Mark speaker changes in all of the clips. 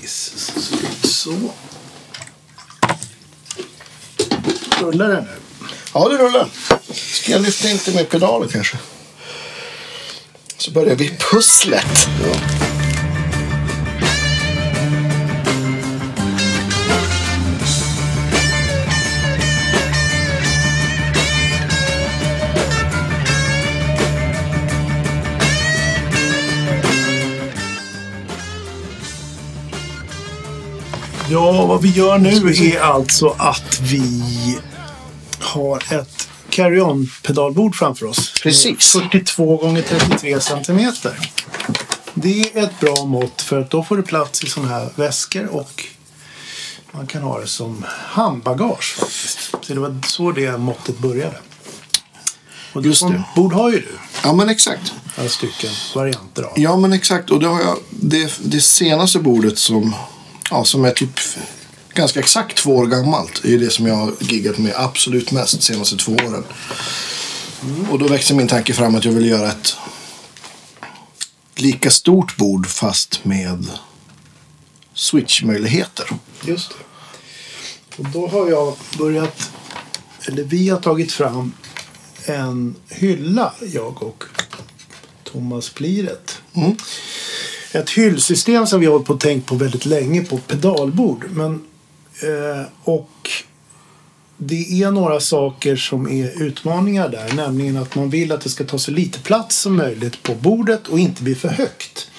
Speaker 1: Precis. Så. Rullar den nu?
Speaker 2: Ja, det rullar. Ska jag lyfta inte med pedaler kanske? Så börjar vi pusslet.
Speaker 1: Ja, vad vi gör nu är alltså att vi har ett carry-on-pedalbord framför oss.
Speaker 2: Precis.
Speaker 1: 42 gånger 33 centimeter. Det är ett bra mått för att då får det plats i sådana här väskor och man kan ha det som handbagage. Faktiskt. Så det var så det måttet började. Och
Speaker 2: Just det.
Speaker 1: Bord har ju du
Speaker 2: Ja, men exakt.
Speaker 1: några stycken varianter av.
Speaker 2: Ja, men exakt. Och det har jag det, det senaste bordet som, ja, som är typ ganska exakt två år gammalt. är det som jag har giggat med absolut mest de senaste två åren. Och då växte min tanke fram att jag ville göra ett lika stort bord fast med switchmöjligheter.
Speaker 1: Just det. Och då har jag börjat, eller vi har tagit fram en hylla, jag och Thomas Pliret.
Speaker 2: Mm.
Speaker 1: Ett hyllsystem som vi har hållit på och tänkt på väldigt länge på pedalbord. Men, eh, och det är några saker som är utmaningar där. Nämligen att man vill att det ska ta så lite plats som möjligt på bordet och inte bli för högt.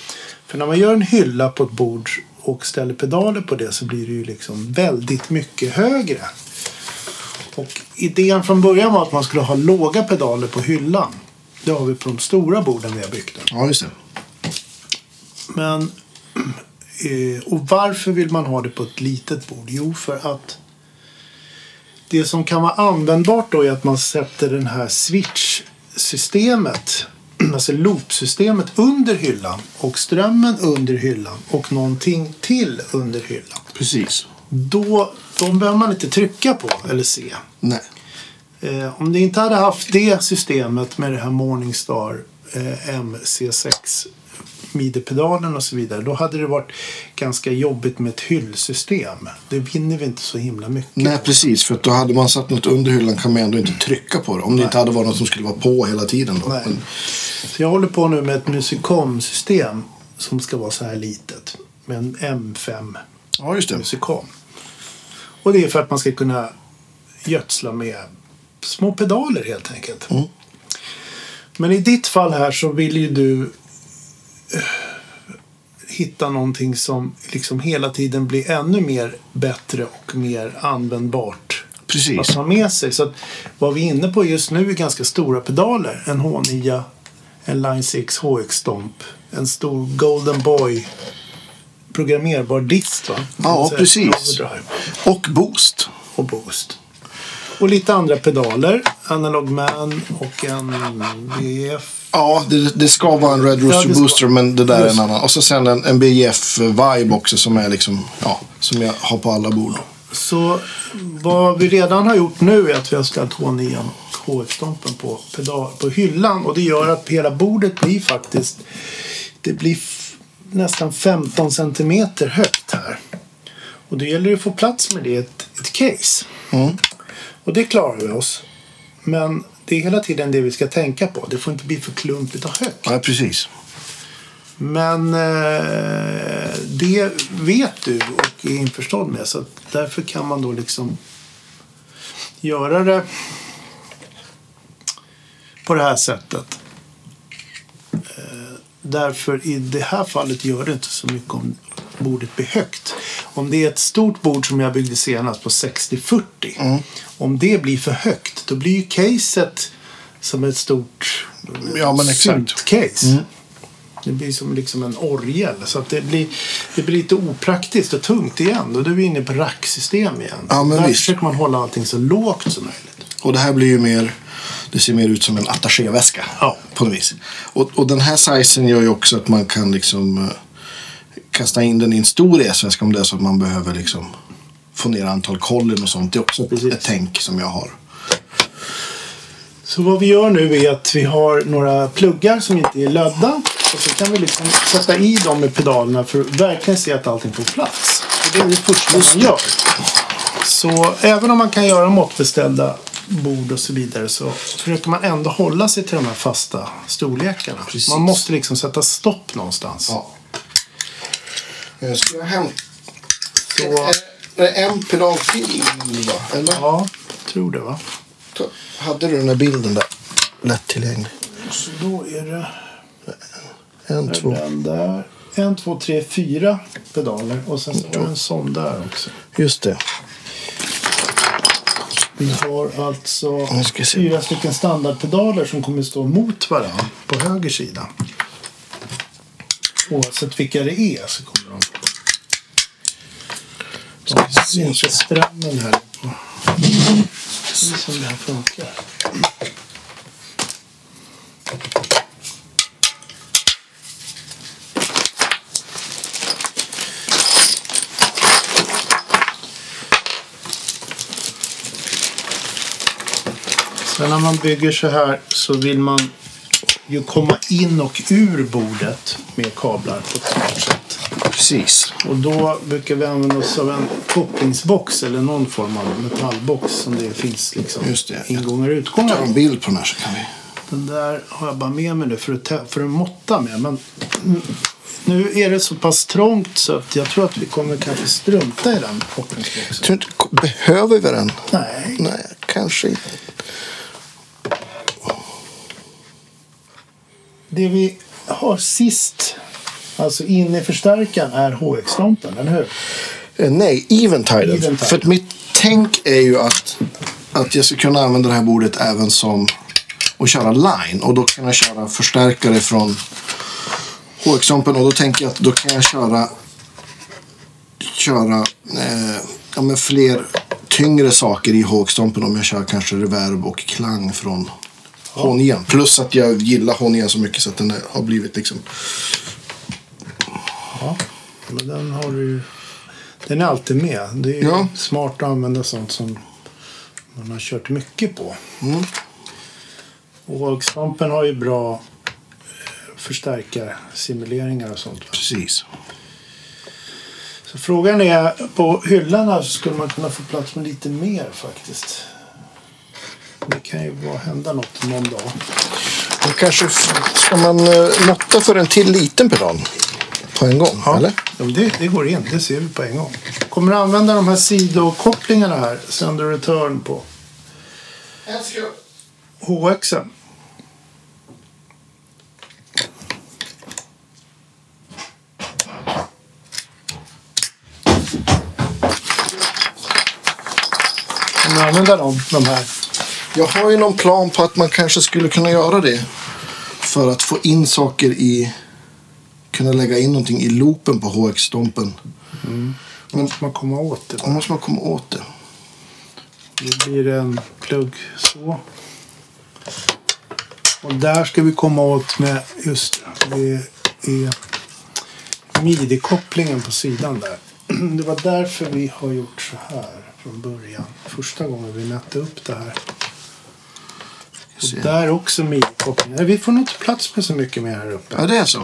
Speaker 1: För när man gör en hylla på ett bord och ställer pedaler på det så blir det ju liksom väldigt mycket högre. Och idén från början var att man skulle ha låga pedaler på hyllan. Det har vi på de stora borden vi har byggt nu.
Speaker 2: Ja, just det.
Speaker 1: Men, eh, och varför vill man ha det på ett litet bord? Jo, för att det som kan vara användbart då är att man sätter den här switch-systemet, alltså loop-systemet under hyllan och strömmen under hyllan och någonting till under hyllan.
Speaker 2: Precis.
Speaker 1: Då, de behöver man inte trycka på eller se.
Speaker 2: Nej.
Speaker 1: Eh, om ni inte hade haft det systemet med det här Morningstar eh, MC6 midjepedalen och så vidare. Då hade det varit ganska jobbigt med ett hyllsystem. Det vinner vi inte så himla mycket.
Speaker 2: Nej, precis. För att då hade man satt något under hyllan kan man ändå inte trycka på det. Om det inte hade varit något som skulle vara på hela tiden. Då.
Speaker 1: Nej.
Speaker 2: Men,
Speaker 1: Så jag håller på nu med ett musikomsystem som ska vara så här litet. Med en M5
Speaker 2: ja, just det.
Speaker 1: musikom. Och det är för att man ska kunna gödsla med små pedaler helt enkelt.
Speaker 2: Mm.
Speaker 1: Men i ditt fall här så vill ju du eh, hitta någonting som liksom hela tiden blir ännu mer bättre och mer användbart
Speaker 2: Precis.
Speaker 1: att ha med sig. Så att vad vi är inne på just nu är ganska stora pedaler. En H9, en Line 6 HX Stomp, en stor Golden Boy programmerbar dist va?
Speaker 2: Ja,
Speaker 1: Så här,
Speaker 2: precis.
Speaker 1: Overdrive
Speaker 2: Och boost.
Speaker 1: och Boost. Och lite andra pedaler. Analog Man och en VF.
Speaker 2: Ja, det, det ska vara en Red Rooster
Speaker 1: det ska-
Speaker 2: Booster, men det där är
Speaker 1: Just.
Speaker 2: en annan. Och så sen en, en BGF Vibe också som är liksom, ja, som jag har på alla bord.
Speaker 1: Så vad vi redan har gjort nu är att vi har ställt H9 och HX-stompen på, pedal, på hyllan. Och det gör att hela bordet blir faktiskt det blir f- nästan 15 centimeter högt här. Och då gäller det att få plats med det i ett, ett case.
Speaker 2: Mm.
Speaker 1: Och det klarar vi oss. Men det är hela tiden det vi ska tänka på. Det får inte bli för klumpigt och högt.
Speaker 2: Ja, precis.
Speaker 1: Men eh, det vet du och är införstådd med. Så att därför kan man då liksom göra det på det här sättet. Eh, därför i det här fallet gör det inte så mycket om bordet blir högt. Om det är ett stort bord som jag byggde senast på 60-40.
Speaker 2: Mm.
Speaker 1: Om det blir för högt då blir ju caset som ett stort
Speaker 2: Ja, men exakt. Mm.
Speaker 1: case. Det blir som liksom en orgel. Så att det, blir, det blir lite opraktiskt och tungt igen. Och då är vi inne på racksystem igen.
Speaker 2: Ja, men
Speaker 1: Där
Speaker 2: visst.
Speaker 1: försöker man hålla allting så lågt som möjligt.
Speaker 2: Och det här blir ju mer, det ser mer ut som en attachéväska.
Speaker 1: Ja.
Speaker 2: På något vis. Och, och den här sizen gör ju också att man kan liksom eh, kasta in den i en stor resväska om det är så att man behöver liksom få ner antal kollen och sånt. Det är också ett,
Speaker 1: Precis.
Speaker 2: ett tänk som jag har.
Speaker 1: Så vad vi gör nu är att vi har några pluggar som inte är lödda. Och så kan vi liksom sätta i dem med pedalerna för att verkligen se att allting får plats. Och det är det första man gör. Så även om man kan göra måttbeställda bord och så vidare så försöker man ändå hålla sig till de här fasta storlekarna.
Speaker 2: Precis.
Speaker 1: Man måste liksom sätta stopp någonstans.
Speaker 2: Ja. Eh, Ska jag hämta
Speaker 1: Så-
Speaker 2: Är det Eh, en pedal till? Då, eller?
Speaker 1: Ja, tror det va.
Speaker 2: Ta- Hade du den där bilden där? Lättillgänglig.
Speaker 1: Så då är det
Speaker 2: En, två.
Speaker 1: den där. En, två, tre, fyra pedaler. Och sen så har vi en sån där också.
Speaker 2: Just det.
Speaker 1: Vi har alltså
Speaker 2: Nu ska jag se.
Speaker 1: fyra stycken standardpedaler som kommer stå mot varandra på höger sida. Oavsett vilka det är så kommer de...
Speaker 2: Ska vi se.
Speaker 1: Inte strömmen här. på. Se som det här funkar. Sen när man bygger så här så vill man ju komma in och ur bordet med kablar på ett smart sätt.
Speaker 2: Precis.
Speaker 1: Och då brukar vi använda oss av en kopplingsbox eller någon form av metallbox som det finns liksom
Speaker 2: Just det.
Speaker 1: ingångar och
Speaker 2: Jag tar en
Speaker 1: utgångar.
Speaker 2: bild på den här så kan vi...
Speaker 1: Den där har jag bara med mig nu för att, tä- för att måtta med. Men mm, nu är det så pass trångt så att jag tror att vi kommer kanske strunta i den kopplingsboxen.
Speaker 2: Tror du inte, behöver vi den?
Speaker 1: Nej.
Speaker 2: Nej, kanske inte.
Speaker 1: Det vi har sist, alltså inne i förstärkaren, är HX-fronten, eller hur?
Speaker 2: Eh, Nej, Eventiden.
Speaker 1: Eventiden.
Speaker 2: För att mitt tänk är ju att, att jag ska kunna använda det här bordet även som och köra line. Och då kan jag köra förstärkare från HX-ampen. Och då tänker jag att då kan jag köra, köra eh, ja, men fler tyngre saker i HX-ampen om jag kör kanske reverb och klang från Honjen. Plus att jag gillar Honjen så mycket så att den har blivit liksom...
Speaker 1: Ja, men den har du ju- Den är alltid med. Det är ju
Speaker 2: Ja.
Speaker 1: smart att använda sånt som man har kört mycket på.
Speaker 2: Mm.
Speaker 1: Och svampen har ju bra eh, förstärkarsimuleringar och sånt. va?
Speaker 2: Precis.
Speaker 1: Så frågan är, på hyllan här så skulle man kunna få plats med lite mer faktiskt. Det kan ju bara hända något någon dag.
Speaker 2: Och kanske f- ska man eh, måtta för en till liten pedal på en gång, eller?
Speaker 1: Ja, men det, det går in, det ser vi på en gång. Kommer du använda de här sidokopplingarna här, sender och return på HXen? Kommer du använda dem, de här?
Speaker 2: Jag har ju någon plan på att man kanske skulle kunna göra det för att få in saker i... Kunna lägga in någonting i loopen på HX-stompen.
Speaker 1: Men måste man komma åt det.
Speaker 2: Då måste man komma åt det.
Speaker 1: Då blir det en plugg så. Och där ska vi komma åt med, just det, det är midi-kopplingen på sidan där. Det var därför vi har gjort så här från början. Första gången vi mätte upp det här.
Speaker 2: Jag ser.
Speaker 1: Och där också midi-kopplingen. Nej, Vi får nog inte plats med så mycket mer här uppe.
Speaker 2: Ja, det är så.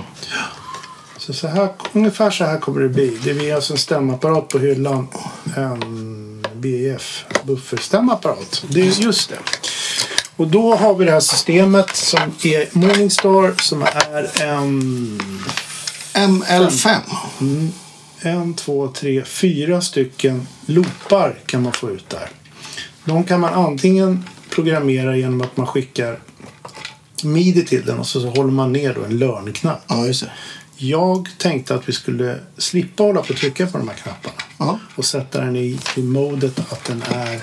Speaker 1: Så, så här, ungefär så här kommer det bli. Det blir alltså en stämapparat på hyllan. En BF bufferstämapparat. Det är just det. Och då har vi det här systemet som är Morningstar som är en,
Speaker 2: ML5.
Speaker 1: en, två, tre, fyra stycken loopar kan man få ut där. De kan man antingen programmera genom att man skickar midi till den och så, så håller man ner då en learn-knapp.
Speaker 2: Ja, just det.
Speaker 1: Jag tänkte att vi skulle slippa hålla på och trycka på de här knapparna.
Speaker 2: Ja.
Speaker 1: Och sätta den i, i modet att den är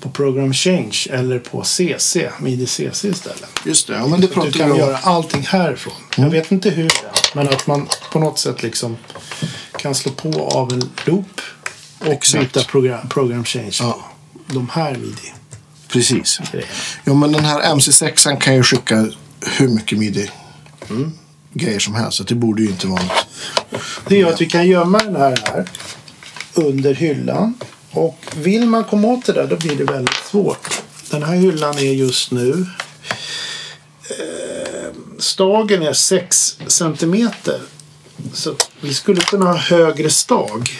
Speaker 1: på Program Change eller på CC, MIDI CC istället.
Speaker 2: Just det. Ja, men det
Speaker 1: Du
Speaker 2: pratar
Speaker 1: kan
Speaker 2: vi om. Mm.
Speaker 1: göra allting härifrån. Jag vet inte hur, än, men att man på något sätt liksom kan slå på av en loop och
Speaker 2: Exakt.
Speaker 1: byta program, program change
Speaker 2: Ja.
Speaker 1: på de här midi
Speaker 2: Precis. Ja, men den här MC6 kan ju skicka hur mycket midi grejer som helst. Så det borde ju inte vara något.
Speaker 1: Det gör att vi kan gömma den här, här under hyllan. Och vill man komma åt det där då blir det väldigt svårt. Den här hyllan är just nu eh, stagen är 6 centimeter. Så att vi skulle kunna ha högre stag.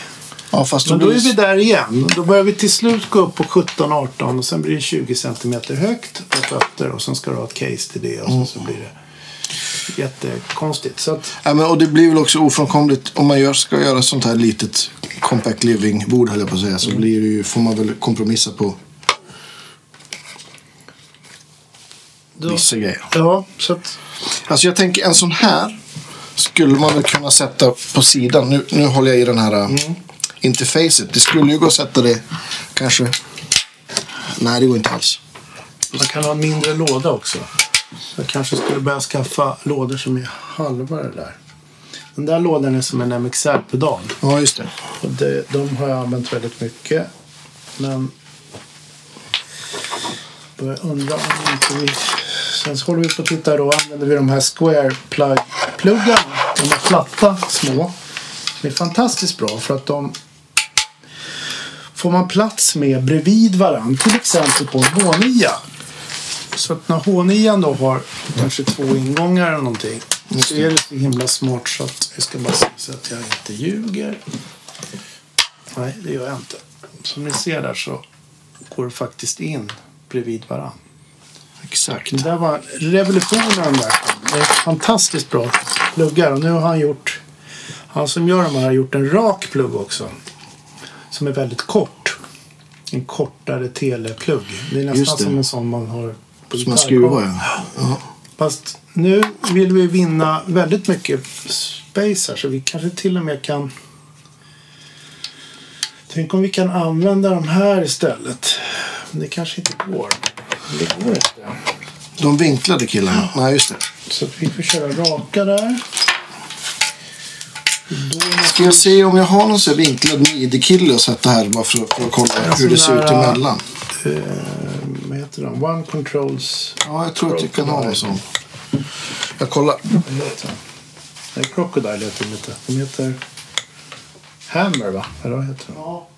Speaker 2: Ja, fast
Speaker 1: Men då
Speaker 2: blir-
Speaker 1: är vi där igen. Då börjar vi till slut gå upp på 17-18 och sen blir det 20 centimeter högt på fötter och sen ska du ha ett case till det och sen så blir det jättekonstigt. Så att,
Speaker 2: Ja, men, och det blir väl också ofrånkomligt om man gör, ska göra ett sånt här litet compact living-bord, höll jag på att säga, så blir det ju, får man väl kompromissa på
Speaker 1: då,
Speaker 2: vissa grejer.
Speaker 1: ja, så att,
Speaker 2: Alltså jag tänker en sån här skulle man väl kunna sätta på sidan. Nu, nu håller jag i den här mm. interfacet. Det skulle ju gå att sätta det kanske. Nej, det går inte alls.
Speaker 1: man kan ha en mindre låda också. Jag kanske skulle börja skaffa lådor som är halva det där. Den där lådan är som en MXR-pedal.
Speaker 2: Ja, just det.
Speaker 1: Och det, de har jag använt väldigt mycket. Men börjar undra om inte vi... Sen så håller vi på att titta då. Använder vi de här square plug pluggarna? De här platta små. De är fantastiskt bra för att de får man plats med bredvid varandra. Till exempel på en H9. Så att när H9 då har kanske två ingångar eller någonting. Så är det så himla smart så att jag ska bara se så att jag inte ljuger. Nej, det gör jag inte. Som ni ser där så går det faktiskt in bredvid varandra.
Speaker 2: Exakt.
Speaker 1: Det där var revolutionen där. Det är fantastiskt bra pluggar och nu har han gjort han som gör de här har gjort en rak plugg också. Som är väldigt kort. En kortare teleplugg. Det är nästan
Speaker 2: Just det.
Speaker 1: som en sån man har på
Speaker 2: Som man
Speaker 1: gitarrgolv.
Speaker 2: skruvar, ja. ja.
Speaker 1: Fast nu vill vi vinna väldigt mycket space här så vi kanske till och med kan... Tänk om vi kan använda de här istället. Men det kanske inte går. Det går inte.
Speaker 2: De vinklade killarna. Nej, just det.
Speaker 1: Så att vi får köra raka där. Då
Speaker 2: Ska jag se om jag har någon sån här vinklad midi-kille att sätta här bara för, för att kolla hur det ser ut emellan?
Speaker 1: eh, vad heter den? One Controls...
Speaker 2: Ja, jag tror att jag kan ha en sån. Jag kollar.
Speaker 1: Vad heter den? Nej, Crocodile heter den inte. Den heter... Hammer, va? Eller vad heter den?
Speaker 3: Ja.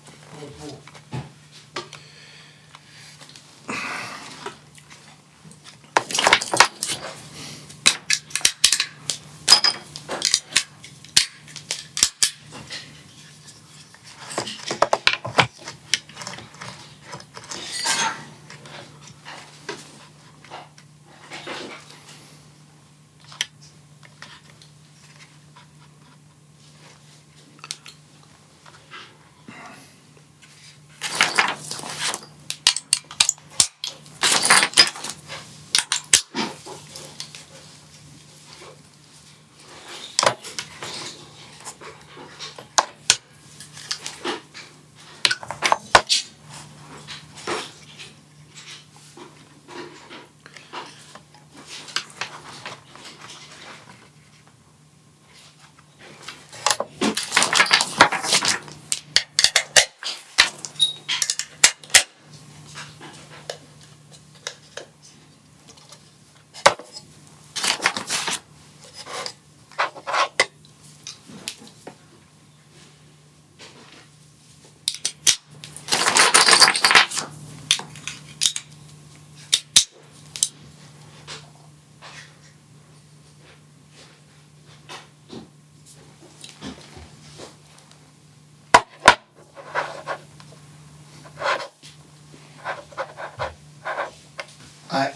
Speaker 2: Nej.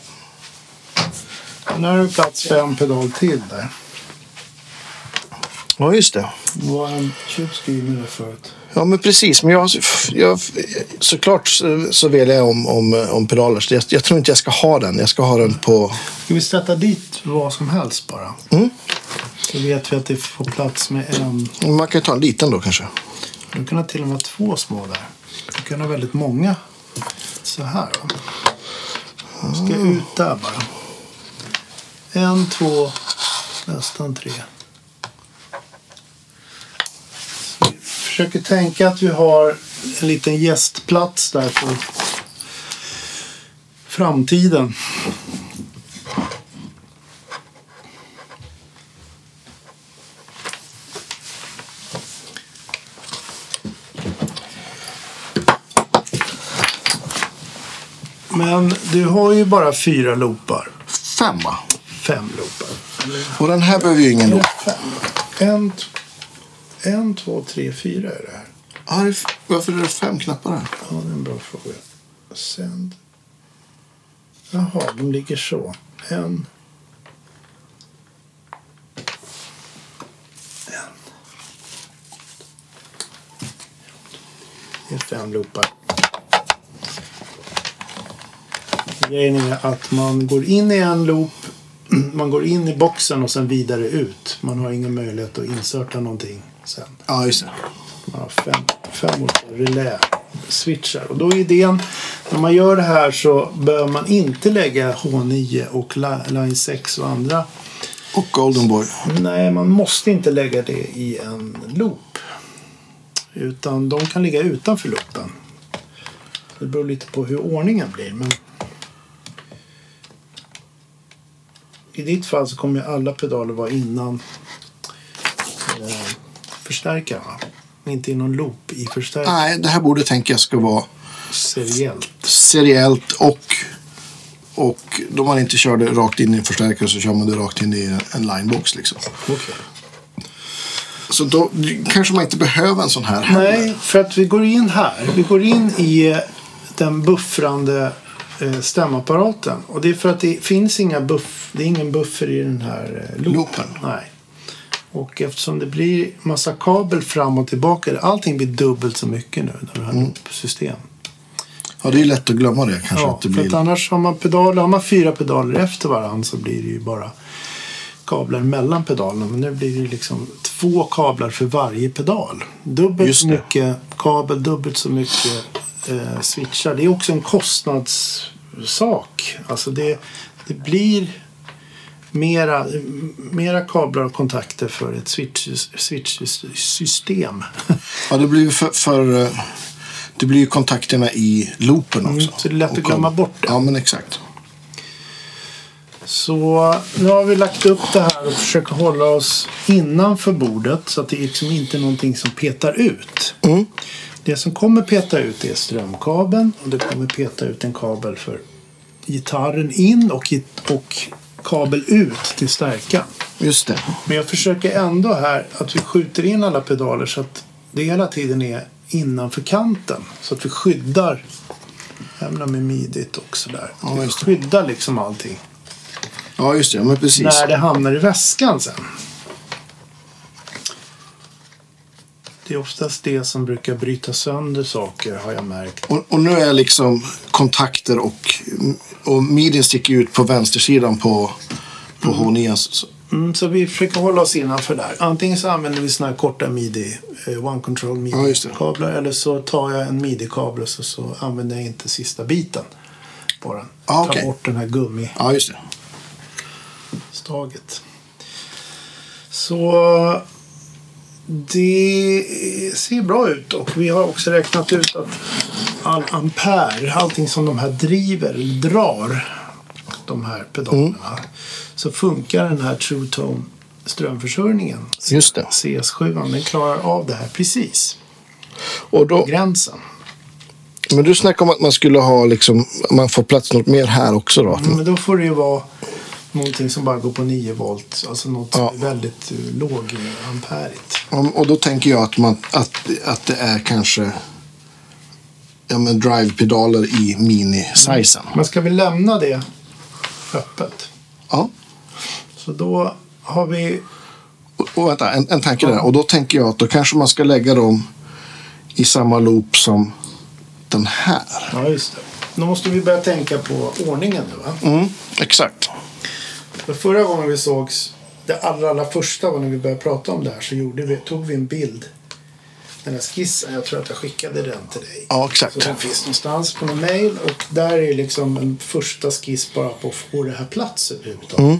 Speaker 1: Nu har du plats för en pedal till där.
Speaker 2: Ja, just det.
Speaker 1: Det var en tjuv skriven där förut.
Speaker 2: Ja, men precis. Men jag, jag, såklart så, så väljer jag om, om, om pedaler. Så jag, jag tror inte jag ska ha den. Jag ska ha den på...
Speaker 1: Ska vi sätta dit vad som helst bara?
Speaker 2: Mm.
Speaker 1: Så vet vi att det får plats med en.
Speaker 2: Man kan ju ta en liten då kanske.
Speaker 1: Du kan ha till och med två små där. Du kan ha väldigt många. Så här. va. Jag Ska ut där bara. En, två, nästan tre. Så vi försöker tänka att vi har en liten gästplats där för framtiden. Men du har ju bara fyra loopar.
Speaker 2: Fem, va?
Speaker 1: Fem loopar.
Speaker 2: Och den här behöver ju
Speaker 1: Är
Speaker 2: ingen då.
Speaker 1: det fem? En, t- en, två, tre, fyra är det här.
Speaker 2: Ah, det är f- varför är det fem knappar här?
Speaker 1: Ja, det är en bra fråga. Sänd. Jaha, de ligger så. En. En. Det är fem loopar. Grejen är att man går in i en loop. Man går in i boxen och sen vidare ut. Man har ingen möjlighet att inserta någonting sen.
Speaker 2: Ja, just det.
Speaker 1: Man har fem, fem olika relä-switchar. Och då är idén, när man gör det här så bör man inte lägga H9 och li- Line 6 och andra.
Speaker 2: Och Golden Boy.
Speaker 1: Nej, man måste inte lägga det i en loop. Utan de kan ligga utanför loopen. Det beror lite på hur ordningen blir. Men I ditt fall så kommer ju alla pedaler vara innan eh, förstärkaren. va? Inte i någon loop i förstärkaren.
Speaker 2: Nej, det här borde tänka jag ska vara
Speaker 1: seriellt.
Speaker 2: seriellt och, och då man inte kör det rakt in i en förstärkare så kör man det rakt in i en linebox. Liksom. Så då kanske man inte behöver en sån här heller.
Speaker 1: Nej, för att vi går in här. Vi går in i den buffrande eh, stämapparaten. Och det är för att det finns inga buff, det är ingen buffer i den här eh, loopen.
Speaker 2: Loopen.
Speaker 1: Nej. Och eftersom det blir massa kabel fram och tillbaka. Allting blir dubbelt så mycket nu när vi har loopsystem.
Speaker 2: Ja, det är ju lätt att glömma det kanske.
Speaker 1: Ja,
Speaker 2: att det
Speaker 1: för att
Speaker 2: blir...
Speaker 1: annars har man pedaler, har man fyra pedaler efter varandra så blir det ju bara kablar mellan pedalerna. Men nu blir det liksom två kablar för varje pedal. Dubbelt
Speaker 2: Just
Speaker 1: så
Speaker 2: det.
Speaker 1: mycket kabel, dubbelt så mycket eh, switchar. Det är också en kostnadssak. Alltså det, det blir mera, mera kablar och kontakter för ett switch- switch-system.
Speaker 2: Ja, det blir ju för, för, eh, det blir ju kontakterna i loopen också.
Speaker 1: Mm, så det är lätt att
Speaker 2: Och-
Speaker 1: glömma bort det.
Speaker 2: Ja, men exakt.
Speaker 1: Så nu har vi lagt upp det här och försöker hålla oss innanför bordet så att det liksom inte är någonting som petar ut.
Speaker 2: Mm.
Speaker 1: Det som kommer peta ut är strömkabeln och det kommer peta ut en kabel för gitarren in och, git- och kabel ut till stärkan.
Speaker 2: Just det.
Speaker 1: Men jag försöker ändå här att vi skjuter in alla pedaler så att det hela tiden är innanför kanten. Så att vi skyddar. Jag menar med midit och sådär.
Speaker 2: Ja,
Speaker 1: vi
Speaker 2: just det.
Speaker 1: skyddar liksom allting
Speaker 2: Ja, just det. Ja, Men precis.
Speaker 1: när det hamnar i väskan sen. Det är oftast det som brukar bryta sönder saker har jag märkt.
Speaker 2: Och, och nu är liksom kontakter och, och midin sticker ju ut på vänstersidan på, på H9. Så-
Speaker 1: Mm, så vi försöker hålla oss innanför där. Antingen så använder vi såna här korta midi, eh, one control
Speaker 2: Ja, just det.
Speaker 1: midi-kablar. eller så tar jag en midi-kabel och så, så använder jag inte sista biten på den.
Speaker 2: Ah,
Speaker 1: Tar
Speaker 2: okej.
Speaker 1: bort den här gummi.
Speaker 2: Ja, just det.
Speaker 1: staget. Så det ser bra ut och vi har också räknat ut att all ampere, allting som de här driver, eller drar, de här pedalerna, så funkar den här True Tone strömförsörjningen.
Speaker 2: Just det.
Speaker 1: CS7 den klarar av det här precis,
Speaker 2: Och då,
Speaker 1: gränsen.
Speaker 2: men du snackade om att man skulle ha liksom, man får plats något mer här också då.
Speaker 1: Men då får det ju vara någonting som bara går på 9 volt, alltså något som
Speaker 2: Ja.
Speaker 1: är väldigt eh, låg eh, amperigt.
Speaker 2: Om- Och då tänker jag att, man, att, att det är kanske ja, men drive-pedaler i mini-sizen.
Speaker 1: Men ska vi lämna det öppet?
Speaker 2: Ja.
Speaker 1: Så då har vi...
Speaker 2: Och, och vänta, en, en tanke där. Och då tänker jag att då kanske man ska lägga dem i samma loop som den här.
Speaker 1: Ja, just det. Nu måste vi börja tänka på ordningen nu va?
Speaker 2: Mm, exakt.
Speaker 1: För förra gången vi sågs, det allra, allra första var när vi började prata om det här, så gjorde vi, tog vi en bild. Den här skissen, jag tror att jag skickade den till dig.
Speaker 2: Ja,
Speaker 1: Så
Speaker 2: exakt.
Speaker 1: den finns någonstans på någon mail och där är liksom en första skiss bara på att få det här plats överhuvudtaget.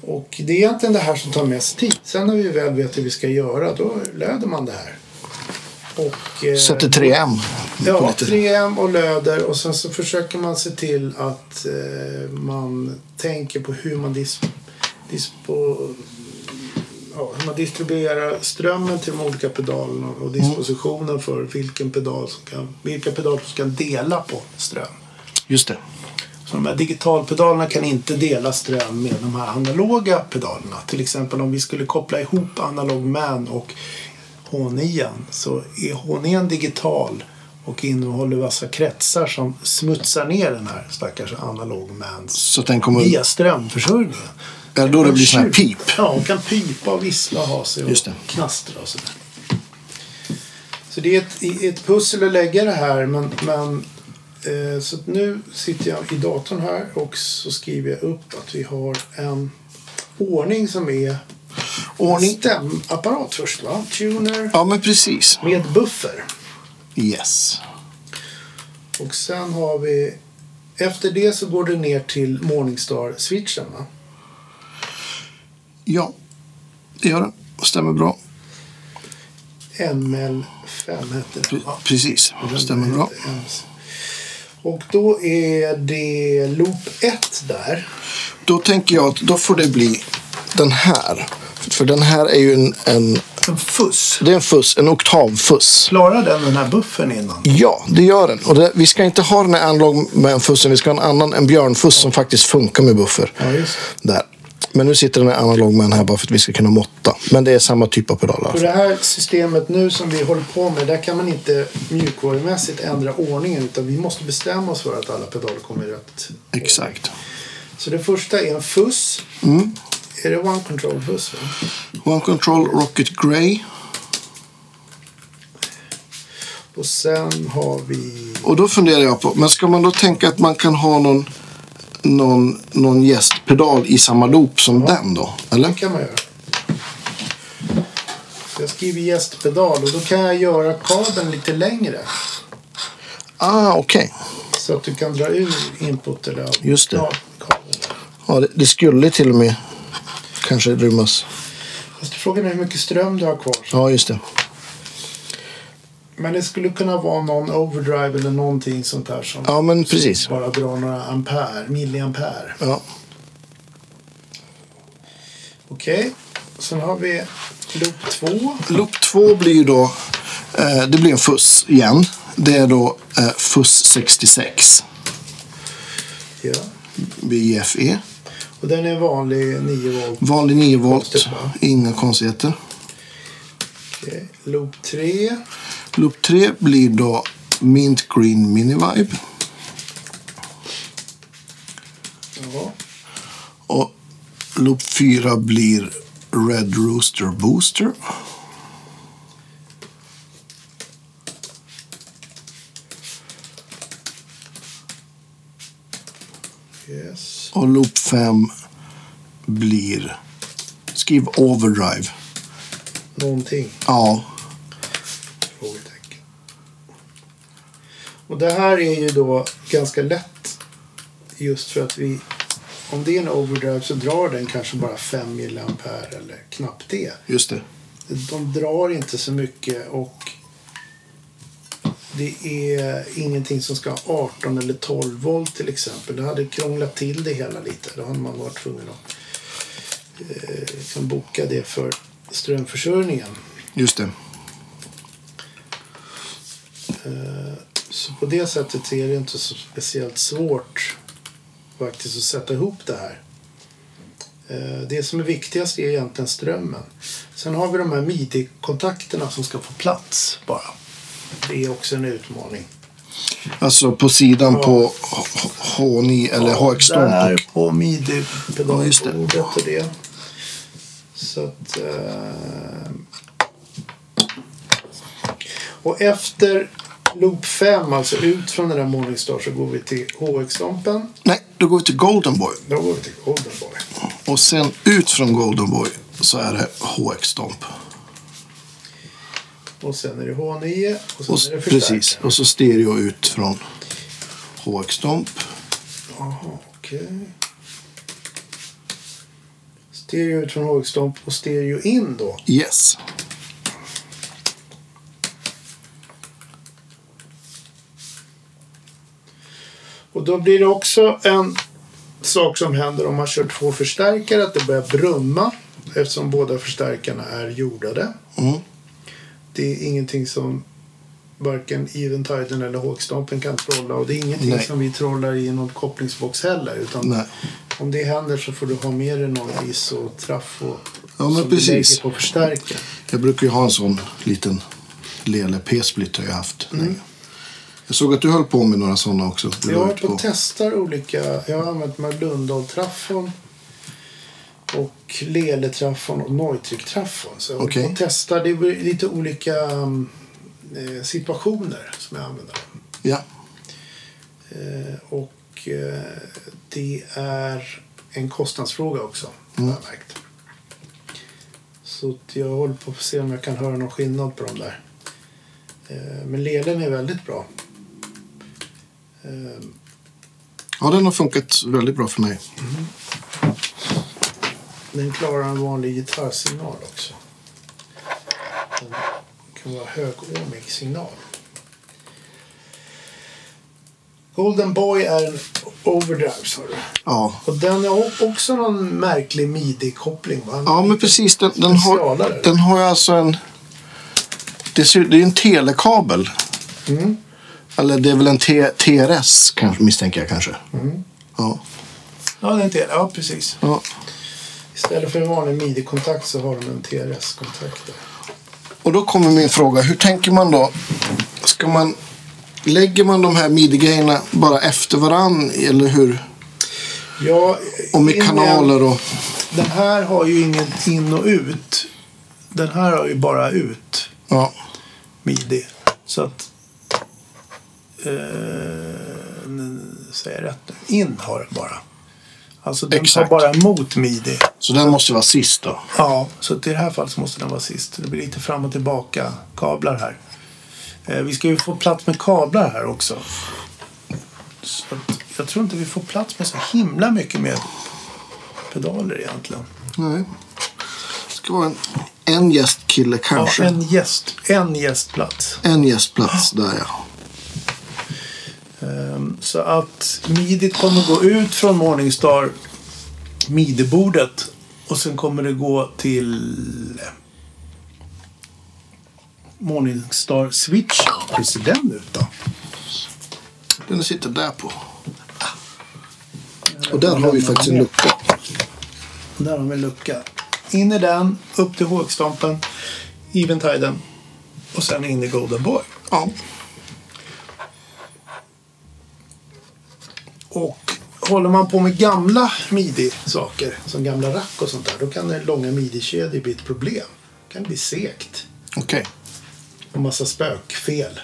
Speaker 1: Och det är egentligen det här som tar mest tid. Sen när vi väl vet hur vi ska göra då löder man det här. Och, eh,
Speaker 2: Sätter 3M. på
Speaker 1: Ja,
Speaker 2: lite.
Speaker 1: 3M och löder och sen så försöker man se till att eh, man tänker på hur man, dis dispo ja, hur man distribuerar strömmen till de olika pedalerna och dispositionen för vilken pedal som kan, vilka pedaler som kan dela på ström.
Speaker 2: Just det.
Speaker 1: Så de här digitalpedalerna kan inte dela ström med de här analoga pedalerna. Till exempel om vi skulle koppla ihop analog man och H9 så är H9 digital och innehåller vassa kretsar som smutsar ner den här stackars analog mans
Speaker 2: Så att den kommer...
Speaker 1: via strömförsörjningen.
Speaker 2: Ja, då det blir sån här pip.
Speaker 1: Ja, och kan pipa och vissla och ha sig och
Speaker 2: Just det.
Speaker 1: knastra och sådär. Så det är ett, ett pussel att lägga det här men, men eh, så att nu sitter jag i datorn här och så skriver jag upp att vi har en ordning som är
Speaker 2: Ordning.
Speaker 1: stämapparat först va? Tuner
Speaker 2: Ja, men precis.
Speaker 1: med buffer.
Speaker 2: Yes.
Speaker 1: Och sen har vi... Efter det så går det ner till Morningstar-switchen. Va?
Speaker 2: Ja, det gör det. Stämmer bra.
Speaker 1: ML5 heter den.
Speaker 2: Pre-
Speaker 1: va?
Speaker 2: Precis. Stämmer bra.
Speaker 1: Den heter Och då är det loop 1 där.
Speaker 2: Då tänker jag att då får det bli den här. För den här är ju en, en,
Speaker 1: En fuss.
Speaker 2: det är en, fuss, en oktavfuss.
Speaker 1: Klarar den den här buffern innan?
Speaker 2: Ja, det gör den. Och det, vi ska inte ha den här analog med en fussen. Vi ska ha en annan, en björnfuss som faktiskt funkar med buffer.
Speaker 1: Ja, just
Speaker 2: Där. Men nu sitter den här analog med den här bara för att vi ska kunna måtta. Men det är samma typ av pedal. i alla
Speaker 1: För
Speaker 2: fall.
Speaker 1: det här systemet nu som vi håller på med, där kan man inte mjukvarumässigt ändra ordningen utan vi måste bestämma oss för att alla pedaler kommer i rätt.
Speaker 2: Exakt.
Speaker 1: Så det första är en fuss.
Speaker 2: Mm.
Speaker 1: Är det One Control-fuss? va?
Speaker 2: One Control Rocket Grey.
Speaker 1: Och sen har vi...
Speaker 2: Och då funderar jag på, men ska man då tänka att man kan ha någon, någon, någon gästpedal i samma loop som den då?
Speaker 1: Det
Speaker 2: Eller?
Speaker 1: kan man göra. Så jag skriver gästpedal och då kan jag göra kabeln lite längre.
Speaker 2: Ah, okej.
Speaker 1: Så att du kan dra ur input eller out-
Speaker 2: Just det.
Speaker 1: ja, kabeln.
Speaker 2: Ja, det, det skulle till och med kanske rymmas.
Speaker 1: Fast frågan är hur mycket ström du har kvar.
Speaker 2: Ja, just det.
Speaker 1: Men det skulle kunna vara någon overdrive eller någonting sånt där som
Speaker 2: Ja, men precis.
Speaker 1: bara drar några ampere, milliampere.
Speaker 2: Ja.
Speaker 1: Okej. Sen har vi loop 2.
Speaker 2: Loop 2 blir ju då, eh, det blir en fuss igen. Det är då eh, fuss 66,
Speaker 1: Ja.
Speaker 2: BIFE.
Speaker 1: Och den är vanlig 9 volt.
Speaker 2: E Vanlig 9 volt,
Speaker 1: Konstigt, va?
Speaker 2: inga konstigheter.
Speaker 1: Okej. Loop 3.
Speaker 2: Loop 3 blir då Mint Green Mini Vibe.
Speaker 1: Ja.
Speaker 2: Och loop 4 blir Red Rooster Booster.
Speaker 1: Yes.
Speaker 2: Och loop 5 blir... Skriv Overdrive.
Speaker 1: Någonting.
Speaker 2: Ja,
Speaker 1: Frågetecken. Och det här är ju då ganska lätt just för att vi om det är en overdrive så drar den kanske bara 5 milliampere eller knappt det.
Speaker 2: just det.
Speaker 1: De drar inte så mycket och det är ingenting som ska ha 18 eller 12 volt till exempel. Det hade krånglat till det hela lite. Då hade man varit tvungen att eh, liksom boka det för strömförsörjningen.
Speaker 2: Just det.
Speaker 1: Så på det sättet är det inte så speciellt svårt faktiskt att sätta ihop det här. Eh, Det som är viktigast är egentligen strömmen. Sen har vi de här midi-kontakterna som ska få plats bara. Det är också en utmaning.
Speaker 2: Alltså på sidan
Speaker 1: Ja.
Speaker 2: på H- H- H9 eller hx
Speaker 1: Där
Speaker 2: 12
Speaker 1: på
Speaker 2: Ja, just det.
Speaker 1: midi-pedalbordet och det. Så att... Eh... Och efter loop 5, alltså ut från den där Morningstar, så går vi till HX-stompen.
Speaker 2: Nej, då går vi till Golden Boy.
Speaker 1: Då går vi till Golden Boy.
Speaker 2: Och sen ut från Golden Boy så är det HX Stomp.
Speaker 1: Och sen är det H9 och sen
Speaker 2: Och,
Speaker 1: är det
Speaker 2: precis.
Speaker 1: förstärkaren.
Speaker 2: Och så stereo ut från HX Stomp.
Speaker 1: Jaha, okej. Stereo ut från HX-stomp och stereo in då.
Speaker 2: Yes.
Speaker 1: Och då blir det också en sak som händer om man kör två förstärkare att det börjar brumma eftersom båda förstärkarna är jordade.
Speaker 2: Mm.
Speaker 1: Det är ingenting som varken eventiden eller hågstampen kan trolla. Och det är ingenting
Speaker 2: Nej.
Speaker 1: som vi trollar i någon kopplingsbox heller. Utan
Speaker 2: Nej.
Speaker 1: om det händer så får du ha med dig någon hiss och traff och,
Speaker 2: Ja, men
Speaker 1: som du
Speaker 2: precis.
Speaker 1: lägger på förstärkaren.
Speaker 2: Jag brukar ju ha en sån liten lele P-split har jag haft
Speaker 1: Mm.
Speaker 2: länge. Jag såg att du höll på med några sådana också. Du
Speaker 1: Jag
Speaker 2: la
Speaker 1: har
Speaker 2: ut
Speaker 1: varit och testar olika. Jag har använt de här Lundahl-traffon och Lele-traffon och Neutrik-traffon. Så jag håller
Speaker 2: Okej.
Speaker 1: på och testar. Det är lite olika mm, eh, situationer som jag använder.
Speaker 2: Ja,
Speaker 1: Eh, och eh, det är en kostnadsfråga också. Har
Speaker 2: Mm.
Speaker 1: jag märkt. Så att jag håller på att se om jag kan höra någon skillnad på de där. Eh, men lelen är väldigt bra. Eh,
Speaker 2: ja den har funkat väldigt bra för mig.
Speaker 1: Den klarar en vanlig gitarrsignal också. Den kan vara högåmig signal. Golden Boy är en overdrive sa du.
Speaker 2: Ja,
Speaker 1: Och den har o- också någon märklig midi-koppling va?
Speaker 2: ja men precis. Den, den, har,
Speaker 1: Specialare.
Speaker 2: den har ju alltså en... Det ser- det är en telekabel.
Speaker 1: Mm.
Speaker 2: Eller det är väl en T, TRS kanske, misstänker jag kanske. Ja.
Speaker 1: Ja, den är en tel- ja, precis.
Speaker 2: ja.
Speaker 1: Istället för en vanlig midi-kontakt så har de en TRS-kontakt. där.
Speaker 2: Och då kommer min fråga, hur tänker man då? Ska man, lägger man de här midi-grejerna bara efter varann eller hur?
Speaker 1: Ja,
Speaker 2: Och med
Speaker 1: in-
Speaker 2: kanaler och...
Speaker 1: Den här har ju inget in och ut. Den här har ju bara ut.
Speaker 2: Ja,
Speaker 1: midi. Så att... Eh, n- säger jag rätt nu? In har den bara. Alltså den
Speaker 2: Exakt.
Speaker 1: tar bara emot midi.
Speaker 2: så den måste vara sist då.
Speaker 1: Ja, så att i det här fallet så måste den vara sist. Det blir lite fram och tillbaka kablar här. Eh, vi ska ju få plats med kablar här också. Så att jag tror inte vi får plats med så himla mycket mer pedaler egentligen.
Speaker 2: Nej. Det ska vara en, en gästkille
Speaker 1: Ja,
Speaker 2: kanske. en...
Speaker 1: en, gäst, en gästplats.
Speaker 2: gästplats där ja.
Speaker 1: Ehm, Så att midit kommer gå ut från Morningstar, midibordet. Och sen kommer det gå till eh, Morningstar Switch. Hur ser den ut då?
Speaker 2: Den sitter där på. Ah. Och där har vi faktiskt en lucka.
Speaker 1: Där har vi en lucka. In i den, upp till hågstampen, eventiden och sen in i Golden Boy.
Speaker 2: Ja.
Speaker 1: Och håller man på med gamla midi-saker, som gamla rack och sånt där, då kan den långa midi-kedjor bli ett problem. Det kan bli segt.
Speaker 2: Okej.
Speaker 1: och massa spökfel.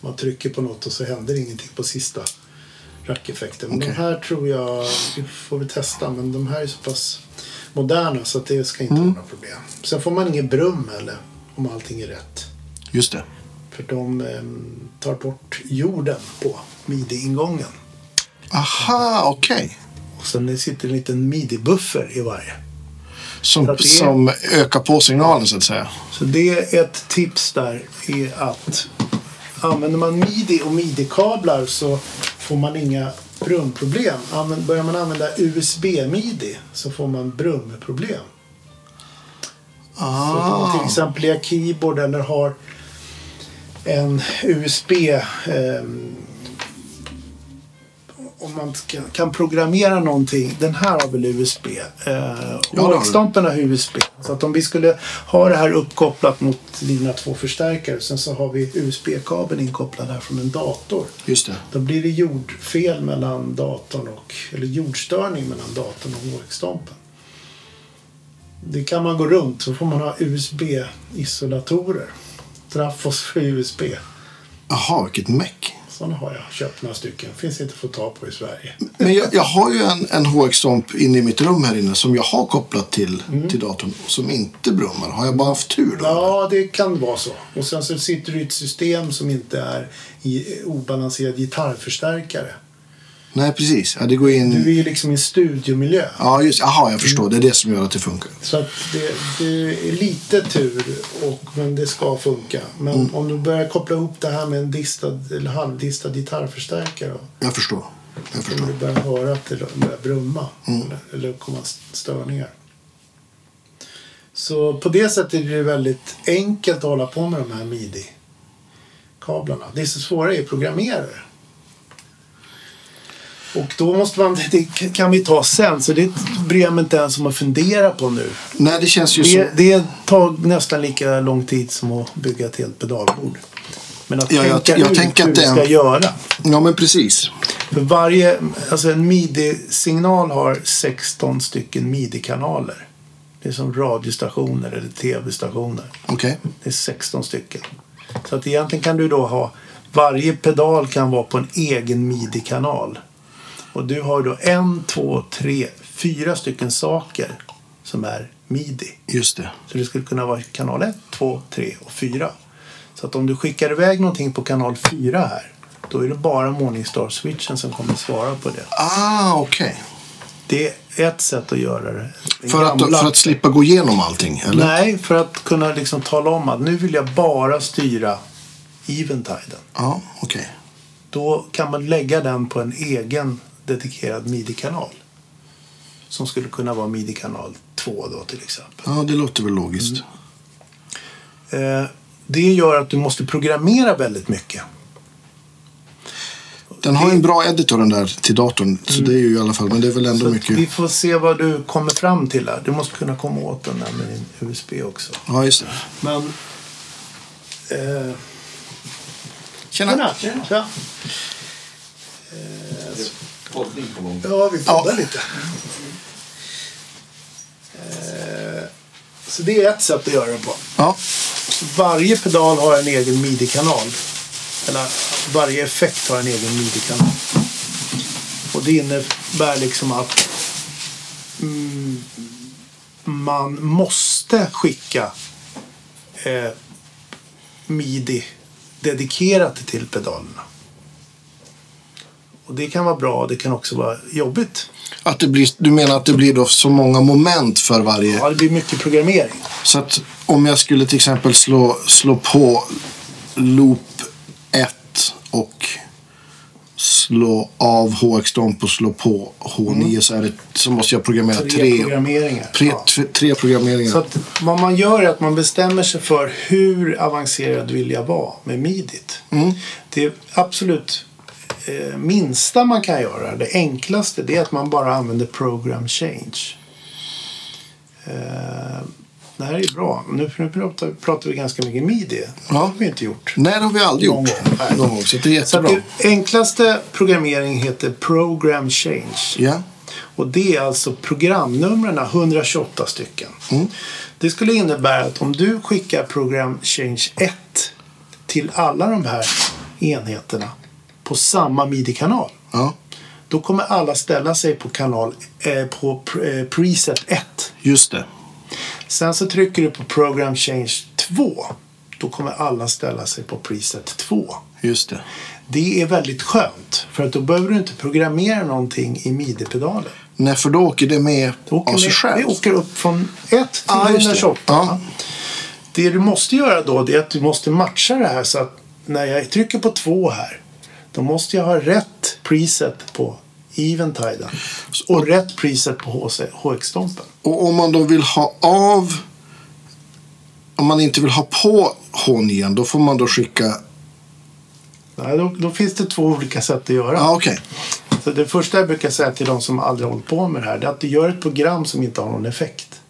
Speaker 1: Man trycker på något och så händer ingenting på sista rackeffekten. Men
Speaker 2: Okej.
Speaker 1: de här tror jag, vi får vi testa, men de här är så pass moderna så att det ska inte vara några problem. Sen får man ingen brum eller om allting är rätt.
Speaker 2: Just det.
Speaker 1: För de eh, tar bort jorden på midi-ingången.
Speaker 2: Aha, okej.
Speaker 1: Och sen sitter en liten midi-buffer i varje. Så
Speaker 2: Som,
Speaker 1: att det är-
Speaker 2: som ökar på signalen så att säga.
Speaker 1: Så det är ett tips där är att använder man midi och midi-kablar så får man inga brumproblem. Använd- Börjar man använda USB-midi så får man brumproblem. Så att om
Speaker 2: Ah.
Speaker 1: man till exempel är keyboard eller har en USB ehm, om man ska, kan programmera någonting. Den här har väl USB.
Speaker 2: har
Speaker 1: Eh,
Speaker 2: den.
Speaker 1: Workstampen har USB. Så att om vi skulle ha det här uppkopplat mot dina två förstärkare. Sen så har vi USB-kabeln inkopplad här från en dator.
Speaker 2: Just det.
Speaker 1: Då blir det jordfel mellan datorn och, eller jordstörning mellan datorn och workstampen. Det kan man gå runt, så får man ha USB-isolatorer. Traffos för USB.
Speaker 2: Jaha, vilket meck.
Speaker 1: Sådana har jag köpt några stycken. Finns inte att få tag på i Sverige.
Speaker 2: Men jag, jag har ju en, en HX-stomp inne i mitt rum här inne som jag har kopplat till, till datorn som inte brummar. Har jag bara haft tur då?
Speaker 1: Mm. Ja, det kan vara så. Och sen så sitter du i ett system som inte är i obalanserad gitarrförstärkare.
Speaker 2: Nej, precis. Ja, det går in...
Speaker 1: Du är ju liksom i en studiomiljö.
Speaker 2: Ja, just Jaha, jag förstår. Det är det som gör att det funkar.
Speaker 1: Så att det, det är lite tur, och, men det ska funka. Men om du börjar koppla ihop det här med en distad, eller halvdistad gitarrförstärkare då
Speaker 2: Jag förstår. Jag förstår.
Speaker 1: kommer du börja höra att det börjar brumma eller, eller komma störningar. Så på det sättet är det väldigt enkelt att hålla på med de här midi-kablarna. kablarna. Det som svåra är att programmera det. Och då måste man, det kan vi ta sen, så det bryr jag mig inte ens om att fundera på nu.
Speaker 2: Nej, det känns ju som...
Speaker 1: Det, det tar nästan lika lång tid som att bygga ett helt pedalbord. Men att
Speaker 2: Ja, jag-
Speaker 1: tänka
Speaker 2: jag
Speaker 1: ut
Speaker 2: tänker
Speaker 1: hur
Speaker 2: att
Speaker 1: du
Speaker 2: det-
Speaker 1: ska göra.
Speaker 2: Ja, men precis.
Speaker 1: För varje, alltså en midi-signal har 16 stycken midi-kanaler. Det är som radiostationer eller tv-stationer.
Speaker 2: Okej.
Speaker 1: Det är 16 stycken. Så att egentligen kan du då ha, varje pedal kan vara på en egen midi-kanal. Och du har då en, två, tre, fyra stycken saker som är midi.
Speaker 2: Just det.
Speaker 1: Så det skulle kunna vara kanal 1, 2, 3 och 4. Så att om du skickar iväg någonting på kanal 4 här, då är det bara Morningstar-switchen som kommer svara på det.
Speaker 2: Ah, okej.
Speaker 1: Det är ett sätt att göra det. Det
Speaker 2: För, att,
Speaker 1: gamla-
Speaker 2: för att slippa gå igenom allting? Eller?
Speaker 1: Nej, för att kunna liksom tala om att nu vill jag bara styra Eventiden.
Speaker 2: Ja, okej.
Speaker 1: Då kan man lägga den på en egen dedikerad midi-kanal. Som skulle kunna vara midi-kanal 2 då till exempel.
Speaker 2: Ja, det låter väl logiskt.
Speaker 1: Eh, det gör att du måste programmera väldigt mycket.
Speaker 2: Den har ju en bra editor den där till datorn. Så det är ju i alla fall, men det är väl ändå
Speaker 1: Mm. Så att
Speaker 2: mycket.
Speaker 1: vi får se vad du kommer fram till här. Du måste kunna komma åt den där med din USB också.
Speaker 2: Ja, just det.
Speaker 1: Men... Eh,
Speaker 2: Tjena.
Speaker 1: tjena. Tja.
Speaker 3: Poddning på gång.
Speaker 1: Ja, vi poddar
Speaker 2: Ja.
Speaker 1: lite. Eh, Eh, så det är ett sätt att göra det på.
Speaker 2: Ja,
Speaker 1: Varje pedal har en egen midi-kanal. Eller varje effekt har en egen midi-kanal. Och det innebär liksom att mm, man måste skicka eh, midi dedikerat till pedalerna. Och det kan vara bra, det kan också vara jobbigt.
Speaker 2: att det blir, du menar att det blir då så många moment för varje?
Speaker 1: Ja, det blir mycket programmering.
Speaker 2: Så att om jag skulle till exempel slå, slå på loop 1 och slå av HX-stomp och slå på H9 så, är det, så måste jag programmera
Speaker 1: Mm. Tre,
Speaker 2: tre, tre,
Speaker 1: programmeringar. ja.
Speaker 2: tre, tre programmeringar.
Speaker 1: Så att vad man gör är att man bestämmer sig för hur avancerad vill jag vara med midit.
Speaker 2: Mm.
Speaker 1: Det absolut eh, minsta man kan göra, det enklaste, det är att man bara använder program change. Eh, det här är ju bra. Nu, nu pratar, pratar vi ganska mycket midi. Det
Speaker 2: Ja.
Speaker 1: har vi inte gjort.
Speaker 2: Nej, det har vi aldrig
Speaker 1: Någon
Speaker 2: gjort.
Speaker 1: gång. Nej.
Speaker 2: Någon gång, så det är
Speaker 1: Så att
Speaker 2: jättebra.
Speaker 1: det enklaste programmering heter program change.
Speaker 2: Ja,
Speaker 1: Och det är alltså programnumren, 128 stycken. Det skulle innebära att om du skickar program change 1 till alla de här enheterna på samma midi-kanal.
Speaker 2: ja,
Speaker 1: Då kommer alla ställa sig på kanal eh, på pr- eh, preset 1.
Speaker 2: just det.
Speaker 1: Sen så trycker du på program change 2. Då kommer alla ställa sig på preset 2.
Speaker 2: Just det.
Speaker 1: Det är väldigt skönt för att då behöver du inte programmera någonting i midi-pedalen.
Speaker 2: Nej, för då åker det med
Speaker 1: Då åker
Speaker 2: av sig
Speaker 1: vi, vi
Speaker 2: själv.
Speaker 1: åker upp från 1 till
Speaker 2: Ja, just det.
Speaker 1: 128.
Speaker 2: Ja.
Speaker 1: Det du måste göra då det är att du måste matcha det här så att när jag trycker på 2 här då måste jag ha rätt preset på Eventiden och rätt preset på HC HX-stompen.
Speaker 2: Och om man då vill ha av... Om man inte vill ha på H9, då får man då skicka...
Speaker 1: Nej, Då, då finns det två olika sätt att göra.
Speaker 2: Ja, ah, okej.
Speaker 1: Så det första jag brukar säga till de som aldrig har hållit på med det här det är att du gör ett program som inte har någon effekt.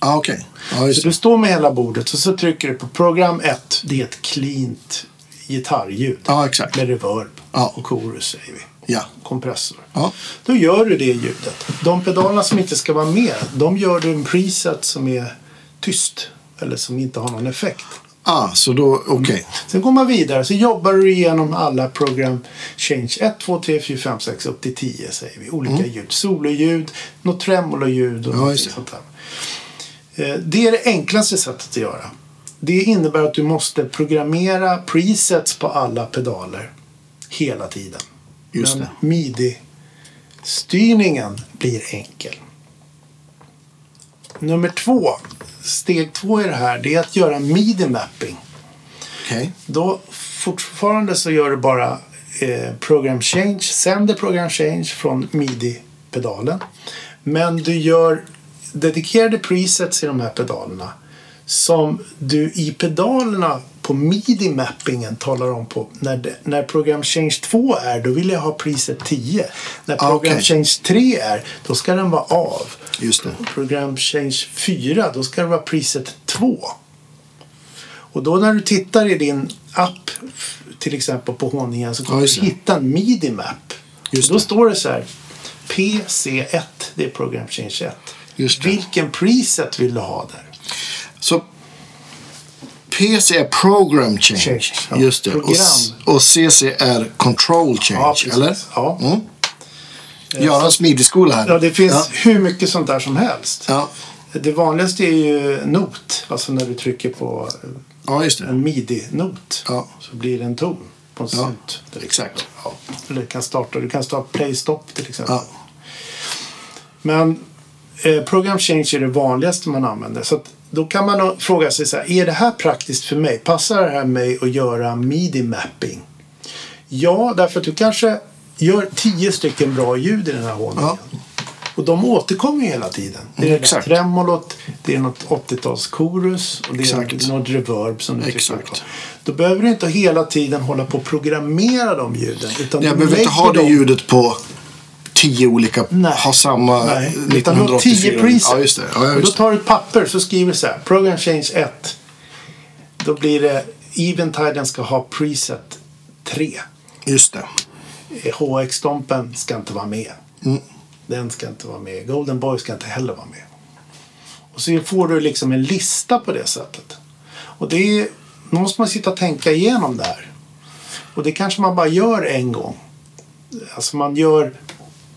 Speaker 2: Ja, okej. Ja,
Speaker 1: Så
Speaker 2: just
Speaker 1: du står med hela bordet och så trycker du på program 1. Det är ett cleant gitarrljud.
Speaker 2: Ja, exakt.
Speaker 1: Med reverb
Speaker 2: Ja.
Speaker 1: och chorus säger vi.
Speaker 2: Ja.
Speaker 1: Kompressor.
Speaker 2: Ja.
Speaker 1: Då gör du det ljudet. De pedalerna som inte ska vara med, de gör du en preset som är tyst. Eller som inte har någon effekt.
Speaker 2: Ah, så då, okej.
Speaker 1: Sen går man vidare så jobbar du igenom alla program change 1, 2, 3, 4, 5, 6 upp till 10 säger vi. Olika ljud. Sololjud, något tremololjud och
Speaker 2: Mm. Ja,
Speaker 1: något
Speaker 2: just det.
Speaker 1: sånt där. Eh, Det är det enklaste sättet att göra. Det innebär att du måste programmera presets på alla pedaler hela tiden.
Speaker 2: Just
Speaker 1: Men
Speaker 2: det.
Speaker 1: midi-styrningen blir enkel. Nummer två, steg två i det här, det är att göra midi-mapping.
Speaker 2: Okej.
Speaker 1: Då fortfarande så gör du bara eh, program change, sänder program change från midi-pedalen. Men du gör dedikerade presets i de här pedalerna som du i pedalerna på midi-mappingen talar om på när, det, när program change 2 är då vill jag ha priset 10. När
Speaker 2: Ah,
Speaker 1: program
Speaker 2: okej.
Speaker 1: change 3 är då ska den vara av.
Speaker 2: Just det.
Speaker 1: Program change 4 då ska det vara priset 2. Och då när du tittar i din app f- till exempel på Honingen så kommer
Speaker 2: Ja, just
Speaker 1: du
Speaker 2: det.
Speaker 1: hitta en midi-map.
Speaker 2: Just
Speaker 1: Då
Speaker 2: det.
Speaker 1: står det så här PC1 det är program change 1.
Speaker 2: Just det.
Speaker 1: Vilken preset vill du ha där?
Speaker 2: Så PC är program change.
Speaker 1: Change, ja.
Speaker 2: Just det. Och,
Speaker 1: Program.
Speaker 2: s- och CC är control
Speaker 1: Ja,
Speaker 2: change,
Speaker 1: precis.
Speaker 2: eller?
Speaker 1: Ja.
Speaker 2: Mm. Görans midjeskola här.
Speaker 1: Ja, det finns
Speaker 2: Ja.
Speaker 1: hur mycket sånt där som helst.
Speaker 2: Ja.
Speaker 1: Det vanligaste är ju not, alltså när du trycker på
Speaker 2: ja, just det.
Speaker 1: en midi-not
Speaker 2: Ja.
Speaker 1: så blir det en ton på en
Speaker 2: Ja,
Speaker 1: synt. till exempel.
Speaker 2: exakt.
Speaker 1: Ja. Eller du kan starta, du kan starta playstop till exempel.
Speaker 2: Ja.
Speaker 1: Men eh, program change är det vanligaste man använder. Så att, då kan man nog fråga sig så här, är det här praktiskt för mig? Passar det här mig att göra midi-mapping? Ja, därför att du kanske gör tio stycken bra ljud i den här håningen.
Speaker 2: Ja.
Speaker 1: Och de återkommer ju hela tiden. Det är det
Speaker 2: Mm,
Speaker 1: där
Speaker 2: exakt.
Speaker 1: tremolot, det är något 80-talskorus och det är
Speaker 2: Exakt.
Speaker 1: något reverb som du
Speaker 2: Exakt.
Speaker 1: tycker om. Då behöver du inte hela tiden hålla på och programmera de ljuden. Utan
Speaker 2: Jag
Speaker 1: du
Speaker 2: behöver inte
Speaker 1: lägger
Speaker 2: ha det
Speaker 1: dem-
Speaker 2: ljudet på tio olika,
Speaker 1: Nej.
Speaker 2: ha samma
Speaker 1: Nej. Utan du har
Speaker 2: 1984.
Speaker 1: 10 preset.
Speaker 2: Ja, just det. Ja, ja,
Speaker 1: och då
Speaker 2: just det.
Speaker 1: tar du ett papper så skriver du så här. Program change 1. Då blir det Eventiden ska ha preset 3.
Speaker 2: Just det.
Speaker 1: HX-stompen ska inte vara med.
Speaker 2: Mm.
Speaker 1: Den ska inte vara med. Golden Boy ska inte heller vara med. Och så får du liksom en lista på det sättet. Och det är, då måste man sitta och tänka igenom det här. Och det kanske man bara gör en gång. Alltså man gör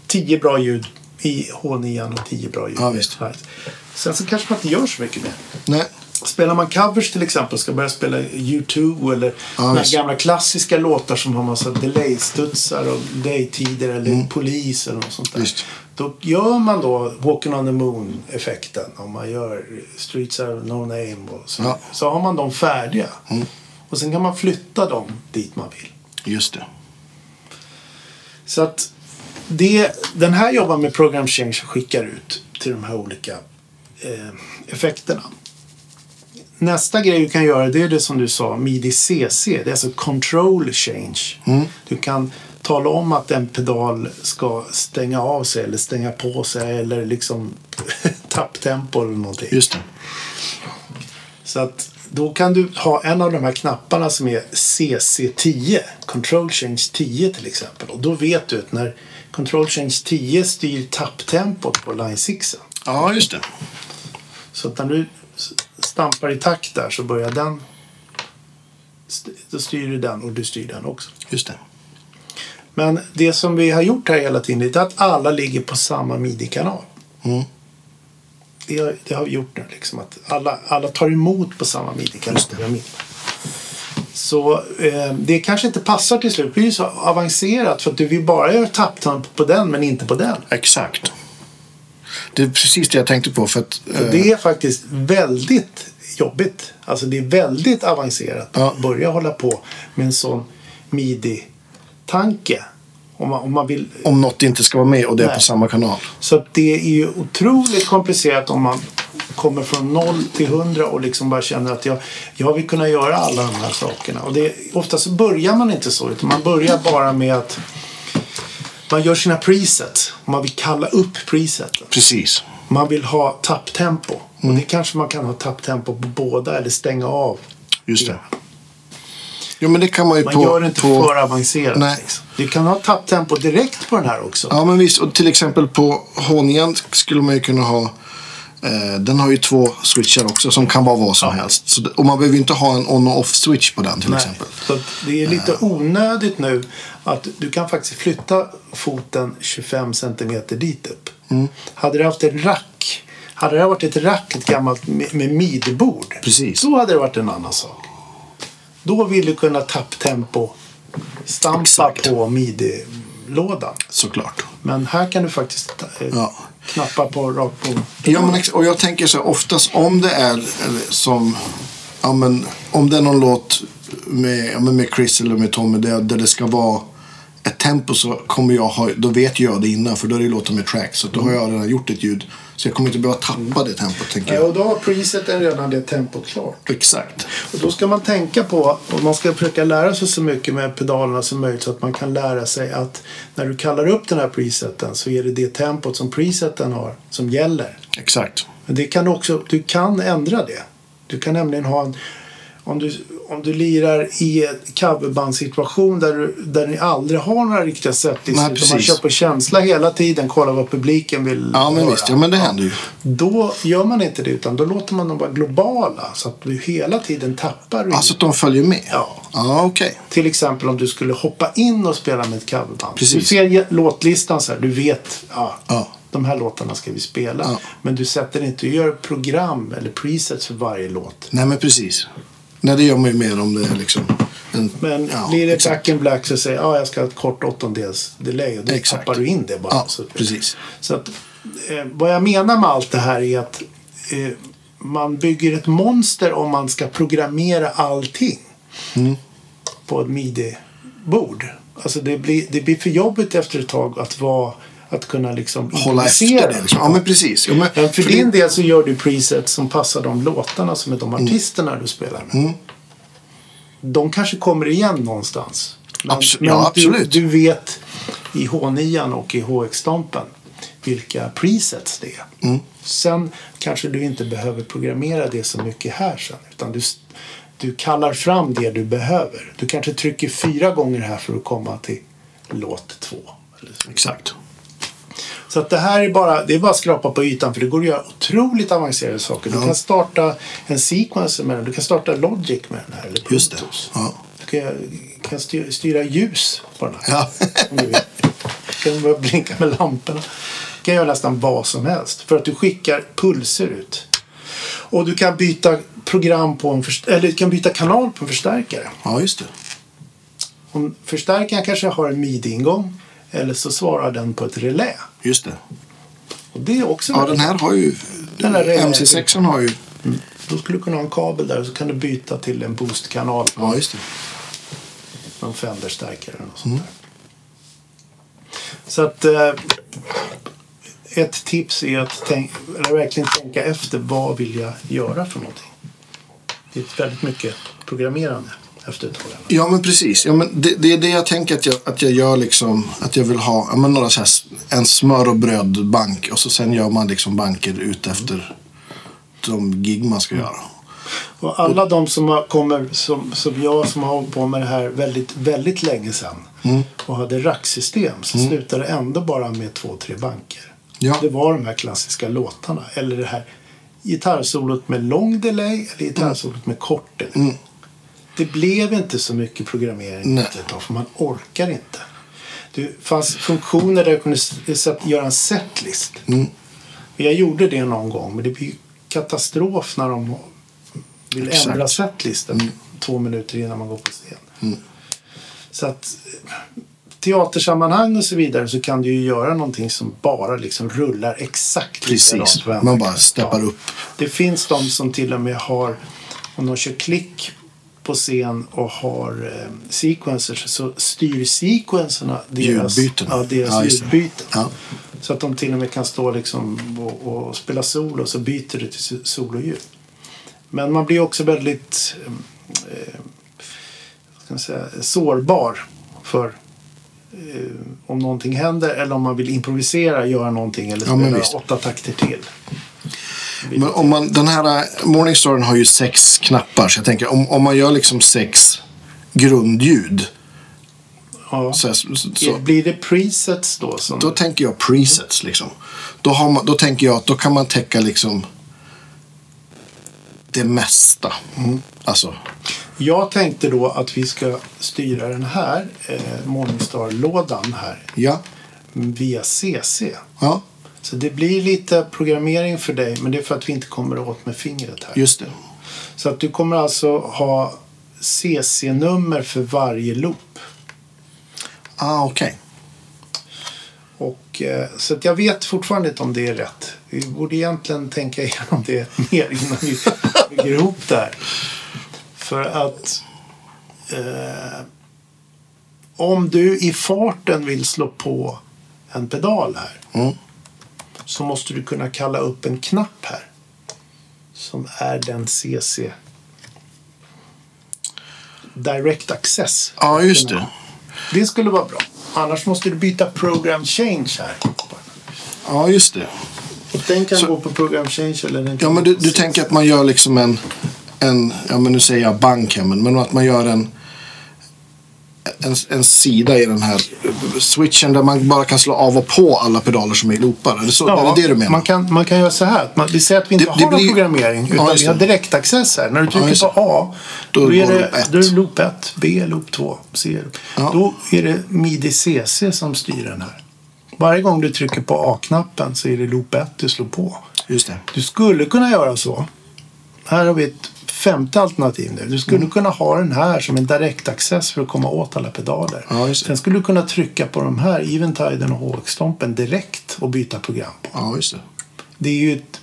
Speaker 1: tio bra ljud i H9 och tio bra ljud.
Speaker 2: Ja, visst.
Speaker 1: Sen så kanske man inte gör så mycket mer.
Speaker 2: Nej.
Speaker 1: Spelar man covers till exempel, ska börja spela U2 eller
Speaker 2: Ja,
Speaker 1: de här
Speaker 2: visst.
Speaker 1: gamla klassiska låtar som har massa delay-studsar och delay-tider eller polis eller något sånt där.
Speaker 2: Mm. Visst.
Speaker 1: Då gör man då Walking on the Moon-effekten och man gör Streets of No Name och så.
Speaker 2: Ja. Mm.
Speaker 1: Så har man dem färdiga. Och sen kan man flytta dem dit man vill.
Speaker 2: Just det.
Speaker 1: Så att det, den här jobbar med program change och skickar ut till de här olika eh, effekterna. Nästa grej du kan göra det är det som du sa, midi CC. Det är alltså control change. Du kan tala om att en pedal ska stänga av sig eller stänga på sig eller liksom tapptempo eller någonting.
Speaker 2: Just det.
Speaker 1: Så att då kan du ha en av de här knapparna som är CC10, Control Change 10 till exempel. Och då vet du att när Control Change 10 styr tapptempot på Line 6
Speaker 2: Ja, just det.
Speaker 1: så att när du s- stampar i takt där så börjar den st- då styr du den och du styr den också.
Speaker 2: Just det.
Speaker 1: Men det som vi har gjort här hela tiden det är att alla ligger på samma midi-kanal.
Speaker 2: Mm.
Speaker 1: Det, har- det har vi gjort nu. Liksom, att alla, alla tar emot på samma midi-kanal. Så eh, det kanske inte passar till slut. Det blir ju så avancerat för att du vill bara göra tapptamp på den men inte på den.
Speaker 2: Exakt. Det är precis det jag tänkte på. För att, eh,
Speaker 1: Det är faktiskt väldigt jobbigt. Alltså det är väldigt avancerat
Speaker 2: Ja.
Speaker 1: att börja hålla på med en sån midi-tanke. Om man, om man vill.
Speaker 2: Om något inte ska vara med och det är
Speaker 1: Nej.
Speaker 2: på samma kanal.
Speaker 1: Så att det är ju otroligt komplicerat om man kommer från noll till 100 och liksom bara känner att jag, jag vill kunna göra alla de här sakerna. Och det, ofta så börjar man inte så utan man börjar bara med att man gör sina preset. Man vill kalla upp preseten.
Speaker 2: Precis.
Speaker 1: Man vill ha tapptempo. Och det
Speaker 2: Mm.
Speaker 1: kanske man kan ha tapptempo på båda eller stänga av.
Speaker 2: Just det. Jo, men det kan man ju
Speaker 1: Man
Speaker 2: på...
Speaker 1: gör det inte
Speaker 2: på...
Speaker 1: för avancerat.
Speaker 2: Nej.
Speaker 1: Liksom. Du kan ha tapptempo direkt på den här också.
Speaker 2: Ja, men visst. Och till exempel på Honjan skulle man ju kunna ha... Eh, den har ju två switchar också som kan vara vad som helst. Så, det- och man behöver ju inte ha en on och off switch på den till
Speaker 1: Nej.
Speaker 2: exempel. Eh.
Speaker 1: Så att det är lite onödigt nu att du kan faktiskt flytta foten 25 centimeter dit upp.
Speaker 2: Mm.
Speaker 1: Hade det haft en rack, hade det här varit ett rack, ett gammalt med med midbord,
Speaker 2: Precis.
Speaker 1: då hade det varit en annan sak. Då vill du kunna tapptempo stampa
Speaker 2: Exakt.
Speaker 1: på midi-lådan.
Speaker 2: Såklart.
Speaker 1: Men här kan du faktiskt eh,
Speaker 2: Ja.
Speaker 1: knappa på rakt på.
Speaker 2: Ja, men ex- och jag tänker så här, oftast om det är eller som... Ja, men, om det är någon låt med, ja, men med Chris eller med Tommy där, där det ska vara ett tempo så kommer jag ha, då vet jag det innan för då är det ju låtar med track. Så då har jag redan gjort ett ljud Så jag kommer inte behöva tappa det tempot tänker
Speaker 1: Nej,
Speaker 2: jag.
Speaker 1: och då har preseten redan det tempot klart.
Speaker 2: Exakt.
Speaker 1: Och då ska man tänka på, och man ska försöka lära sig så mycket med pedalerna som möjligt så att man kan lära sig att när du kallar upp den här preseten så är det det tempot som preseten har som gäller.
Speaker 2: Exakt.
Speaker 1: Men det kan du också, du kan ändra det. Du kan nämligen ha en, om du, om du lirar i en coverbandssituation där du, där ni aldrig har några riktiga setlistor
Speaker 2: Nej,
Speaker 1: utan man
Speaker 2: precis.
Speaker 1: kör på känsla hela tiden, kollar vad publiken vill
Speaker 2: Ja men
Speaker 1: höra.
Speaker 2: visst, ja men det händer ju.
Speaker 1: Då gör man inte det utan då låter man dem vara globala så att du hela tiden tappar. i-
Speaker 2: Alltså att de följer med?
Speaker 1: Ja.
Speaker 2: Ja, okej.
Speaker 1: Till exempel om du skulle hoppa in och spela med ett coverband.
Speaker 2: Precis.
Speaker 1: Du ser ge- låtlistan så här, du vet ja,
Speaker 2: Ja.
Speaker 1: de här låtarna ska vi spela.
Speaker 2: Ja.
Speaker 1: Men du sätter inte, du gör program eller presets för varje låt.
Speaker 2: Nej, men precis. Nej, det gör man ju mer om det är liksom en...
Speaker 1: Men
Speaker 2: ja,
Speaker 1: blir det
Speaker 2: exakt.
Speaker 1: Black and Black så säger jag ah, jag ska ha ett kort åttondels delay och då
Speaker 2: Exakt.
Speaker 1: tappar du in det bara.
Speaker 2: Ja,
Speaker 1: så,
Speaker 2: precis.
Speaker 1: Så att, eh, vad jag menar med allt det här är att eh, man bygger ett monster om man ska programmera allting
Speaker 2: Mm.
Speaker 1: på ett midi-bord. Alltså det blir, det blir för jobbigt efter ett tag att, vara, att kunna liksom
Speaker 2: Hålla efter
Speaker 1: improvisera.
Speaker 2: det liksom. Ja, men precis. Ja, men,
Speaker 1: Men för
Speaker 2: för
Speaker 1: din
Speaker 2: det, Mm.
Speaker 1: del så gör du presets som passar de låtarna som är de artisterna du spelar med. De kanske kommer igen någonstans.
Speaker 2: Abso- ja, absolut.
Speaker 1: Du, du vet i H9 och i HX-stompen vilka presets det är.
Speaker 2: Mm.
Speaker 1: Sen kanske du inte behöver programmera det så mycket här sen. Utan du, s- du kallar fram det du behöver. Du kanske trycker fyra gånger här för att komma till låt två. Eller så.
Speaker 2: Exakt.
Speaker 1: Så att det här är bara, det är bara att skrapa på ytan för det går att göra otroligt avancerade saker. Du
Speaker 2: Ja.
Speaker 1: kan starta en sequencer med den, du kan starta Logic med den här. Eller
Speaker 2: Just det.
Speaker 1: Protos.
Speaker 2: Ja.
Speaker 1: Du kan, kan styra, styra ljus på den här.
Speaker 2: Ja.
Speaker 1: Om du vill. Du kan börja blinka med lamporna. Du kan göra nästan vad som helst för att du skickar pulser ut. Och du kan byta program på en först- eller du kan byta kanal på en förstärkare.
Speaker 2: ja, just det.
Speaker 1: Om förstärkaren kanske har en midi-ingång eller så svarar den på ett relä.
Speaker 2: Just det.
Speaker 1: Och det är också
Speaker 2: Ja, den här har ju...
Speaker 1: Den här är-
Speaker 2: MC6 har ju...
Speaker 1: Då skulle du kunna ha en kabel där och så kan du byta till en boostkanal.
Speaker 2: Ja, just det.
Speaker 1: Någon Fender-stärkare eller något sånt där. Så att eh, ett tips är att tänk, eller verkligen tänka efter vad vill jag göra för någonting. Det är väldigt mycket programmerande efter ett tag.
Speaker 2: Ja, men precis. Ja, men det, det är det jag tänker att jag, att jag gör liksom. Att jag vill ha ja, men några så här, s- en smör och brödbank. Och så sen gör man liksom banker ut efter de gig man ska göra.
Speaker 1: Och alla de som har- kommer, som, som jag som har hållit på med det här väldigt, väldigt länge sedan och hade racksystem så slutade det ändå bara med två, tre banker.
Speaker 2: Ja.
Speaker 1: Det var de här klassiska låtarna eller det här gitarrsolot med lång delay eller gitarrsolot med kort delay. Det blev inte så mycket programmering
Speaker 2: Mm. Nej.
Speaker 1: efter ett tag för man orkar inte. Det fanns funktioner där jag kunde s- sätt- göra en setlist.
Speaker 2: Mm.
Speaker 1: Jag gjorde det någon gång men det blir ju katastrof när de vill
Speaker 2: Exakt. Mm.
Speaker 1: ändra setlisten två minuter innan man går på scen. Så att eh, teatersammanhang och så vidare så kan du ju göra någonting som bara liksom rullar exakt
Speaker 2: Precis.
Speaker 1: likadant.
Speaker 2: Man bara steppar upp.
Speaker 1: Det finns de som till och med har, om de kör klick på scen och har eh, sequencers så styr sequenserna deras
Speaker 2: Ljudbyten.
Speaker 1: Ja, deras
Speaker 2: Ja, just det.
Speaker 1: ljudbyten.
Speaker 2: Ja.
Speaker 1: Så att de till och med kan stå liksom och, och spela solo och så byter det till so- sololjud. Men man blir också väldigt eh, vad ska man säga, sårbar för eh, om någonting händer eller om man vill improvisera, göra någonting eller
Speaker 2: Ja, men
Speaker 1: spela
Speaker 2: visst.
Speaker 1: åtta takter till.
Speaker 2: Men om man, den här äh, Morningstaren har ju sex knappar. Så jag tänker om, om man gör liksom sex grundljud.
Speaker 1: Ja.
Speaker 2: Så, här, så, så,
Speaker 1: Blir det presets då? Som,
Speaker 2: då tänker jag presets liksom. Då, har man, då tänker jag att då kan man täcka liksom det mesta. Alltså,
Speaker 1: Jag tänkte då att vi ska styra den här eh, Morningstar-lådan här
Speaker 2: ja.
Speaker 1: via CC.
Speaker 2: Ja,
Speaker 1: Så det blir lite programmering för dig, men det är för att vi inte kommer åt med fingret här.
Speaker 2: just det.
Speaker 1: Så att du kommer alltså ha CC-nummer för varje loop.
Speaker 2: Ah, okej.
Speaker 1: Och, eh, så att jag vet fortfarande inte om det är rätt. Vi borde egentligen tänka igenom det mer innan vi bygger ihop det här. För att eh, om du i farten vill slå på en pedal här
Speaker 2: Mm.
Speaker 1: så måste du kunna kalla upp en knapp här. Som är den CC Direct Access.
Speaker 2: Ja, just det.
Speaker 1: Det skulle vara bra. Annars måste du byta Program Change här.
Speaker 2: Ja, just det.
Speaker 1: Den kan
Speaker 2: Så-
Speaker 1: gå på Program Change eller den kan
Speaker 2: Ja, men
Speaker 1: gå
Speaker 2: du,
Speaker 1: på
Speaker 2: du
Speaker 1: CC.
Speaker 2: tänker att man gör liksom en, en... Ja, men nu säger jag bank här, men, men att man gör en, en... En sida i den här switchen där man bara kan slå av och på alla pedaler som är loopar. Är det, så, är det det du menar?
Speaker 1: Man kan, man kan göra så här. att Man, vi säger att vi inte
Speaker 2: Det-
Speaker 1: har
Speaker 2: det
Speaker 1: någon
Speaker 2: blir-
Speaker 1: programmering
Speaker 2: Ja,
Speaker 1: utan
Speaker 2: just
Speaker 1: vi har
Speaker 2: det.
Speaker 1: direktaccess här. När du trycker
Speaker 2: just
Speaker 1: på
Speaker 2: det.
Speaker 1: A då,
Speaker 2: Då
Speaker 1: är
Speaker 2: går
Speaker 1: det,
Speaker 2: loop ett.
Speaker 1: då är det loop 1, B är loop 2, C är loop.
Speaker 2: Ja.
Speaker 1: Då är det midi CC som styr den här. Varje gång du trycker på A-knappen så är det loop 1 du slår på.
Speaker 2: Just det.
Speaker 1: Du skulle kunna göra så. Här har vi ett femte alternativ nu. Du
Speaker 2: Mm.
Speaker 1: skulle kunna ha den här som en direktaccess för att komma åt alla pedaler.
Speaker 2: Ja, just det.
Speaker 1: Sen skulle du kunna trycka på de här, Eventiden och HX-stompen, direkt och byta program på.
Speaker 2: Ja, just det.
Speaker 1: Det är ju ett,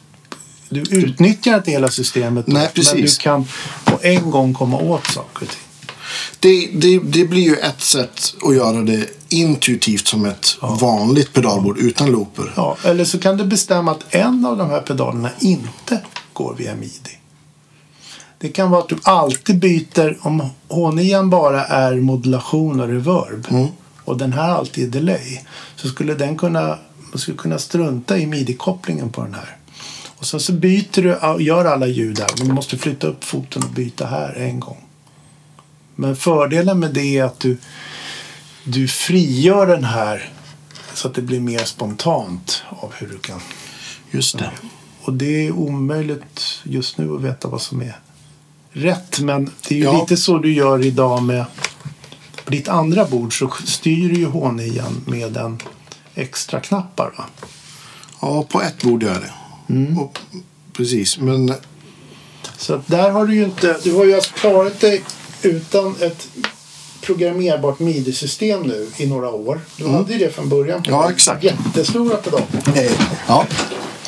Speaker 1: du utnyttjar inte hela systemet
Speaker 2: Nej,
Speaker 1: men du
Speaker 2: precis.
Speaker 1: kan på en gång komma åt saker och ting.
Speaker 2: Det, det, det blir ju ett sätt att göra det intuitivt som ett vanligt pedalbord utan looper.
Speaker 1: Ja, eller så kan du bestämma att en av de här pedalerna inte går via midi. Det kan vara att du alltid byter om H9 bara är modulation och reverb och den här alltid är delay så skulle den kunna, man skulle kunna strunta i midi-kopplingen på den här. Och sen så byter du och gör alla ljud där men du måste flytta upp foten och byta här en gång. Men fördelen med det är att du, du frigör den här så att det blir mer spontant av hur du kan.
Speaker 2: Just det.
Speaker 1: Och det är omöjligt just nu att veta vad som är rätt. Men det är ju
Speaker 2: Ja.
Speaker 1: lite så du gör idag med på ditt andra bord så styr du ju h med en extra knappar va?
Speaker 2: Ja, på ett bord gör jag det. Och, precis, men
Speaker 1: Så att där har du ju inte, du har ju alltså klarat dig utan ett programmerbart midi-system nu i några år. Du hade ju det från början.
Speaker 2: Mm. Ja, exakt.
Speaker 1: Jättestora pedaler.
Speaker 2: Eh, Ja.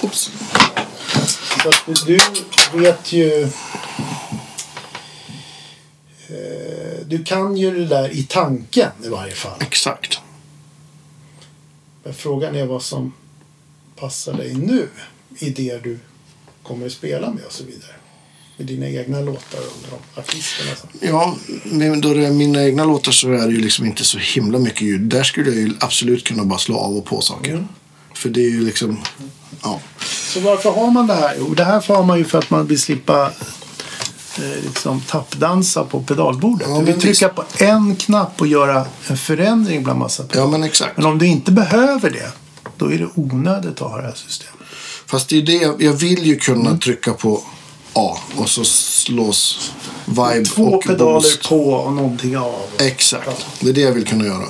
Speaker 2: Oops.
Speaker 1: Så att du vet ju... eh, Du kan ju det där i tanken i varje fall.
Speaker 2: Exakt.
Speaker 1: Men frågan är vad som passar dig nu i det du kommer att spela med och så vidare. Med dina egna låtar och de artisterna. som-
Speaker 2: Ja, men då det är mina egna låtar så är det ju liksom inte så himla mycket ljud. Där skulle jag ju absolut kunna bara slå av och på saker.
Speaker 1: Mm.
Speaker 2: För det är ju liksom... Ja.
Speaker 1: Så varför har man det här? Jo, det här har man ju för att man vill slippa eh, liksom tappdansa på pedalbordet.
Speaker 2: Ja,
Speaker 1: du vill
Speaker 2: men
Speaker 1: trycka på en knapp och göra en förändring bland massa
Speaker 2: ja, men exakt.
Speaker 1: Men om du inte behöver det, då är det onödigt att ha det här systemet.
Speaker 2: Mm. Fast det är det jag, jag vill ju kunna
Speaker 1: Mm.
Speaker 2: trycka på A och så slås vibe
Speaker 1: Två
Speaker 2: och
Speaker 1: pedaler
Speaker 2: boost.
Speaker 1: på och någonting av.
Speaker 2: Exakt. Det är det jag vill kunna göra.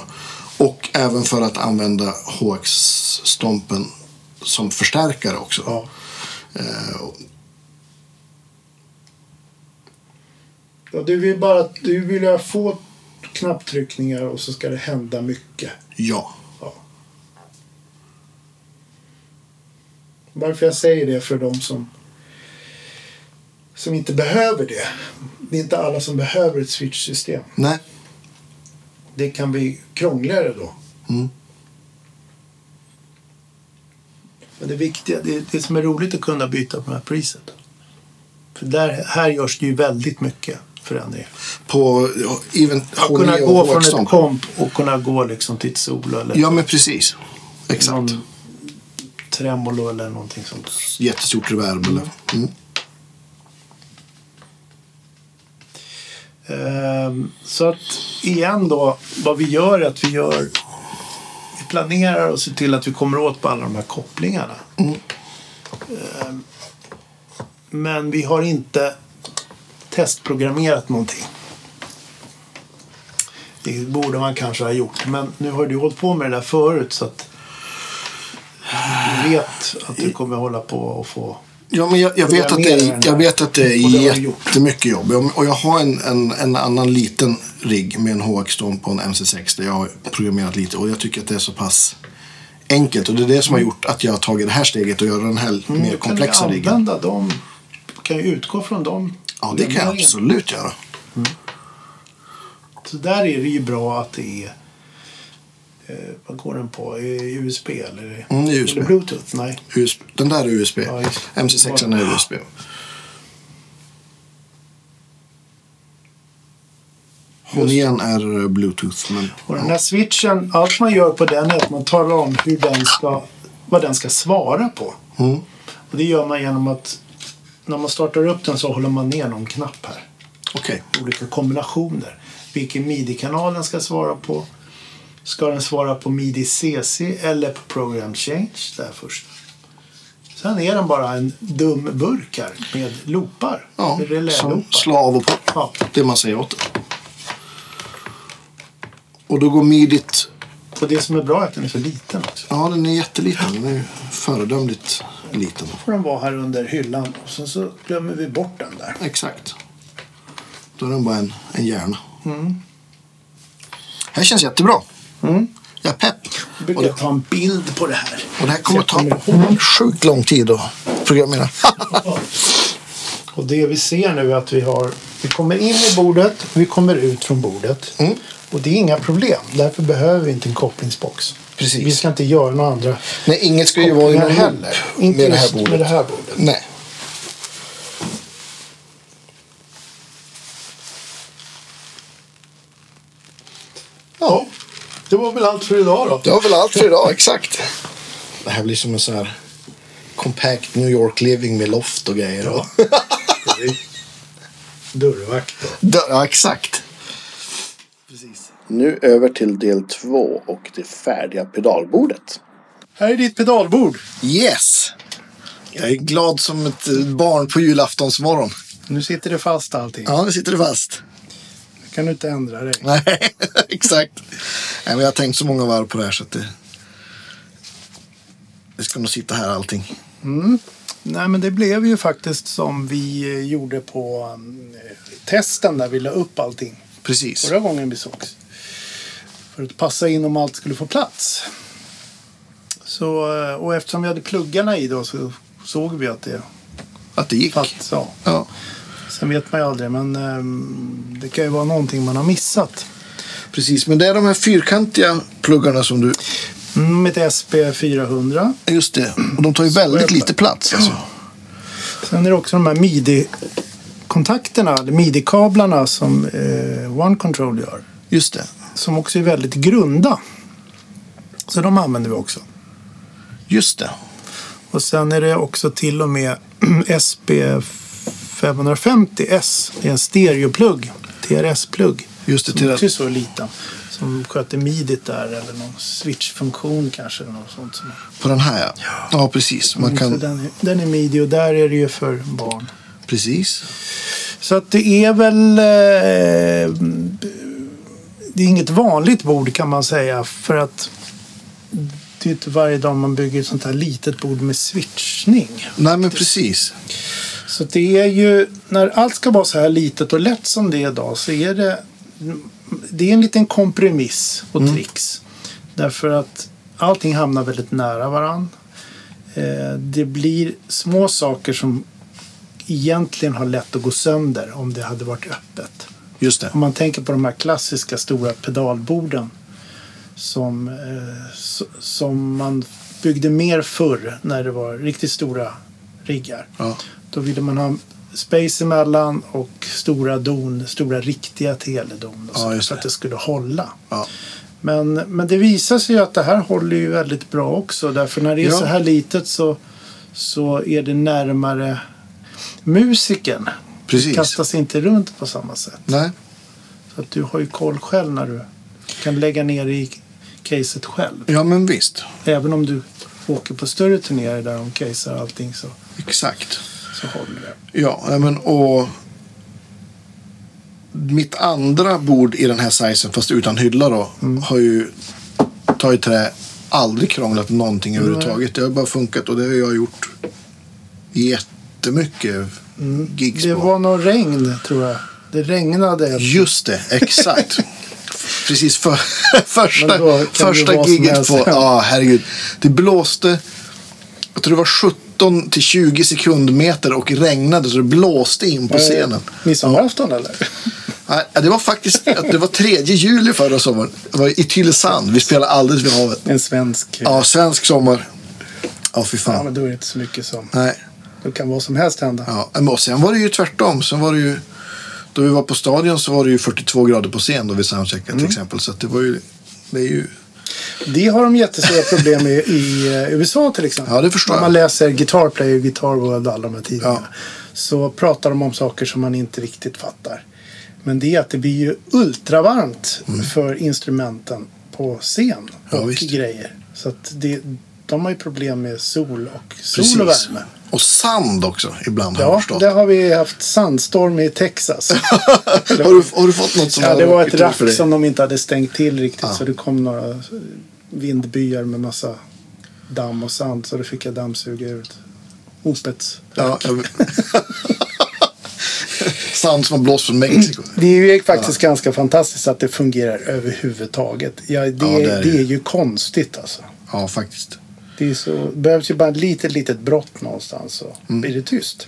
Speaker 2: Och även för att använda HX-stompen som förstärkare också.
Speaker 1: Ja.
Speaker 2: Eh, och-
Speaker 1: Ja, du vill bara du vill ha få knapptryckningar och så ska det hända mycket.
Speaker 2: ja.
Speaker 1: Varför jag säger det för de som, som inte behöver det. Det är inte alla som behöver ett switch-system.
Speaker 2: Nej.
Speaker 1: Det kan bli krångligare då.
Speaker 2: Mm.
Speaker 1: Men det viktiga, det, det som är roligt att kunna byta på de här preset. För där, här görs det ju väldigt mycket förändringar.
Speaker 2: På ja, even,
Speaker 1: Att
Speaker 2: H9
Speaker 1: kunna
Speaker 2: och
Speaker 1: gå från
Speaker 2: HX-stompen.
Speaker 1: ett komp och kunna gå liksom till ett solo eller
Speaker 2: Ja, men precis. Exakt.
Speaker 1: någon tremolo eller någonting sånt.
Speaker 2: Jättestort reverb. Eller? Mm.
Speaker 1: Ehm, så att igen då, vad vi gör är att vi gör vi planerar och ser till att vi kommer åt på alla de här kopplingarna.
Speaker 2: Mm.
Speaker 1: Ehm, men vi har inte testprogrammerat någonting. Det borde man kanske ha gjort, men nu har du hållit på med det där förut så att du vet att du kommer hålla på och få
Speaker 2: Ja, men jag, jag, vet att det är, jag vet att det
Speaker 1: Och
Speaker 2: är
Speaker 1: det har du gjort.
Speaker 2: jättemycket jobb. Ja, men- Och jag har en, en, en annan liten rigg med en HX-stomp på en MC6 där jag har programmerat lite. Och jag tycker att det är så pass enkelt. Och det är det som har gjort att jag har tagit det här steget och gör den här mer
Speaker 1: Då Mm, kan
Speaker 2: komplexa
Speaker 1: du
Speaker 2: riggen.
Speaker 1: använda dem. Du kan ju utgå från dem.
Speaker 2: Ja, det kan jag
Speaker 1: programmeringen.
Speaker 2: absolut göra.
Speaker 1: Så där är det ju bra att det är eh, vad går den på? Eh, USB eller,
Speaker 2: Mm, USB.
Speaker 1: eller Bluetooth? Nej.
Speaker 2: USB. Den där är USB.
Speaker 1: Ja, just det.
Speaker 2: MC6 är USB. Hon igen är eh, Bluetooth. Men,
Speaker 1: Och den här switchen, allt man gör på den är att man talar om hur den ska, vad den ska svara på.
Speaker 2: mm.
Speaker 1: Och det gör man genom att när man startar upp den så håller man ner någon knapp här.
Speaker 2: Okej.
Speaker 1: Olika kombinationer. Vilken midi-kanal den ska svara på. Ska den svara på midi CC eller på program change? Där först. Sen är den bara en dum burk här med loopar.
Speaker 2: Ja, som
Speaker 1: Reläloopar.
Speaker 2: slå av och på.
Speaker 1: Ja.
Speaker 2: Det man säger åt det. Och då går midit...
Speaker 1: Och det som är bra är att den är så liten också.
Speaker 2: Ja, den är jätteliten. Den är ju föredömligt liten.
Speaker 1: får den vara här under hyllan och sen så glömmer vi bort den där.
Speaker 2: Exakt. Då är den bara en, en hjärna.
Speaker 1: Mm.
Speaker 2: Det här känns jättebra. Jag är pepp.
Speaker 1: Jag
Speaker 2: Och
Speaker 1: brukar
Speaker 2: det,
Speaker 1: ta en bild på det här.
Speaker 2: och det här kommer att
Speaker 1: Så jag
Speaker 2: ta sjukt lång tid att programmera.
Speaker 1: Och det vi ser nu är att vi har, vi kommer in i bordet, vi kommer ut från bordet.
Speaker 2: Mm.
Speaker 1: Och det är inga problem, därför behöver vi inte en kopplingsbox.
Speaker 2: Precis.
Speaker 1: Vi ska inte göra några andra
Speaker 2: Nej, inget ska ju vara i
Speaker 1: kopplingar
Speaker 2: den heller.
Speaker 1: Inte
Speaker 2: med det här
Speaker 1: just
Speaker 2: bordet.
Speaker 1: med det här bordet.
Speaker 2: Nej.
Speaker 1: Ja, det var väl allt för idag då.
Speaker 2: Det var väl allt för idag, exakt. Det här blir som en sån här compact New York living med loft och grejer. Och
Speaker 1: Dörrvakt då.
Speaker 2: ja, exakt. Precis. Nu över till del två och det färdiga pedalbordet.
Speaker 1: Här är ditt pedalbord.
Speaker 2: Yes! Jag är glad som ett eh, barn på julaftonsmorgon.
Speaker 1: Nu sitter det fast allting.
Speaker 2: Ja, nu sitter det fast.
Speaker 1: Nu kan du inte ändra dig.
Speaker 2: Nej, exakt. Nej, men jag har tänkt så många varv på det här så att det... Det ska nog sitta här allting.
Speaker 1: Nej, men det blev ju faktiskt som vi eh, gjorde på mm, eh, testen där vi la upp allting
Speaker 2: Precis.
Speaker 1: förra gången vi sågs. För att passa in om allt skulle få plats. Så, eh, och eftersom vi hade pluggarna i då så såg vi att det
Speaker 2: Att det gick.
Speaker 1: fanns. Ja.
Speaker 2: Ja.
Speaker 1: Sen vet man ju aldrig, men eh, det kan ju vara någonting man har missat.
Speaker 2: Precis, men det är de här fyrkantiga pluggarna som du...
Speaker 1: Mm, ett SP400.
Speaker 2: Just det, och de tar ju väldigt
Speaker 1: jag-
Speaker 2: lite plats. Alltså.
Speaker 1: Sen är det också de här midi-kontakterna, eller midi-kablarna som eh, One Control gör.
Speaker 2: Just det,
Speaker 1: som också är väldigt grunda. Så de använder vi också.
Speaker 2: just det.
Speaker 1: Och sen är det också till och med SP550S. Det är en stereoplugg, TRS-plugg.
Speaker 2: Just det,
Speaker 1: Som
Speaker 2: till
Speaker 1: också
Speaker 2: att-
Speaker 1: är så liten. Som sköter midit där eller någon switchfunktion kanske. Eller något sånt. som-
Speaker 2: På den här ja. Mm, Ja, precis. Man
Speaker 1: Så
Speaker 2: kan...
Speaker 1: den, är, den är midi och där är det ju för barn.
Speaker 2: Precis.
Speaker 1: Så att det är väl... Eh, det är inget vanligt bord kan man säga. För att det är inte varje dag man bygger ett sånt här litet bord med switchning.
Speaker 2: Nej, men precis.
Speaker 1: Så att det är ju... När allt ska vara så här litet och lätt som det är idag så är det... Det är en liten kompromiss och tricks. Därför att allting hamnar väldigt nära varann. Eh, det blir små saker som egentligen har lätt att gå sönder om det hade varit öppet.
Speaker 2: Just det.
Speaker 1: Om man tänker på de här klassiska stora pedalborden som, eh, s- som man byggde mer förr när det var riktigt stora riggar.
Speaker 2: Ja.
Speaker 1: Då ville man ha space emellan och stora don, stora riktiga teledon och så,
Speaker 2: Ja, just
Speaker 1: för att
Speaker 2: det.
Speaker 1: det skulle hålla.
Speaker 2: Ja.
Speaker 1: Men, men det visar sig ju att det här håller ju väldigt bra också. Därför när det är
Speaker 2: Ja.
Speaker 1: så här litet så, så är det närmare musiken. Det
Speaker 2: Precis.
Speaker 1: kastas inte runt på samma sätt.
Speaker 2: Nej,
Speaker 1: Så att du har ju koll själv när du kan lägga ner i caset själv.
Speaker 2: ja men visst.
Speaker 1: Även om du åker på större turneringar där de casear allting så,
Speaker 2: Exakt.
Speaker 1: så håller det.
Speaker 2: Ja, nej, men och... Mitt andra bord i den här sizen, fast utan hylla då,
Speaker 1: Mm.
Speaker 2: har ju tagit trä, aldrig krånglat någonting överhuvudtaget. Det har bara funkat och det har jag gjort jättemycket gigs
Speaker 1: Mm. Det
Speaker 2: på.
Speaker 1: var nog regn tror jag. Det regnade. ett-
Speaker 2: Just det, exakt. Precis för, första,
Speaker 1: Men då kan det ju
Speaker 2: första
Speaker 1: vara som
Speaker 2: giget
Speaker 1: helst.
Speaker 2: på... Ja, herregud. Det blåste... Jag tror det var 17 till 20 sekundmeter och regnade så det blåste in på
Speaker 1: Eh,
Speaker 2: scenen.
Speaker 1: Midsommarafton eller?
Speaker 2: Ja, Nej, det var faktiskt det var 3 juli förra sommaren. Det var i Tylösand. Vi spelade alldeles vid havet.
Speaker 1: En svensk.
Speaker 2: Ja, svensk sommar. Ja, fy
Speaker 1: Ja,
Speaker 2: fan.
Speaker 1: men då är det inte så mycket som...
Speaker 2: Nej.
Speaker 1: Då kan vad som helst hända.
Speaker 2: Ja, men och sen var det ju tvärtom. Sen var det ju, då vi var på stadion så var det ju 42 grader på scen då vi soundcheckade
Speaker 1: Mm.
Speaker 2: till exempel. Så att det var ju, det är ju...
Speaker 1: Det har de jättestora problem med i eh, USA till exempel.
Speaker 2: Ja, det förstår
Speaker 1: När man
Speaker 2: jag.
Speaker 1: läser Guitar Player, Guitar World och alla de här tidningarna.
Speaker 2: Ja.
Speaker 1: Så pratar de om saker som man inte riktigt fattar. Men det är att det blir ju ultravarmt för instrumenten på scen
Speaker 2: Mm. Ja,
Speaker 1: och
Speaker 2: visst.
Speaker 1: grejer. Så att det, de har ju problem med sol och, sol och
Speaker 2: Precis.
Speaker 1: värme.
Speaker 2: Och sand också ibland har jag
Speaker 1: Ja,
Speaker 2: förstått.
Speaker 1: där har vi haft sandstorm i Texas.
Speaker 2: har, du, har du fått något som
Speaker 1: Ja,
Speaker 2: har
Speaker 1: det var
Speaker 2: varit
Speaker 1: ett
Speaker 2: kul för
Speaker 1: rack
Speaker 2: dig? Ah.
Speaker 1: som de inte hade stängt till riktigt.
Speaker 2: Ja.
Speaker 1: Så det kom några vindbyar med massa damm och sand. Så då fick jag dammsuga ut opets.
Speaker 2: Ja, jag... sand som har blåst från Mexiko.
Speaker 1: Det är ju faktiskt
Speaker 2: Ah.
Speaker 1: ganska fantastiskt att det fungerar överhuvudtaget. Ja, det,
Speaker 2: Ja, det
Speaker 1: är
Speaker 2: är
Speaker 1: det
Speaker 2: det.
Speaker 1: är ju konstigt alltså.
Speaker 2: Ja, faktiskt.
Speaker 1: Det är så, det behövs ju bara ett litet, litet brott någonstans så
Speaker 2: Mm.
Speaker 1: blir det tyst.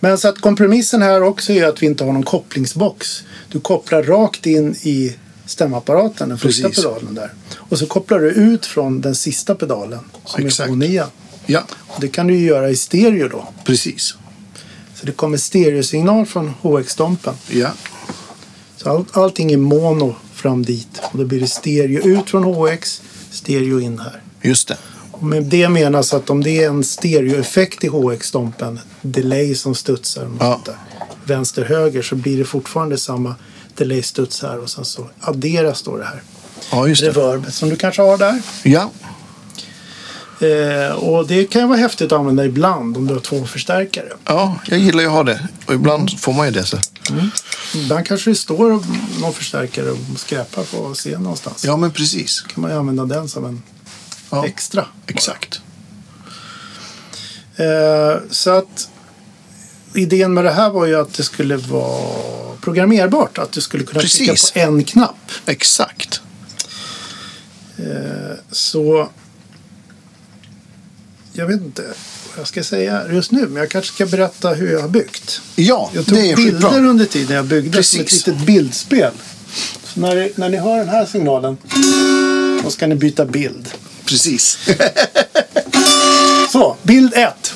Speaker 1: Men så att kompromissen här också är att vi inte har någon kopplingsbox. Du kopplar rakt in i stämapparaten, den första
Speaker 2: Precis.
Speaker 1: pedalen där. Och så kopplar du ut från den sista pedalen som
Speaker 2: Exakt.
Speaker 1: är H9.
Speaker 2: Ja,
Speaker 1: Och Det kan du ju göra i stereo då.
Speaker 2: precis.
Speaker 1: Så det kommer stereosignal från HX-stompen.
Speaker 2: Ja,
Speaker 1: Så all, allting är mono fram dit. Och då blir det stereo ut från HX, stereo in här.
Speaker 2: just det.
Speaker 1: Och med det menas att om det är en stereoeffekt i HX-stompen, delay som studsar mot
Speaker 2: Ja.
Speaker 1: där, vänster-höger, så blir det fortfarande samma delay-studs här och sen så adderas då det här
Speaker 2: Ja, just det.
Speaker 1: reverbet som du kanske har där.
Speaker 2: Ja,
Speaker 1: Eh, och det kan ju vara häftigt att använda ibland om du har två förstärkare.
Speaker 2: ja, jag gillar ju att ha det. Och
Speaker 1: Mm.
Speaker 2: ibland får man ju det. Så.
Speaker 1: Ibland kanske det står någon förstärkare och skräpar på scen någonstans.
Speaker 2: Ja, men precis.
Speaker 1: Då kan man ju använda den som en
Speaker 2: Ja,
Speaker 1: extra.
Speaker 2: exakt.
Speaker 1: Eh, så att idén med det här var ju att det skulle vara programmerbart. Att du skulle kunna trycka
Speaker 2: Precis.
Speaker 1: på en knapp.
Speaker 2: Exakt.
Speaker 1: Så jag vet inte vad jag ska säga just nu. Men jag kanske ska berätta hur jag har byggt.
Speaker 2: Ja,
Speaker 1: Jag tog
Speaker 2: det är
Speaker 1: bilder
Speaker 2: skitbra.
Speaker 1: under tiden jag byggde som ett
Speaker 2: Precis.
Speaker 1: litet bildspel. Så när, ni- när ni hör den här signalen då ska ni byta bild.
Speaker 2: Precis.
Speaker 1: Så, bild 1.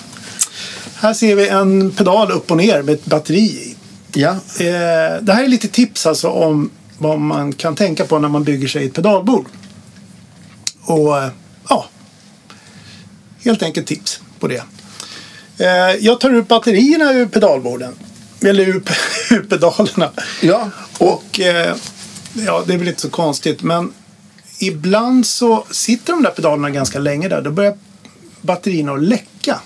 Speaker 1: Här ser vi en pedal upp och ner med ett batteri i.
Speaker 2: ja,
Speaker 1: Eh, det här är lite tips alltså om vad man kan tänka på när man bygger sig ett pedalbord. Och eh, ja, helt enkelt tips på det. Eh, jag tar ut batterierna ur pedalborden. Eller ur, ur pedalerna.
Speaker 2: ja. Och,
Speaker 1: Och eh, ja, det är väl inte så konstigt. Men ibland så sitter de där pedalerna ganska länge där. Då börjar batterierna att läcka.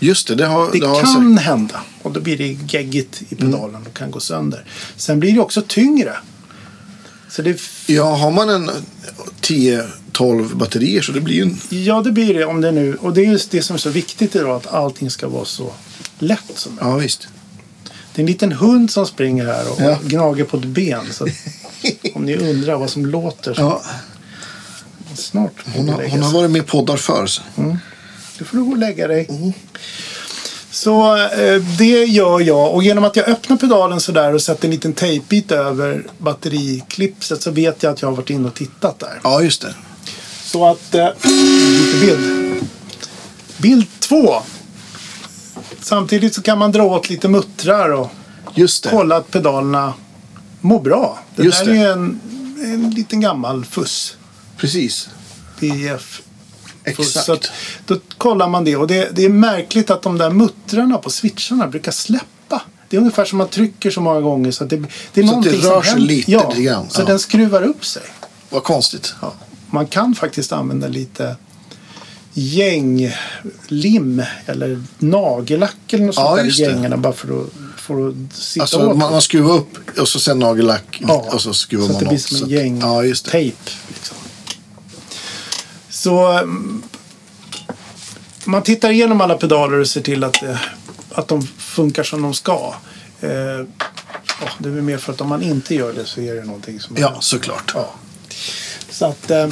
Speaker 2: just det, det har,
Speaker 1: Det
Speaker 2: det har jag
Speaker 1: kan hända. Och då blir det geggigt i
Speaker 2: Mm.
Speaker 1: pedalen och kan gå sönder. Sen blir det också tyngre. Så det,
Speaker 2: sagt. Ja, har man en 10-12 batterier så det blir ju en...
Speaker 1: ja, det blir det om det nu. Och det är just det som är så viktigt idag. Att allting ska vara så lätt som möjligt.
Speaker 2: Ja, visst.
Speaker 1: Det är en liten hund som springer här och
Speaker 2: Ja.
Speaker 1: gnager på ett ben. Så att, om ni undrar vad som låter. Så
Speaker 2: Ja,
Speaker 1: Snart får
Speaker 2: hon,
Speaker 1: vi
Speaker 2: har,
Speaker 1: lägga
Speaker 2: hon har
Speaker 1: sig.
Speaker 2: varit med i poddar förr. så.
Speaker 1: Mm. Du får du gå och lägga dig. Så eh, det gör jag och genom att jag öppnar pedalen sådär och sätter en liten tejpbit över batteriklipset så vet jag att jag har varit inne och tittat där.
Speaker 2: Ja, just det.
Speaker 1: Så att... Eh, lite bild. Bild två. Samtidigt så kan man dra åt lite muttrar och
Speaker 2: Just det.
Speaker 1: kolla att pedalerna mår bra. Det
Speaker 2: Just
Speaker 1: där
Speaker 2: det.
Speaker 1: är ju en, en liten gammal fuss.
Speaker 2: Precis.
Speaker 1: PF
Speaker 2: Exakt.
Speaker 1: så att, då kollar man det och det, det är märkligt att de där muttrarna på switcharna brukar släppa. Det är ungefär som man trycker så många gånger så att det, det är
Speaker 2: det
Speaker 1: någonting
Speaker 2: rör
Speaker 1: som
Speaker 2: sig
Speaker 1: händer.
Speaker 2: lite
Speaker 1: ja,
Speaker 2: grann,
Speaker 1: Så
Speaker 2: ja.
Speaker 1: den skruvar upp sig.
Speaker 2: Vad konstigt.
Speaker 1: Ja. Man kan faktiskt använda lite gänglim eller nagellack eller något sånt
Speaker 2: Ja,
Speaker 1: där i
Speaker 2: just det.
Speaker 1: gängarna bara för att, för att sitta
Speaker 2: Alltså,
Speaker 1: åt.
Speaker 2: man, man skruvar upp och så sen nagellack
Speaker 1: Ja,
Speaker 2: och så skruvar
Speaker 1: så
Speaker 2: man
Speaker 1: att det blir
Speaker 2: upp,
Speaker 1: som
Speaker 2: så
Speaker 1: en
Speaker 2: att-
Speaker 1: gäng
Speaker 2: Ja, just det.
Speaker 1: tejp. Liksom. Så mm, man tittar igenom alla pedaler och ser till att, eh, att de funkar som de ska. Eh, ja, det är väl mer för att om man inte gör det så är det någonting som...
Speaker 2: Ja, såklart.
Speaker 1: Ja. Så att eh,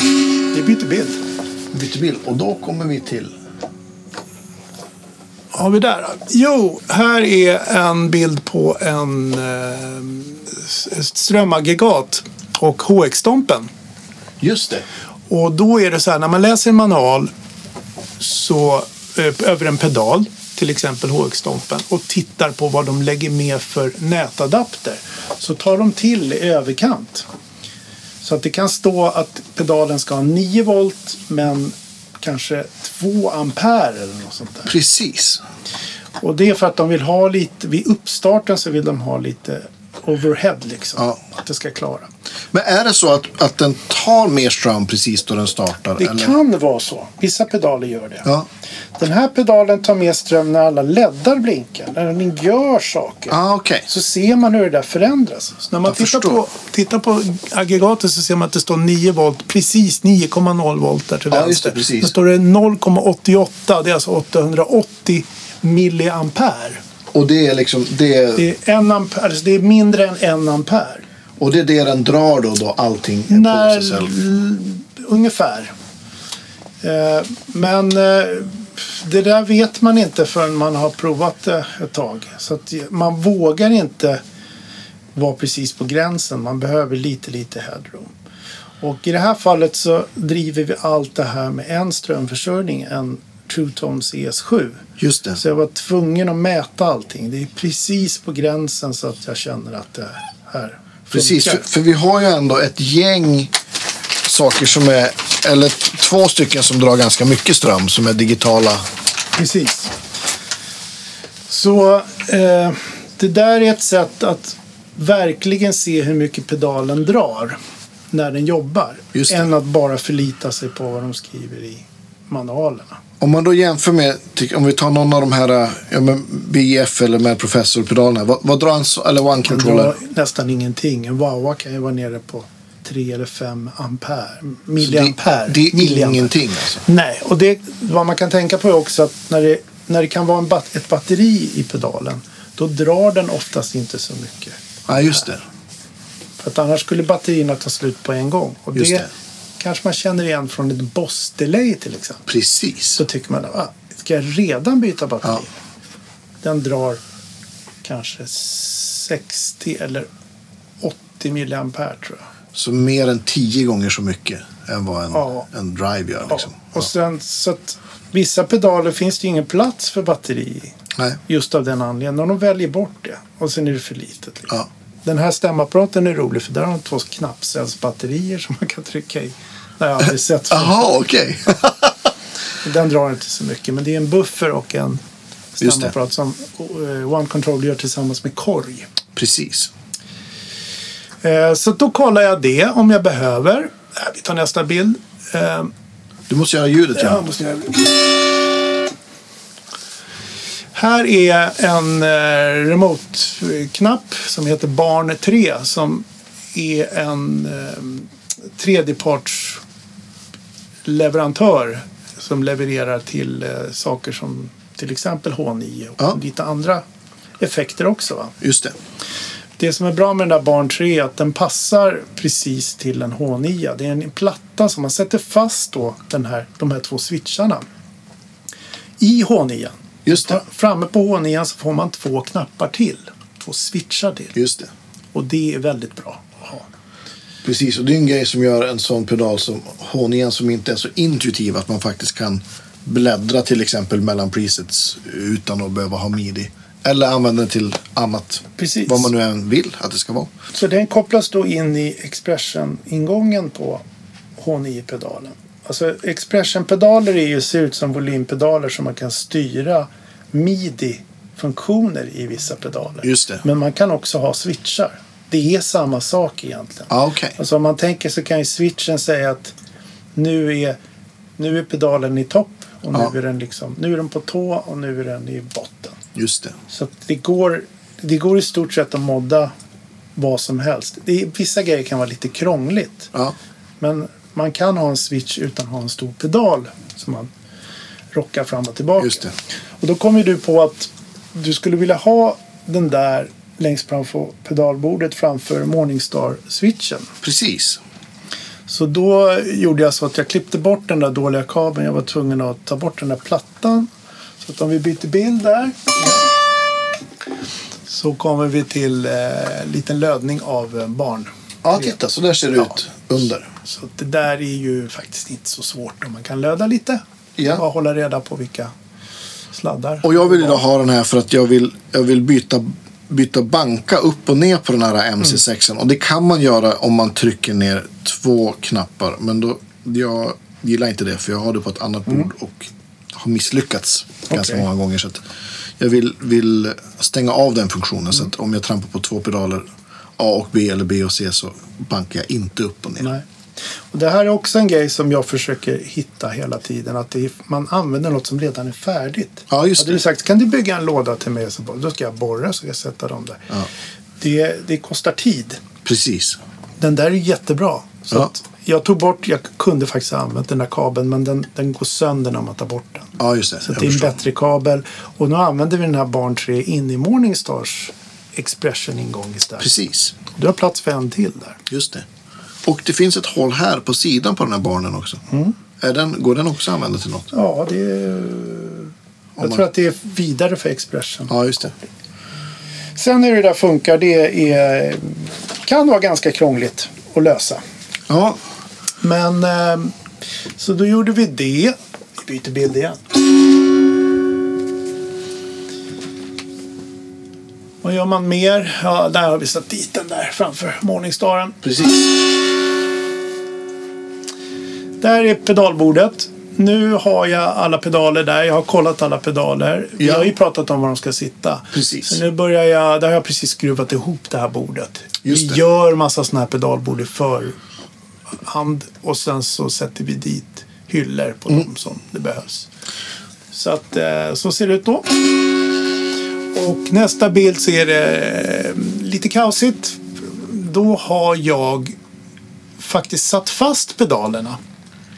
Speaker 1: vi byter bild.
Speaker 2: Byter bild och då kommer vi till...
Speaker 1: Ja, har vi där? Jo, här är en bild på en eh, strömaggregat och HX-stompen.
Speaker 2: Just det.
Speaker 1: Och då är det så här, när man läser en manual så, eh, över en pedal, till exempel HX-stompen, och tittar på vad de lägger med för nätadapter så tar de till i överkant. Så att det kan stå att pedalen ska ha 9 volt men kanske 2 ampere eller något sånt där.
Speaker 2: Precis.
Speaker 1: Och det är för att de vill ha lite, vid uppstarten så vill de ha lite overhead liksom.
Speaker 2: Ja.
Speaker 1: Att det ska klara.
Speaker 2: Men är det så att, att den tar mer ström precis då den startar?
Speaker 1: Det
Speaker 2: eller?
Speaker 1: kan vara så. Vissa pedaler gör det.
Speaker 2: Ja.
Speaker 1: Den här pedalen tar med ström när alla leddar blinkar. När den gör saker.
Speaker 2: Ah, Okej.
Speaker 1: Så ser man hur det där förändras. Så när man
Speaker 2: Jag
Speaker 1: tittar
Speaker 2: förstår.
Speaker 1: på, tittar på aggregatet så ser man att det står 9 volt. Precis 9,0 volt där till
Speaker 2: Ja, just
Speaker 1: vänster.
Speaker 2: det, precis.
Speaker 1: Då står det 0,88. Det är alltså 880 milliampere.
Speaker 2: Och det är liksom det,
Speaker 1: Det är, en ampere, alltså det är mindre än en ampere.
Speaker 2: och det är det den drar då, då allting är på sig
Speaker 1: När,
Speaker 2: själv.
Speaker 1: ungefär. Eh, Men eh, det där vet man inte förrän man har provat det ett tag. Så att man vågar inte vara precis på gränsen. Man behöver lite, lite headroom. Och i det här fallet så driver vi allt det här med en strömförsörjning, en TrueTom CS7.
Speaker 2: Just det.
Speaker 1: Så jag var tvungen att mäta allting. Det är precis på gränsen så att jag känner att det här
Speaker 2: Precis, för,
Speaker 1: funkar.
Speaker 2: för vi har ju ändå ett gäng saker som är, eller t- två stycken som drar ganska mycket ström som är digitala.
Speaker 1: Precis. Så eh, det där är ett sätt att verkligen se hur mycket pedalen drar när den jobbar.
Speaker 2: Just det.
Speaker 1: Än att bara förlita sig på vad de skriver i manualerna.
Speaker 2: Om man då jämför med, tyck- om vi tar någon av de här äh, ja, men BF eller med professorpedalerna, vad, vad drar en så, eller one
Speaker 1: Den
Speaker 2: controller?
Speaker 1: drar nästan ingenting. En Wawa kan ju vara nere på 3 eller 5 ampere. Milliampere.
Speaker 2: Det, det är
Speaker 1: Milliampere.
Speaker 2: ingenting alltså.
Speaker 1: Nej, och det, vad man kan tänka på är också att när det, när det kan vara en bat, ett batteri i pedalen då drar den oftast inte så mycket.
Speaker 2: Ja, just det.
Speaker 1: För att annars skulle batterierna ta slut på en gång. Och det,
Speaker 2: Just det.
Speaker 1: kanske man känner igen från ett Boss-delay till exempel.
Speaker 2: Precis.
Speaker 1: Så tycker man, ah, ska jag redan byta batteri?
Speaker 2: Ja.
Speaker 1: Den drar kanske 60 eller 80 milliampere tror jag.
Speaker 2: Så mer än tio gånger så mycket än vad en,
Speaker 1: Ja.
Speaker 2: en drive gör.
Speaker 1: Ja.
Speaker 2: Liksom.
Speaker 1: Och sen, så att vissa pedaler finns det ju ingen plats för batteri i.
Speaker 2: Nej.
Speaker 1: Just av den anledningen. Och de väljer bort det. Och sen är det för litet. Liksom.
Speaker 2: Ja.
Speaker 1: Den här stämapparaten är rolig för där har de två knappcellsbatterier som man kan trycka i. Det har jag aldrig sett förut.
Speaker 2: Aha, okej.
Speaker 1: Den drar inte så mycket. Men det är en buffer och en
Speaker 2: det.
Speaker 1: stämapparat som eh, One Control gör tillsammans med korg.
Speaker 2: Precis.
Speaker 1: Eh, Så då kollar jag det om jag behöver. Eh, Vi tar nästa bild. Eh,
Speaker 2: Du måste göra ljudet, ja.
Speaker 1: Ja, måste jag... Här är en eh, remote-knapp som heter Barn 3 som är en eh, tredjeparts leverantör som levererar till eh, saker som till exempel H9 och
Speaker 2: Ja.
Speaker 1: lite andra effekter också. Va?
Speaker 2: Just det.
Speaker 1: Det som är bra med den där Barn 3 är att den passar precis till en H9. Det är en platta som man sätter fast då den här, de här två switcharna i H9.
Speaker 2: Just det.
Speaker 1: Framme på H9 så får man två knappar till. Två switchar till.
Speaker 2: Just det.
Speaker 1: Och det är väldigt bra att ha.
Speaker 2: Precis, och det är en grej som gör en sån pedal som Honingen som inte är så intuitiv att man faktiskt kan bläddra till exempel mellan presets utan att behöva ha midi. Eller använda den till annat,
Speaker 1: Precis.
Speaker 2: vad man nu än vill att det ska vara.
Speaker 1: Så den kopplas då in i Expression-ingången på H9-pedalen. Alltså Expression-pedaler är ju, ser ut som volympedaler som man kan styra midi-funktioner i vissa pedaler.
Speaker 2: Just det.
Speaker 1: Men man kan också ha switchar. Det är samma sak egentligen.
Speaker 2: Ja, Ah, okej.
Speaker 1: Alltså om man tänker så kan ju switchen säga att nu är, nu är pedalen i topp och nu,
Speaker 2: Ja.
Speaker 1: är den liksom, nu är den på tå och nu är den i botten.
Speaker 2: Just det.
Speaker 1: Så att det, går, det går i stort sett att modda vad som helst. Det är, vissa grejer kan vara lite krångligt.
Speaker 2: Ja,
Speaker 1: Men man kan ha en switch utan att ha en stor pedal som man rockar fram och tillbaka.
Speaker 2: just det.
Speaker 1: Och då kom ju du på att du skulle vilja ha den där längst framför pedalbordet framför Morningstar-switchen.
Speaker 2: Precis.
Speaker 1: Så då gjorde jag så att jag klippte bort den där dåliga kabeln. Jag var tvungen att ta bort den där plattan. Så Så att om vi byter bild där. Så kommer vi till eh, liten lödning av eh, barn.
Speaker 2: Ja, titta. Så där ser det ut under.
Speaker 1: Så att det där är ju faktiskt inte så svårt om man kan löda lite.
Speaker 2: Ja.
Speaker 1: Bara hålla reda på vilka sladdar.
Speaker 2: Och jag vill idag ha den här för att jag vill, jag vill byta, byta banka upp och ner på den här
Speaker 1: Mm.
Speaker 2: MC6. Och det kan man göra om man trycker ner två knappar. Men då, jag gillar inte det för jag har det på ett annat bord och har misslyckats ganska
Speaker 1: Mm. Okej.
Speaker 2: många gånger. Så att jag vill, vill stänga av den funktionen. Så att om jag trampar på två pedaler A och B eller B och C så bankar jag inte upp och ner.
Speaker 1: Nej. Och det här är också en grej som jag försöker hitta hela tiden. Att det är, man använder något som redan är färdigt.
Speaker 2: Ja, just
Speaker 1: Hade du
Speaker 2: det.
Speaker 1: sagt, kan du bygga en låda till mig? Så bara, då ska jag borra så ska jag sätta dem där.
Speaker 2: Ja.
Speaker 1: Det, det kostar tid.
Speaker 2: Precis.
Speaker 1: Den där är jättebra. Så
Speaker 2: Ja.
Speaker 1: att jag tog bort, jag kunde faktiskt ha använt den där kabeln men den, den går sönder när man tar bort den.
Speaker 2: Ja, just det.
Speaker 1: Så att
Speaker 2: Jag
Speaker 1: det är en
Speaker 2: förstår.
Speaker 1: bättre kabel. Och nu använder vi den här Barn 3 in i Morningstars Expression-ingång istället.
Speaker 2: Precis.
Speaker 1: Du har plats för en till där.
Speaker 2: Just det. Och det finns ett hål här på sidan på den här barnen också.
Speaker 1: Mm.
Speaker 2: Är den, går den också att använda till något?
Speaker 1: Ja, det är... Jag
Speaker 2: man-
Speaker 1: tror att det är vidare för Expression.
Speaker 2: Ja, just det.
Speaker 1: Sen hur det där funkar, det är, kan vara ganska krångligt att lösa.
Speaker 2: Ja,
Speaker 1: Men ehm, så då gjorde vi det. Vi byter bild igen. Vad gör man mer? Ja, där har vi satt dit den där framför Morningstaren.
Speaker 2: precis.
Speaker 1: Där är pedalbordet. Nu har jag alla pedaler där. Jag har kollat alla pedaler. Vi
Speaker 2: Ja.
Speaker 1: har ju pratat om var de ska sitta.
Speaker 2: Precis.
Speaker 1: Så nu börjar jag, där har jag precis skruvat ihop det här bordet.
Speaker 2: Just det.
Speaker 1: Vi gör massa sådana här pedalbord i förhand och sen så sätter vi dit hyllor på
Speaker 2: Mm.
Speaker 1: dem som det behövs. Så att eh, så ser det ut då. Och nästa bild så är det eh, lite kaosigt. Då har jag faktiskt satt fast pedalerna.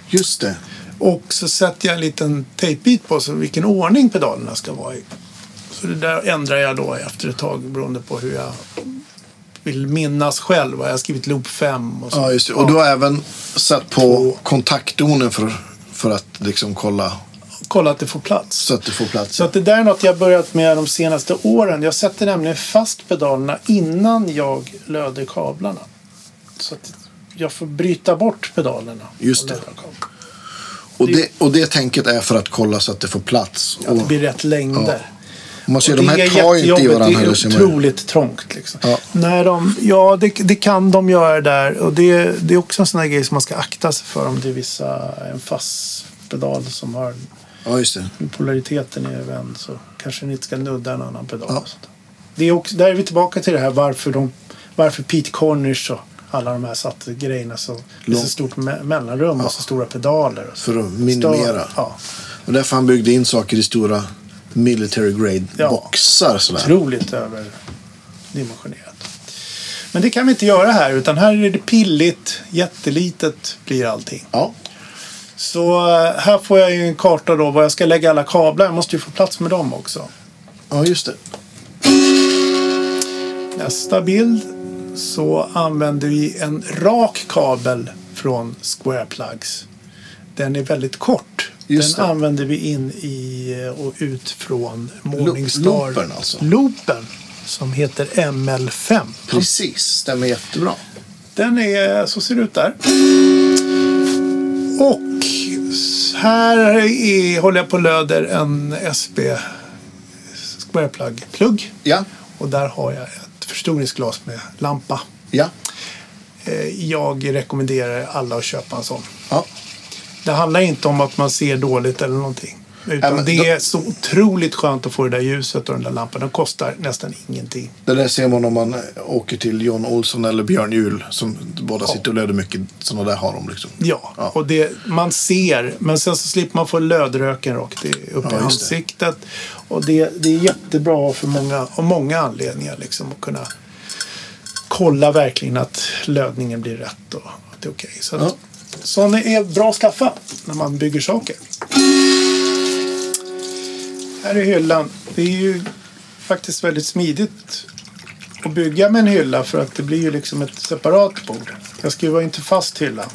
Speaker 2: Just det.
Speaker 1: Och så sätter jag en liten tejpbit på så vilken ordning pedalerna ska vara i. Så det där ändrar jag då efter ett tag beroende på hur jag vill minnas själv. Jag har skrivit loop 5 och så.
Speaker 2: Ja, just det. Och du har även satt på kontaktdonen för, för att liksom kolla
Speaker 1: Kolla att det får plats.
Speaker 2: så att du får plats.
Speaker 1: Så att det där är något jag börjat med de senaste åren. Jag sätter nämligen fast pedalerna innan jag löder kablarna. Så att jag får bryta bort pedalerna.
Speaker 2: Just
Speaker 1: och
Speaker 2: det.
Speaker 1: löda kablarna.
Speaker 2: och, det, och det tänket är för att kolla så att det får plats.
Speaker 1: Att det
Speaker 2: Och
Speaker 1: blir rätt längder.
Speaker 2: om man ser,
Speaker 1: Och
Speaker 2: de här tar ju inte i
Speaker 1: jättejobbigt.
Speaker 2: varandra.
Speaker 1: Det är
Speaker 2: heller, ser man ju.
Speaker 1: otroligt trångt. Liksom.
Speaker 2: Ja.
Speaker 1: När de, ja, det, det kan de göra där. Och det, det är också en sån här grej som man ska akta sig för om det är vissa, en fast pedal som har
Speaker 2: Ja, just det.
Speaker 1: polariteten är vänd så kanske ni inte ska nudda en annan pedal.
Speaker 2: Ja.
Speaker 1: Och sånt. Det är också, där är vi tillbaka till det här varför, de, varför Pete Cornish och alla de här satte grejerna så, det är så
Speaker 2: Lång-
Speaker 1: stort me- mellanrum och så stora pedaler. Och så.
Speaker 2: För att minimera.
Speaker 1: Stör- Ja,
Speaker 2: Och därför han byggde in saker i stora military grade
Speaker 1: Ja.
Speaker 2: boxar. Sådär.
Speaker 1: otroligt överdimensionerat. Men det kan vi inte göra här utan här är det pilligt, jättelitet blir allting.
Speaker 2: Ja,
Speaker 1: Så eh, här får jag ju en karta då var jag ska lägga alla kablar. Jag måste ju få plats med dem också.
Speaker 2: ja just det.
Speaker 1: Nästa bild så använder vi en rak kabel från Square Plugs. Den är väldigt kort.
Speaker 2: Just
Speaker 1: den
Speaker 2: det.
Speaker 1: använder vi in i eh, och ut från Morningstar.
Speaker 2: loopen alltså.
Speaker 1: Loopen som heter ML5.
Speaker 2: Precis, stämmer jättebra.
Speaker 1: Den är, så ser det ut där. Och här är, håller jag på och löder en SB Square Plug-plugg.
Speaker 2: Ja,
Speaker 1: Och där har jag ett förstoringsglas med lampa.
Speaker 2: ja,
Speaker 1: Eh, Jag rekommenderar alla att köpa en sån.
Speaker 2: ja.
Speaker 1: Det handlar inte om att man ser dåligt eller någonting. Utan
Speaker 2: Ja, men
Speaker 1: det
Speaker 2: då-
Speaker 1: är så otroligt skönt att få det där ljuset och den där lampan. Den kostar nästan ingenting.
Speaker 2: Det där ser man om man åker till John Olsson eller Björn Juhl som båda sitter och löder mycket. Sådana där har de liksom.
Speaker 1: Ja,
Speaker 2: Ja.
Speaker 1: och det, man ser. Men sen så slipper man få lödröken rakt i, upp i
Speaker 2: Ja, just det.
Speaker 1: ansiktet. Och det, det är jättebra för många, av många anledningar liksom, att kunna kolla verkligen att lödningen blir rätt och att det är okej. Så att,
Speaker 2: Ja.
Speaker 1: sådana är bra att skaffa när man bygger saker. Här är hyllan. Det är ju faktiskt väldigt smidigt att bygga med en hylla för att det blir ju liksom ett separat bord. Jag skruvar inte fast hyllan.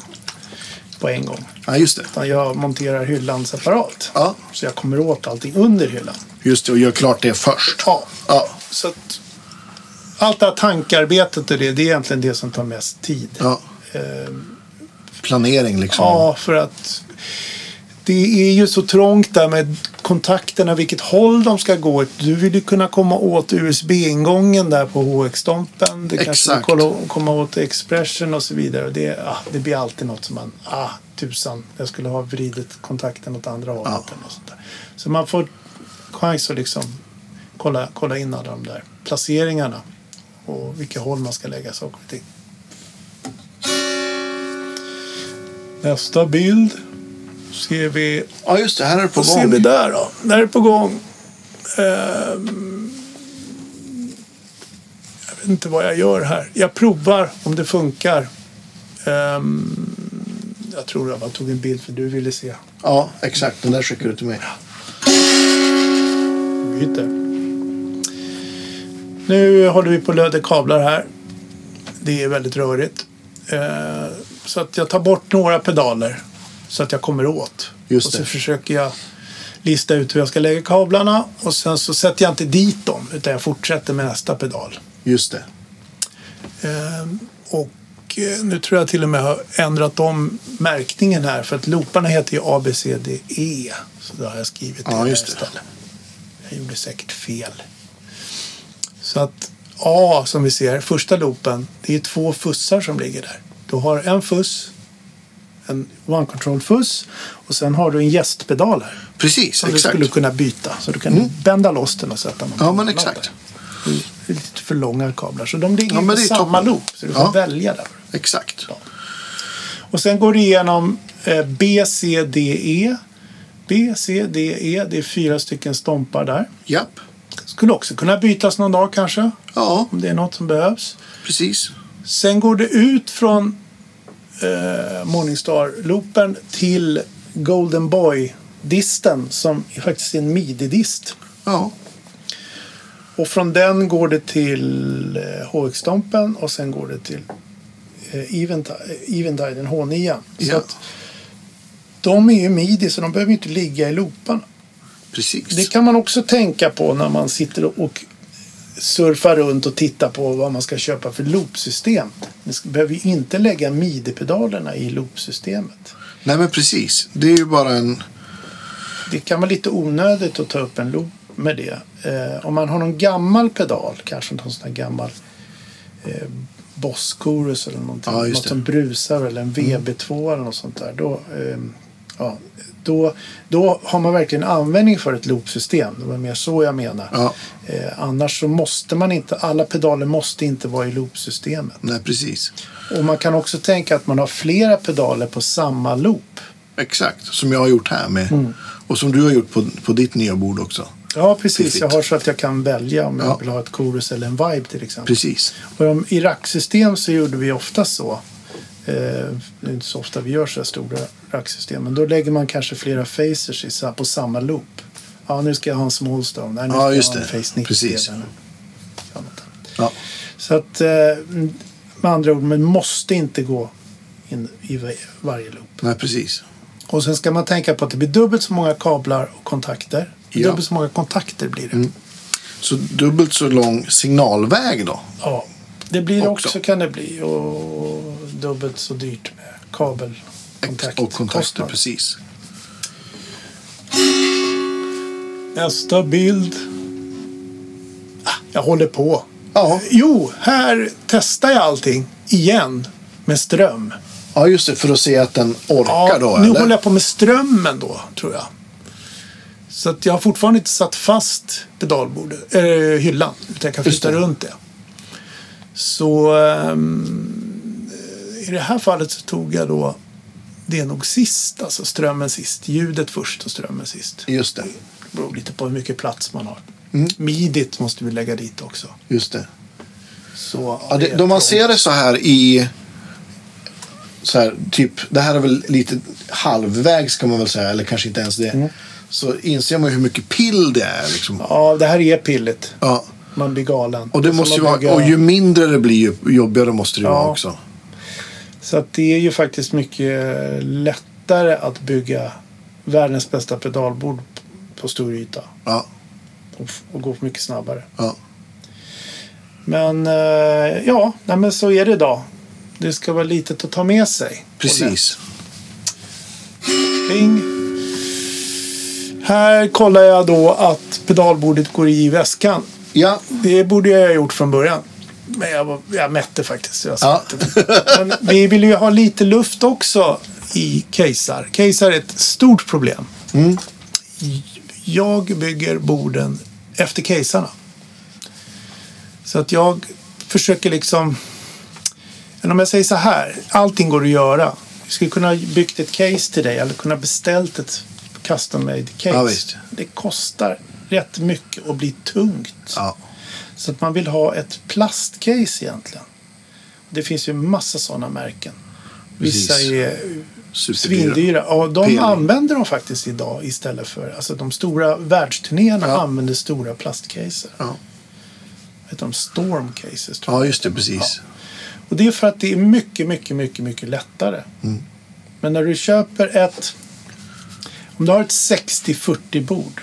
Speaker 1: på en gång.
Speaker 2: Ja, just det.
Speaker 1: Utan jag monterar hyllan separat.
Speaker 2: Ja,
Speaker 1: Så jag kommer åt allting under hyllan.
Speaker 2: just det. Och gör klart det först.
Speaker 1: Ja.
Speaker 2: Ja.
Speaker 1: Så att, allt det här tankarbetet och det, det är egentligen det som tar mest tid.
Speaker 2: ja.
Speaker 1: Ehm,
Speaker 2: Planering liksom.
Speaker 1: ja, för att det är ju så trångt där med kontakterna, vilket håll de ska gå åt. Du vill ju kunna komma åt USB-ingången där på HX-stompen. Du kanske vill
Speaker 2: Exakt.
Speaker 1: kolla, komma åt Expression och så vidare. Och det, ah, det blir alltid något som man, ah, tusan, jag skulle ha vridit kontakten åt andra hållet.
Speaker 2: Ja.
Speaker 1: Eller något sånt där. Så man får chans att liksom kolla, kolla in alla de där placeringarna och vilka håll man ska lägga saker och ting. Nästa bild ser vi.
Speaker 2: Ja, just det. Här är det på
Speaker 1: Vad ser vi
Speaker 2: gång.
Speaker 1: där då? Där är på gång. Ehm, jag vet inte vad jag gör här. Jag provar om det funkar. Ehm, jag tror jag bara tog en bild för du ville se.
Speaker 2: Ja, exakt. Den där skickar du till mig.
Speaker 1: byter. Nu håller vi på och löder kablar här. Det är väldigt rörigt. Eh, Så att jag tar bort några pedaler så att jag kommer åt.
Speaker 2: Just
Speaker 1: och så
Speaker 2: det.
Speaker 1: försöker jag lista ut hur jag ska lägga kablarna och sen så sätter jag inte dit dem utan jag fortsätter med nästa pedal.
Speaker 2: Just det.
Speaker 1: Ehm, Och eh, nu tror jag till och med har ändrat om märkningen här för att looparna heter ju ABCDE. E. Så då har jag skrivit det
Speaker 2: Ja,
Speaker 1: där
Speaker 2: just det.
Speaker 1: istället. Jag gjorde säkert fel. Så att A som vi ser, första loopen, det är två fussar som ligger där. Du har en fuss, en one control fuss och sen har du en gästpedal här.
Speaker 2: Precis,
Speaker 1: Som du
Speaker 2: exakt. Mm.
Speaker 1: skulle kunna byta. Så du kan bända loss den och sätta någon
Speaker 2: Ja, men
Speaker 1: annan
Speaker 2: exakt.
Speaker 1: där. Det är lite för långa kablar. Så de ligger
Speaker 2: Ja, men
Speaker 1: i
Speaker 2: det är
Speaker 1: samma
Speaker 2: toppen.
Speaker 1: loop. Så du får
Speaker 2: Ja.
Speaker 1: välja där.
Speaker 2: Exakt.
Speaker 1: Och sen går du igenom eh, B, C, D, E. B, C, D, E. Det är fyra stycken stompar där.
Speaker 2: Japp.
Speaker 1: Skulle också kunna bytas någon dag kanske.
Speaker 2: Ja,
Speaker 1: Om det är något som behövs.
Speaker 2: precis.
Speaker 1: Sen går det ut från eh, Morningstar-loopen till Golden Boy-disten som faktiskt är en midi-dist.
Speaker 2: Ja,
Speaker 1: Och från den går det till eh, HX-stompen och sen går det till eh, Eventi- eh, Eventiden H9. Så
Speaker 2: Ja.
Speaker 1: att de är ju midi så de behöver ju inte ligga i looparna.
Speaker 2: precis.
Speaker 1: Det kan man också tänka på när man sitter och surfar runt och tittar på vad man ska köpa för loopsystem. Ni ska- behöver ju inte lägga midi-pedalerna i loopsystemet.
Speaker 2: Nej, men precis. Det är ju bara en...
Speaker 1: Det kan vara lite onödigt att ta upp en loop med det. Eh, om man har någon gammal pedal, kanske någon sån här gammal eh, Boss Chorus eller någonting,
Speaker 2: Ja, just
Speaker 1: något
Speaker 2: det. Mm.
Speaker 1: som brusar eller en VB2 eller något sånt där. Då, eh, ja, då, då har man verkligen användning för ett loopsystem. Det var mer så jag menar.
Speaker 2: Ja.
Speaker 1: Eh, annars så måste man inte, alla pedaler måste inte vara i loopsystemet.
Speaker 2: Nej, precis.
Speaker 1: Och man kan också tänka att man har flera pedaler på samma loop.
Speaker 2: Exakt. Som jag har gjort här med.
Speaker 1: Mm.
Speaker 2: Och som du har gjort på, på ditt nya bord också.
Speaker 1: Ja, precis.
Speaker 2: Fiffigt.
Speaker 1: Jag har så att jag kan välja om jag
Speaker 2: Ja.
Speaker 1: vill ha ett chorus eller en vibe till exempel.
Speaker 2: Precis.
Speaker 1: Och om, I racksystem så gjorde vi ofta så. Eh, det är inte så ofta vi gör så här stora racksystem. Men då lägger man kanske flera facers i, sa- på samma loop. Ja, nu ska jag ha en small stone. Nej, nu
Speaker 2: Ja,
Speaker 1: ska
Speaker 2: just
Speaker 1: jag ha en
Speaker 2: det.
Speaker 1: face 90.
Speaker 2: Precis.
Speaker 1: eller något annat.
Speaker 2: Ja.
Speaker 1: Så att eh, med andra ord, man måste inte gå in i va- varje loop.
Speaker 2: Nej, precis.
Speaker 1: Och sen ska man tänka på att det blir dubbelt så många kablar och kontakter.
Speaker 2: Ja.
Speaker 1: Dubbelt så många kontakter blir det.
Speaker 2: Så dubbelt så lång signalväg då?
Speaker 1: Ja, det blir också.
Speaker 2: Också.
Speaker 1: kan det bli. Och dubbelt så dyrt med kabelkontakt.
Speaker 2: Och kontakter,
Speaker 1: kostnad.
Speaker 2: precis.
Speaker 1: Nästa bild. Ah, Jag håller på.
Speaker 2: Ja.
Speaker 1: Jo, här testar jag allting igen med ström.
Speaker 2: ja, just det. För att se att den orkar då,
Speaker 1: nu
Speaker 2: eller?
Speaker 1: håller jag på med strömmen då, tror jag. Så att jag har fortfarande inte satt fast pedalbordet, äh, hyllan, utan jag kan
Speaker 2: Just
Speaker 1: flytta
Speaker 2: det.
Speaker 1: runt det. Så ehm, i det här fallet så tog jag då, det är nog sist, alltså strömmen sist, ljudet först och strömmen sist.
Speaker 2: Just det.
Speaker 1: Det beror lite på hur mycket plats man har.
Speaker 2: Mm.
Speaker 1: Midit måste vi lägga dit också.
Speaker 2: Just det.
Speaker 1: Så,
Speaker 2: Ja, det, då man ser det så här i... Så här, typ, det här är väl lite halvvägs kan man väl säga, eller kanske inte ens det. Så inser man ju hur mycket pill det är. Liksom.
Speaker 1: Mm. Ja, det här är pilligt.
Speaker 2: Ja.
Speaker 1: Man blir galen.
Speaker 2: Och, det
Speaker 1: så
Speaker 2: måste
Speaker 1: man
Speaker 2: ju vara,
Speaker 1: bygger-
Speaker 2: och ju mindre det blir, ju jobbigare måste det
Speaker 1: Ja.
Speaker 2: vara också.
Speaker 1: Så att det är ju faktiskt mycket lättare att bygga världens bästa pedalbord på stor yta
Speaker 2: Ja,
Speaker 1: och, f- och gå mycket snabbare.
Speaker 2: ja.
Speaker 1: Men eh, ja, nej, men så är det idag. Det ska vara litet att ta med sig.
Speaker 2: Precis.
Speaker 1: Pling. Här kollar jag då att pedalbordet går i väskan.
Speaker 2: Ja,
Speaker 1: Det borde jag ha gjort från början. Men jag, var, jag mätte faktiskt. Jag
Speaker 2: Ja.
Speaker 1: Men vi vill ju ha lite luft också i casear. Casear är ett stort problem.
Speaker 2: Mm.
Speaker 1: Jag bygger borden efter casearna. Så att jag försöker liksom... Eller om jag säger så här. Allting går att göra. Jag skulle kunna ha byggt ett case till dig eller kunna beställt ett custom made case.
Speaker 2: Ja, visst.
Speaker 1: Det kostar rätt mycket och blir tungt.
Speaker 2: ja.
Speaker 1: Så att man vill ha ett plastcase egentligen. Det finns ju massa sådana märken. Vissa
Speaker 2: Precis.
Speaker 1: är
Speaker 2: Superdyra.
Speaker 1: svindyra. Ja, de
Speaker 2: Peli.
Speaker 1: använder de faktiskt idag istället för... Alltså de stora världsturnéerna
Speaker 2: Ja.
Speaker 1: använder stora plastcaser.
Speaker 2: Ja.
Speaker 1: Heter de stormcases tror jag.
Speaker 2: Ja, just det. Precis.
Speaker 1: Och det är för att det är mycket, mycket, mycket, mycket lättare. Men när du köper ett... Om du har ett 60-40 bord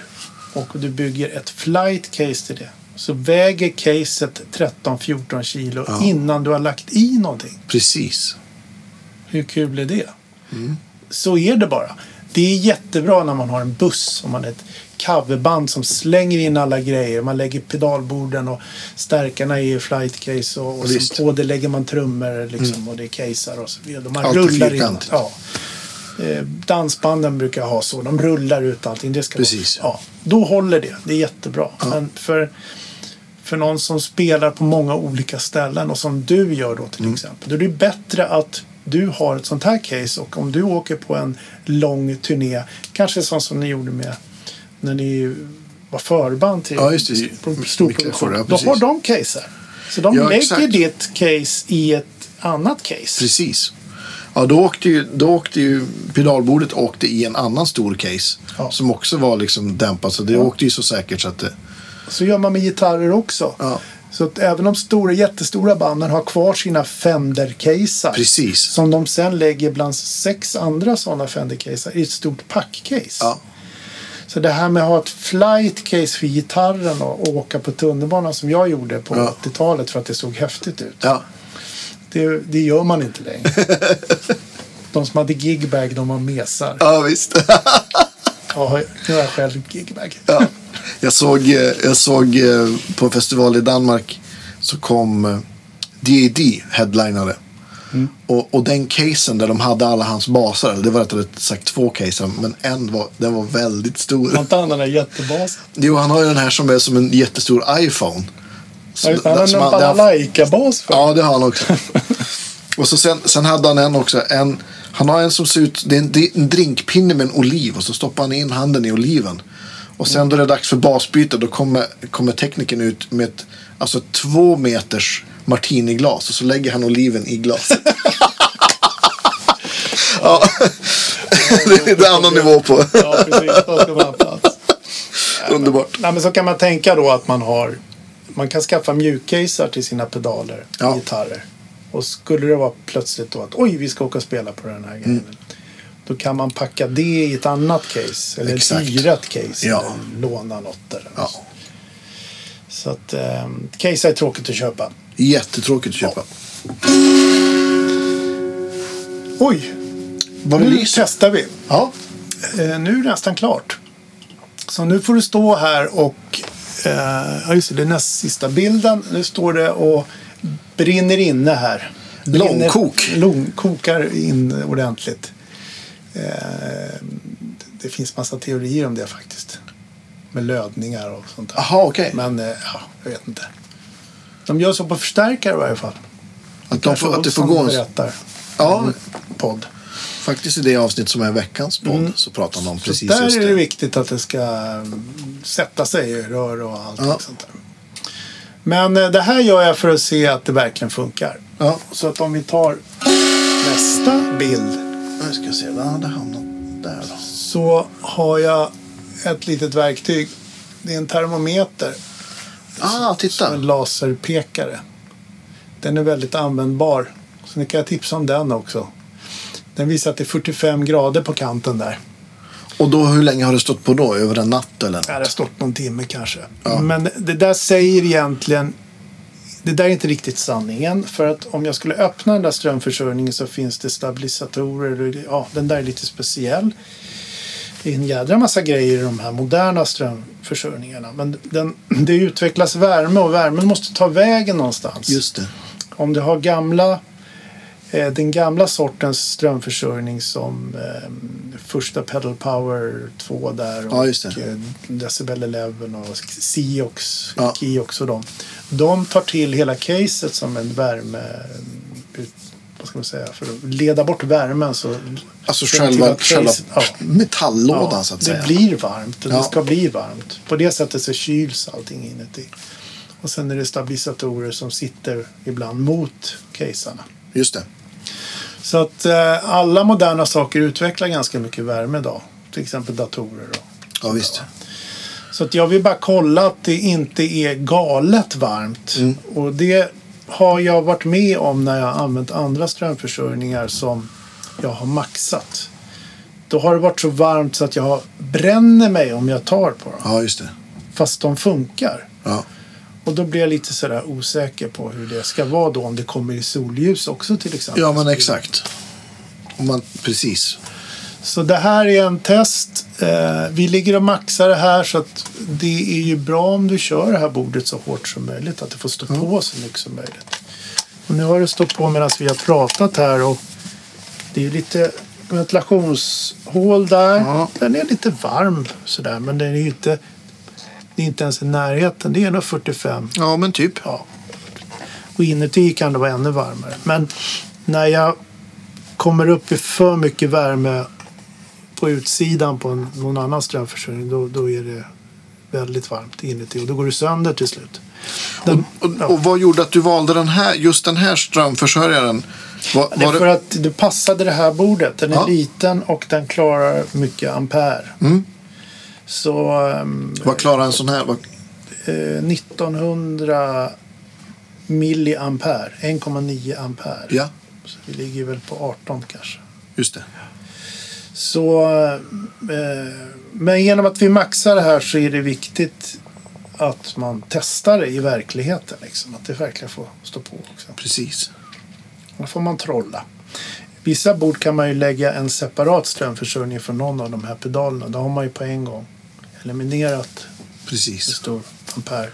Speaker 1: och du bygger ett flight case till det så väger caset 13-14 kilo
Speaker 2: Ja.
Speaker 1: innan du har lagt i någonting.
Speaker 2: Precis.
Speaker 1: Hur kul är det? Så är det bara. Det är jättebra när man har en buss och man har ett coverband som slänger in alla grejer. Man lägger pedalborden och stärkarna i flightcase och, och
Speaker 2: Visst.
Speaker 1: sen på det lägger man trummor liksom, och det är casear och så vidare. De här
Speaker 2: Allt är
Speaker 1: rullar ut.
Speaker 2: fyrkantigt.
Speaker 1: Ja. Eh, dansbanden brukar ha så. De rullar ut allting. Det ska
Speaker 2: Precis.
Speaker 1: Vara. Ja. Då håller det. Det är jättebra. Men för, för någon som spelar på många olika ställen och som du gör då till
Speaker 2: Mm.
Speaker 1: exempel. Då är det bättre att du har ett sånt här case och om du åker på en lång turné, kanske sånt som ni gjorde med när ni var förband till
Speaker 2: Ja, just det.
Speaker 1: på stor
Speaker 2: Mycket
Speaker 1: produktion.
Speaker 2: förra,
Speaker 1: Då
Speaker 2: precis.
Speaker 1: har de caser. Så de
Speaker 2: Ja,
Speaker 1: lägger
Speaker 2: exakt.
Speaker 1: ditt case i ett annat case.
Speaker 2: Precis. Ja, då åkte ju, då åkte ju pedalbordet åkte i en annan stor case
Speaker 1: Ja.
Speaker 2: som också var liksom dämpat. Så det åkte ju så säkert så att det...
Speaker 1: Så gör man med gitarrer också.
Speaker 2: Ja.
Speaker 1: Så att även de stora, jättestora banden har kvar sina Fender-casear.
Speaker 2: Precis.
Speaker 1: Som de sen lägger bland sex andra sådana Fender-casear i ett stort pack-case.
Speaker 2: Ja.
Speaker 1: Så det här med att ha ett flight-case för gitarren och åka på tunnelbanan som jag gjorde på
Speaker 2: Ja.
Speaker 1: 80-talet för att det såg häftigt ut.
Speaker 2: Ja.
Speaker 1: Det, det gör man inte längre. de som hade gigbag, de var mesar.
Speaker 2: ja, visst.
Speaker 1: Ja, nu har jag själv gigbag.
Speaker 2: Ja. Jag såg, eh, jag såg eh, på en festival i Danmark så kom eh, D.A.D. headlinare. Och, och den casen där de hade alla hans basar, eller det var rättare sagt två caser, men en var, den var väldigt
Speaker 1: Har
Speaker 2: stor.
Speaker 1: inte han den där jättebasen?
Speaker 2: Jo, han har ju den här som är som en jättestor iPhone.
Speaker 1: Ja, just det. Han
Speaker 2: Som-
Speaker 1: hade
Speaker 2: som
Speaker 1: en
Speaker 2: han- den-
Speaker 1: balalaika-bas för.
Speaker 2: Ja, det har han också. och så sen, sen hade han en också. En, han har en som ser ut, det är en, det är en drinkpinne med en oliv och så stoppar han in handen i oliven. Och sen då det är dags för basbyte då kommer, kommer tekniken ut med ett, alltså två meters martiniglas och så lägger han oliven i glaset. ja. det är en annan nivå på.
Speaker 1: Ja, precis. Då ska man ha plats.
Speaker 2: Underbart.
Speaker 1: Nej, men så kan man tänka då att man har... Man kan skaffa mjukcasear till sina pedaler,
Speaker 2: Ja.
Speaker 1: gitarrer. Och skulle det vara plötsligt då att oj, vi ska åka och spela på den här grejen.
Speaker 2: Mm.
Speaker 1: Då kan man packa det i ett annat case. Eller
Speaker 2: Exakt.
Speaker 1: ett hyrat case.
Speaker 2: Ja.
Speaker 1: Eller låna något där.
Speaker 2: Ja.
Speaker 1: Så att eh, case är tråkigt att köpa.
Speaker 2: Jättetråkigt att köpa.
Speaker 1: Oj,
Speaker 2: Var det
Speaker 1: nu
Speaker 2: lyser?
Speaker 1: testar vi.
Speaker 2: Mm. Ja.
Speaker 1: Eh, nu är det nästan klart. Så nu får du stå här och... Eh, ja, just det, det är näst sista bilden. Nu står det och brinner inne här. Brinner-
Speaker 2: Långkok.
Speaker 1: Långkokar in ordentligt. Eh, det finns massa teorier om det faktiskt. Med lödningar och sånt där.
Speaker 2: Jaha, okej.
Speaker 1: Men eh, ja, jag vet inte. De gör så på förstärkare i varje fall.
Speaker 2: Att, de får, att det får gå en...
Speaker 1: berättar. Mm.
Speaker 2: Ja,
Speaker 1: Podd.
Speaker 2: Faktiskt i det avsnitt som är veckans podd så pratar man om precis
Speaker 1: Mm. så där
Speaker 2: just
Speaker 1: är det
Speaker 2: det.
Speaker 1: viktigt att det ska mm, sätta sig i rör och allt
Speaker 2: Ja.
Speaker 1: sånt där. Men eh, det här gör jag för att se att det verkligen funkar.
Speaker 2: Ja.
Speaker 1: Så att om vi tar nästa bild
Speaker 2: Nu ska jag se, där hade hamnat där då.
Speaker 1: så har jag ett litet verktyg. Det är en termometer,
Speaker 2: Ah,
Speaker 1: en
Speaker 2: titta!
Speaker 1: laserpekare. Den är väldigt användbar. Så nu kan jag tipsa om den också. Den visar att det är 45 grader på kanten där.
Speaker 2: Och då, hur länge har det stått på då? Över en natt eller?
Speaker 1: Ja, Det har stått någon timme kanske.
Speaker 2: Ja.
Speaker 1: Men det där säger egentligen... Det där är inte riktigt sanningen. För att om jag skulle öppna den där strömförsörjningen så finns det stabilisatorer. och- Ja, den där är lite speciell. Det är en jädra massa grejer i de här moderna strömförsörjningarna. Men den, det utvecklas värme och värmen måste ta vägen någonstans.
Speaker 2: Just det.
Speaker 1: Om du har gamla, eh, den gamla sortens strömförsörjning som eh, första Pedal Power 2 där och
Speaker 2: Ja, just det.
Speaker 1: eh, Decibel 11 och Siox,
Speaker 2: Ja.
Speaker 1: Kiox och de. De tar till hela caset som en värme... Ut, vad ska man säga? För att leda bort värmen så...
Speaker 2: Alltså
Speaker 1: ser man till
Speaker 2: själva,
Speaker 1: att
Speaker 2: själva
Speaker 1: caset- ja.
Speaker 2: metalllådan
Speaker 1: Ja,
Speaker 2: så att
Speaker 1: det
Speaker 2: säga.
Speaker 1: blir varmt och
Speaker 2: Ja.
Speaker 1: det ska bli varmt. På det sättet så kyls allting inuti. Och sen är det stabilisatorer som sitter ibland mot casearna.
Speaker 2: Just det.
Speaker 1: Så att eh, alla moderna saker utvecklar ganska mycket värme idag. Till exempel datorer. Då.
Speaker 2: Ja, visst.
Speaker 1: Så att jag vill bara kolla att det inte är galet varmt.
Speaker 2: Mm.
Speaker 1: Och det har jag varit med om när jag har använt andra strömförsörjningar som jag har maxat. Då har det varit så varmt så att jag bränner mig om jag tar på dem.
Speaker 2: Ja, just det.
Speaker 1: Fast de funkar.
Speaker 2: Ja.
Speaker 1: Och då blir jag lite sådär osäker på hur det ska vara då om det kommer i solljus också till exempel.
Speaker 2: ja, men exakt. Om Man, precis.
Speaker 1: Så det här är en test. Eh, vi ligger och maxar det här så att det är ju bra om du kör det här bordet så hårt som möjligt. Att det får stå på så mycket som möjligt. Och nu har det stått på medan vi har pratat här och det är ju lite ventilationshål där.
Speaker 2: Ja.
Speaker 1: Den är lite varm sådär men den är ju inte, det är inte ens i närheten. Det är nog 45
Speaker 2: Ja, men typ.
Speaker 1: ja. Och inuti kan det vara ännu varmare. Men när jag kommer upp i för mycket värme på utsidan på en, någon annan strömförsörjning då, då är det väldigt varmt inuti och då går det sönder till slut. Den,
Speaker 2: Och,
Speaker 1: ja.
Speaker 2: och vad gjorde att du valde den här, just den här strömförsörjaren? Var,
Speaker 1: det är
Speaker 2: var
Speaker 1: för
Speaker 2: det,
Speaker 1: att det passade det här bordet. Den är
Speaker 2: Ja. Mm.
Speaker 1: liten och den klarar mycket ampere. Så ehm,
Speaker 2: vad klarar en sån här? Vad,
Speaker 1: eh, 1900 milliampere, 1,9 ampere.
Speaker 2: ja,
Speaker 1: Så vi ligger väl på 18 kanske.
Speaker 2: just det.
Speaker 1: Så, eh, men genom att vi maxar det här så är det viktigt att man testar det i verkligheten. Liksom. Att det verkligen får stå på. Också.
Speaker 2: Precis.
Speaker 1: Då får man trolla. Vissa bord kan man ju lägga en separat strömförsörjning från någon av de här pedalerna. Då har man ju på en gång eliminerat hur
Speaker 2: Precis.
Speaker 1: stor ampere.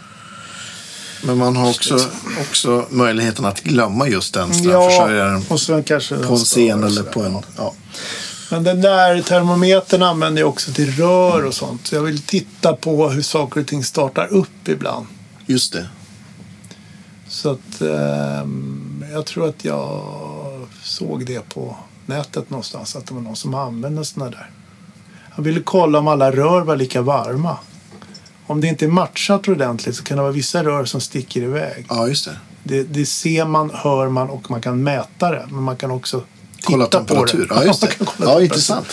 Speaker 2: Men man har också, också möjligheten att glömma just den
Speaker 1: Ja,
Speaker 2: strömförsörjaren
Speaker 1: och sen kanske
Speaker 2: på en scen eller på en... Ja.
Speaker 1: Men den där termometern använder jag också till rör och sånt. Så jag vill titta på hur saker och ting startar upp ibland.
Speaker 2: Just det.
Speaker 1: Så att ehm, jag tror att jag såg det på nätet någonstans. Att det var någon som använde sådana där. Jag ville kolla om alla rör var lika varma. Om det inte är matchat ordentligt så kan det vara vissa rör som sticker iväg.
Speaker 2: Ja, just det.
Speaker 1: Det, det ser man, hör man och man kan mäta det. Men man kan också titta
Speaker 2: Kolla
Speaker 1: på
Speaker 2: temperatur.
Speaker 1: det.
Speaker 2: Ja, just
Speaker 1: Man
Speaker 2: det.
Speaker 1: kan kolla
Speaker 2: Ja,
Speaker 1: temperatur.
Speaker 2: intressant.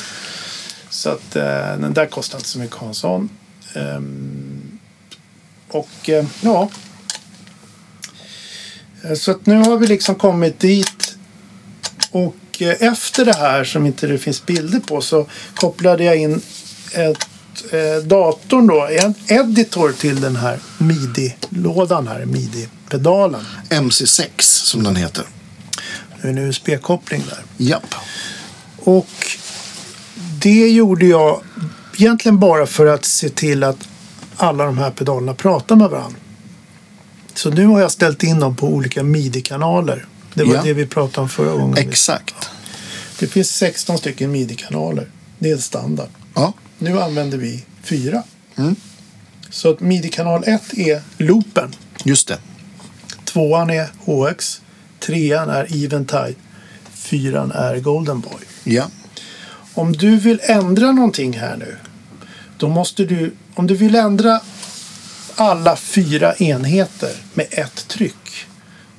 Speaker 1: Så att eh, den där kostar inte så mycket att ha en sån. Ehm, och eh, ja. Eh, Så att nu har vi liksom kommit dit. Och eh, efter det här som inte det finns bilder på så kopplade jag in ett, eh, datorn då, en editor till den här midi-lådan här, midi-pedalen.
Speaker 2: MC6 som den heter.
Speaker 1: Det är en USB-koppling där.
Speaker 2: Japp.
Speaker 1: Och det gjorde jag egentligen bara för att se till att alla de här pedalerna pratar med varandra. Så nu har jag ställt in dem på olika midi-kanaler. Det var
Speaker 2: Ja.
Speaker 1: det vi pratade om förra gången.
Speaker 2: Exakt.
Speaker 1: det finns 16 stycken midi-kanaler. Det är standard.
Speaker 2: Ja.
Speaker 1: Nu använder vi fyra. Så att midi-kanal 1 är loopen.
Speaker 2: Just det.
Speaker 1: Tvåan är HX. Trean är Eventide. Fyran är Golden Boy.
Speaker 2: Ja.
Speaker 1: Om du vill ändra någonting här nu. Då måste du, om du vill ändra alla fyra enheter med ett tryck.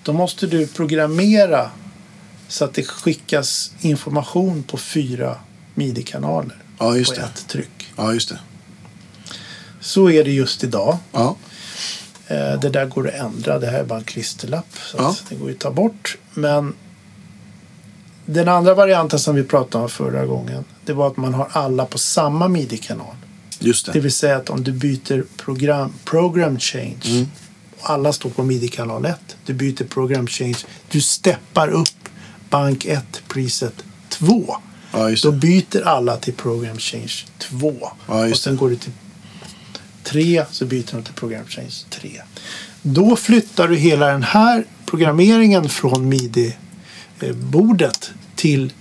Speaker 1: Då måste du programmera så att det skickas information på fyra midi-kanaler.
Speaker 2: Ja, just
Speaker 1: på
Speaker 2: det.
Speaker 1: ett tryck.
Speaker 2: Ja, just det.
Speaker 1: Så är det just idag.
Speaker 2: Ja.
Speaker 1: Eh, Det där går att ändra. Det här är bara en klisterlapp. Så
Speaker 2: Ja.
Speaker 1: att det går ju att ta bort. Men Den andra varianten som vi pratade om förra gången. Det var att man har alla på samma midi-kanal.
Speaker 2: Just
Speaker 1: Det
Speaker 2: det.
Speaker 1: vill säga att om du byter program, program change.
Speaker 2: Mm.
Speaker 1: Och alla står på midi-kanal 1. Du byter program change. Du steppar upp bank 1 preset 2.
Speaker 2: Ja, just
Speaker 1: Då
Speaker 2: det.
Speaker 1: byter alla till program change 2.
Speaker 2: Ja, just
Speaker 1: och sen går du till 3 så byter de till program change 3. Då flyttar du hela den här programmeringen från midi-bordet till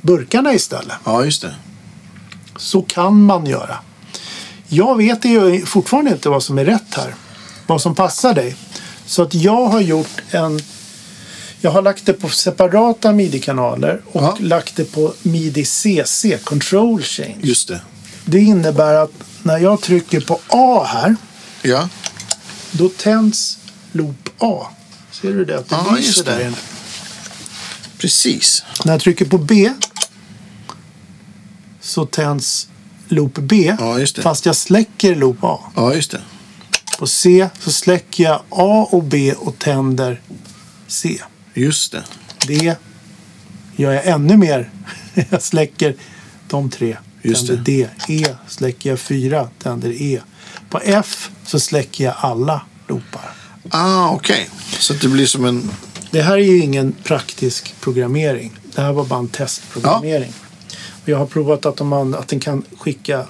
Speaker 1: burkarna istället.
Speaker 2: Ja, just det.
Speaker 1: Så kan man göra. Jag vet ju fortfarande inte vad som är rätt här. Vad som passar dig. Så att jag har gjort en... Jag har lagt det på separata midi-kanaler och
Speaker 2: Ja.
Speaker 1: lagt det på midi CC, control change.
Speaker 2: Just det.
Speaker 1: Det innebär att när jag trycker på A här,
Speaker 2: Ja,
Speaker 1: då tänds loop A. Ser du det? Att det
Speaker 2: Ja,
Speaker 1: lyser
Speaker 2: just det.
Speaker 1: där inne.
Speaker 2: precis.
Speaker 1: När jag trycker på B så tänds loop B.
Speaker 2: Ja, just det.
Speaker 1: Fast jag släcker loop A.
Speaker 2: Ja, just det.
Speaker 1: På C så släcker jag A och B och tänder C.
Speaker 2: Just det.
Speaker 1: D gör jag ännu mer. Jag släcker de tre.
Speaker 2: Just
Speaker 1: tänder D. E släcker jag fyra. Tänder E. På F så släcker jag alla loopar.
Speaker 2: Ah, okej. Så att det blir som en...
Speaker 1: Det här är ju ingen praktisk programmering. Det här var bara en testprogrammering. Och jag har provat att, de andra, att den kan skicka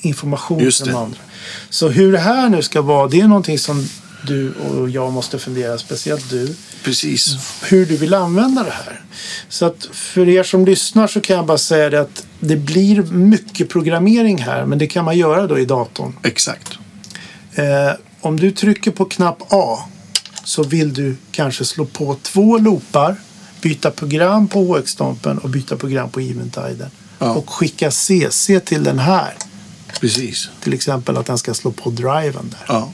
Speaker 1: information
Speaker 2: Just
Speaker 1: till de
Speaker 2: det.
Speaker 1: andra. Så hur det här nu ska vara, det är någonting som du och jag måste fundera, speciellt du,
Speaker 2: Precis.
Speaker 1: hur du vill använda det här. Så att för er som lyssnar så kan jag bara säga det att det blir mycket programmering här, men det kan man göra då i datorn.
Speaker 2: Exakt.
Speaker 1: Eh, om du trycker på knapp A så vill du kanske slå på två loopar, byta program på HX-stompen och byta program på Eventiden.
Speaker 2: Ja.
Speaker 1: Och skicka CC till den här.
Speaker 2: Precis.
Speaker 1: Till exempel att den ska slå på driven där.
Speaker 2: Ja.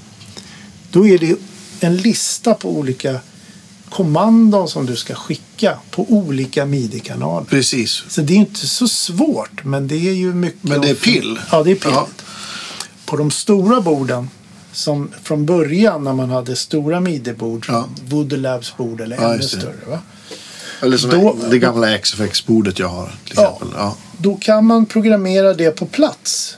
Speaker 1: Då är det en lista på olika kommandon som du ska skicka på olika midi-kanaler.
Speaker 2: Precis.
Speaker 1: Så det är inte så svårt, men det är ju mycket...
Speaker 2: Men det är
Speaker 1: att-
Speaker 2: pill.
Speaker 1: Ja, det är pill.
Speaker 2: Ja.
Speaker 1: På de stora borden, som från början när man hade stora midibord,
Speaker 2: Ja.
Speaker 1: ja. Woodlabs bord eller
Speaker 2: Ja,
Speaker 1: ännu
Speaker 2: just det.
Speaker 1: större. Va?
Speaker 2: Eller som
Speaker 1: Då-
Speaker 2: det gamla XFX-bordet jag har. Till
Speaker 1: Ja.
Speaker 2: exempel. Ja.
Speaker 1: Då kan man programmera det på plats.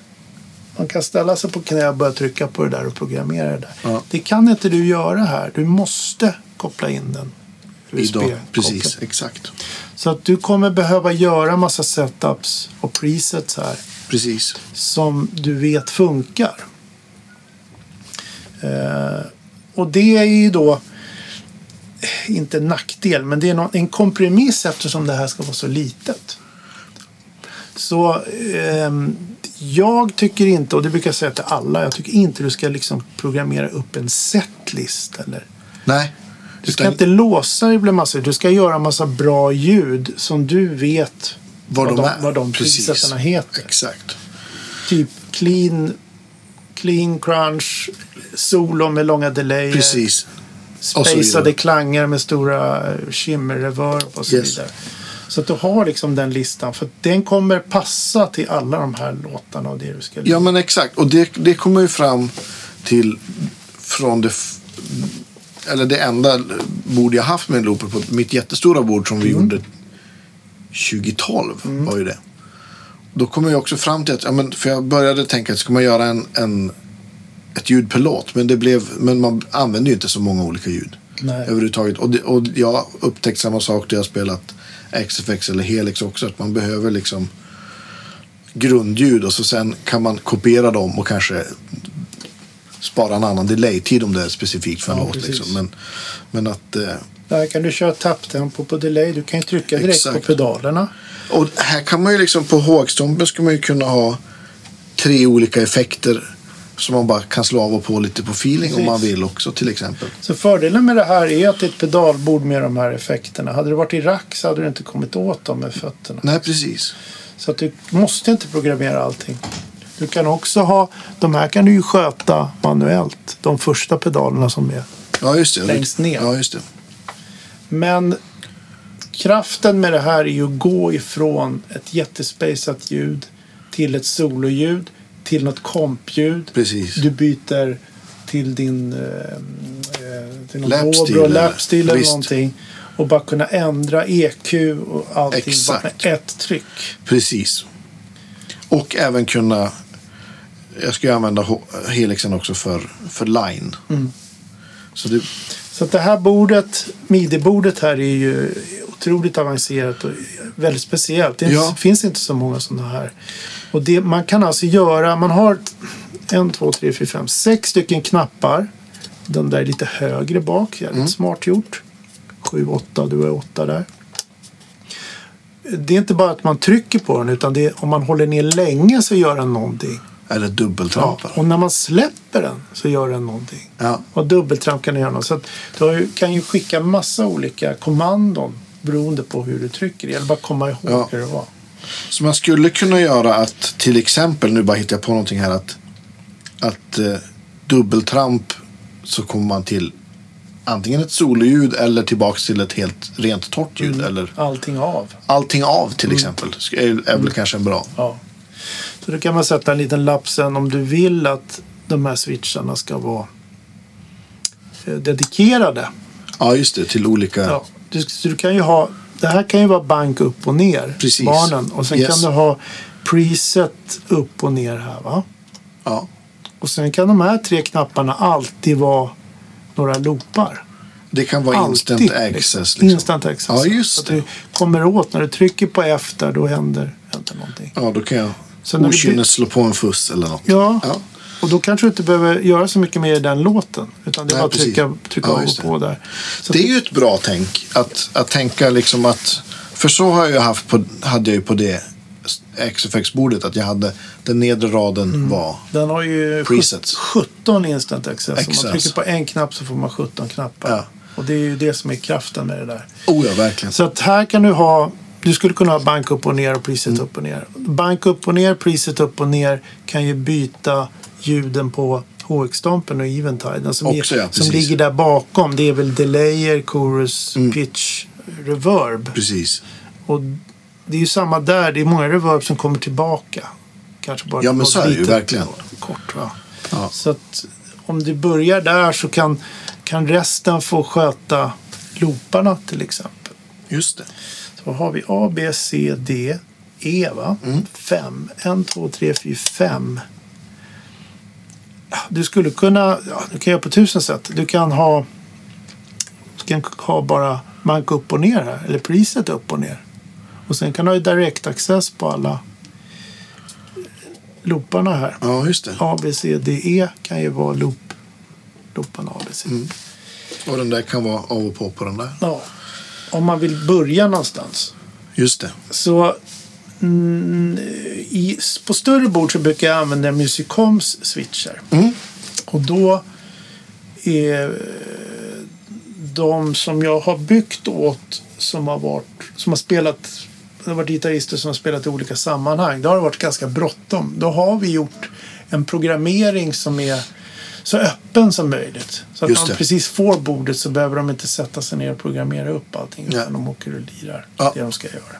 Speaker 1: Man kan ställa sig på knä och börja trycka på det där och programmera det där.
Speaker 2: Ja.
Speaker 1: Det kan inte du göra här. Du måste koppla in den.
Speaker 2: I
Speaker 1: USB
Speaker 2: dag. Precis.
Speaker 1: kopplat.
Speaker 2: Exakt.
Speaker 1: Så att du kommer behöva göra massa setups och presets här.
Speaker 2: Precis.
Speaker 1: som du vet funkar. Eh, och det är ju då eh, inte en nackdel, men det är nå- en kompromiss eftersom det här ska vara så litet. Så ehm, jag tycker inte, och det brukar jag säga till alla, jag tycker inte du ska liksom programmera upp en setlist eller
Speaker 2: Nej.
Speaker 1: du ska
Speaker 2: Utan
Speaker 1: inte låsa dig bland massor. Du ska göra massa bra ljud som du vet
Speaker 2: vad de, är.
Speaker 1: vad de
Speaker 2: Precis.
Speaker 1: precisarna heter
Speaker 2: Exakt.
Speaker 1: typ clean, clean crunch, solo med långa delayer,
Speaker 2: Precis. och så
Speaker 1: spacade
Speaker 2: vidare.
Speaker 1: klanger med stora eh, shimmer-reverb och så
Speaker 2: Yes.
Speaker 1: vidare. Så att du har liksom den listan, för att den kommer passa till alla de här låtarna och det du ska
Speaker 2: Ja, men exakt. Och det, det kommer ju fram till från det f- eller det enda bord jag haft med looper på. Mitt jättestora bord som vi gjorde 2012 var ju det. Då kommer jag också fram till att, ja, men, för jag började tänka att ska man göra en, en, ett ljud per låt, men, det blev, men man använde ju inte så många olika ljud
Speaker 1: Nej.
Speaker 2: överhuvudtaget. Och, det, och jag upptäckte samma sak då jag spelat XFX eller Helix också, att man behöver liksom grundljud och så sen kan man kopiera dem och kanske spara en annan delay-tid om det är specifikt för en
Speaker 1: Ja,
Speaker 2: låt.
Speaker 1: precis.
Speaker 2: Liksom. Men, men att... Eh,
Speaker 1: Där kan du köra tapptempo på delay, du kan ju trycka direkt på
Speaker 2: Exakt.
Speaker 1: pedalerna.
Speaker 2: och här kan man ju liksom på HX-stompen ska man ju kunna ha tre olika effekter som man bara kan slå av och på lite på feeling om
Speaker 1: Precis.
Speaker 2: man vill också till exempel.
Speaker 1: Så fördelen med det här är att det är ett pedalbord med de här effekterna. Hade det varit i rack så hade du inte kommit åt dem med fötterna.
Speaker 2: Nej, precis.
Speaker 1: Så att du måste inte programmera allting. Du kan också ha, de här kan du ju sköta manuellt, de första pedalerna som är.
Speaker 2: Ja, just det.
Speaker 1: Längst ner.
Speaker 2: Ja, just det.
Speaker 1: Men kraften med det här är ju att gå ifrån ett jättespejsat ljud till ett sololjud, till något kompljud.
Speaker 2: Precis.
Speaker 1: Du byter till din eh, eh, till någon
Speaker 2: Lapstil
Speaker 1: Dobro,
Speaker 2: eller-
Speaker 1: lapstil eller
Speaker 2: Visst.
Speaker 1: någonting. Och bara kunna ändra EQ och allting bara
Speaker 2: Exakt.
Speaker 1: med ett tryck.
Speaker 2: Precis. Och även kunna... Jag ska ju använda H- Helixen också för, för line.
Speaker 1: Mm.
Speaker 2: Så det,
Speaker 1: Så att det här bordet, midi-bordet här är ju otroligt avancerat och väldigt speciellt. Det
Speaker 2: Ja.
Speaker 1: finns inte så många sådana här. Och det, man kan alltså göra, man har en, två, tre, fyra, fem, sex stycken knappar. Den där är lite högre bak, jävligt smart gjort. Sju, åtta, du är åtta där. Det är inte bara att man trycker på den utan det är, om man håller ner länge så gör den någonting.
Speaker 2: är det
Speaker 1: Ja,
Speaker 2: dubbeltrampar.
Speaker 1: och när man släpper den så gör den någonting.
Speaker 2: Ja.
Speaker 1: Och dubbeltramp kan du göra. något. Så att du har ju, kan ju skicka massa olika kommandon beroende på hur du trycker. Det gäller bara att komma ihåg
Speaker 2: Ja.
Speaker 1: hur det var.
Speaker 2: Så man skulle kunna göra att till exempel, nu bara hittar jag på någonting här, att, att eh, dubbeltramp så kommer man till antingen ett sololjud eller tillbaks till ett helt rent torrt ljud. Eller
Speaker 1: Mm. Allting av.
Speaker 2: allting av
Speaker 1: Mm.
Speaker 2: till exempel. Sk- Är, är väl kanske en bra.
Speaker 1: Ja. Så då kan man sätta en liten lapp sen om du vill att de här switcharna ska vara eh, dedikerade.
Speaker 2: Ja, just det. Till olika.
Speaker 1: Ja. Du, så du kan ju ha, det här kan ju vara bank upp och ner.
Speaker 2: Precis.
Speaker 1: Barnen. Och sen
Speaker 2: Yes.
Speaker 1: kan du ha preset upp och ner här. Va?
Speaker 2: Ja.
Speaker 1: Och sen kan de här tre knapparna alltid vara några loopar.
Speaker 2: Det kan vara
Speaker 1: Alltid,
Speaker 2: instant access.
Speaker 1: Liksom. Instant access.
Speaker 2: Ja, just
Speaker 1: Så att
Speaker 2: det.
Speaker 1: du kommer åt när du trycker på F där, då händer, händer någonting.
Speaker 2: Ja, då kan jag
Speaker 1: Så när vi by-
Speaker 2: okynnes slå på en fuss eller något.
Speaker 1: Ja.
Speaker 2: Ja.
Speaker 1: Och då kanske du inte behöver göra så mycket mer i den låten. Utan det är
Speaker 2: Nej,
Speaker 1: bara att
Speaker 2: precis.
Speaker 1: trycka, trycka
Speaker 2: Ja,
Speaker 1: av
Speaker 2: just
Speaker 1: och
Speaker 2: det.
Speaker 1: på där. Så
Speaker 2: det är
Speaker 1: att-
Speaker 2: ju ett bra tänk. Att, att tänka liksom att... För så har jag ju haft på, hade jag ju på det XFX-bordet. Att jag hade den nedre raden
Speaker 1: Mm.
Speaker 2: var...
Speaker 1: Den har ju
Speaker 2: Presets.
Speaker 1: 17 instant access. Om man
Speaker 2: Access.
Speaker 1: trycker på en knapp så får man 17 knappar.
Speaker 2: Ja.
Speaker 1: Och det är ju det som är kraften med det där.
Speaker 2: Oh ja, verkligen.
Speaker 1: Så att här kan du ha, du skulle kunna ha bank upp och ner och priset
Speaker 2: Mm.
Speaker 1: upp och ner. Bank upp och ner, priset upp och ner kan ju byta ljuden på HX-stompen och eventiden som,
Speaker 2: Också, ja,
Speaker 1: som
Speaker 2: precis. Mm.
Speaker 1: ligger där bakom. Det är väl delayer, chorus, pitch, reverb.
Speaker 2: Precis.
Speaker 1: Och det är ju samma där, det är många reverb som kommer tillbaka. Kanske bara
Speaker 2: Ja, men
Speaker 1: något
Speaker 2: så är det ju
Speaker 1: litet
Speaker 2: verkligen.
Speaker 1: Kort, va?
Speaker 2: Ja.
Speaker 1: Så att om du börjar där så kan, kan resten få sköta looparna till exempel.
Speaker 2: Just det.
Speaker 1: Så har vi A, B, C, D, E va? Fem. En, två, tre, fyra, fem. Ja, Du skulle kunna, ja, du kan göra på tusen sätt. Du kan ha, du kan ha bara mank upp och ner här, eller priset upp och ner. Och sen kan du ha direct access på alla looparna här.
Speaker 2: Ja, just det.
Speaker 1: A, B, C, D, E kan ju vara loop, looparna A, B, C.
Speaker 2: Och den där kan vara av och på på den där.
Speaker 1: Ja, om man vill börja någonstans.
Speaker 2: Just det.
Speaker 1: Så mm, i, på större bord så brukar jag använda Musicoms switcher.
Speaker 2: Mm.
Speaker 1: Och då är de som jag har byggt åt som har, varit, som har spelat det har varit gitarrister som har spelat i olika sammanhang. Då har det varit ganska bråttom. Då har vi gjort en programmering som är så öppen som möjligt. Så att
Speaker 2: Just
Speaker 1: när de
Speaker 2: det.
Speaker 1: precis får bordet så behöver de inte sätta sig ner och programmera upp allting. Utan
Speaker 2: Nej.
Speaker 1: de åker och lirar
Speaker 2: Ja.
Speaker 1: det de ska göra.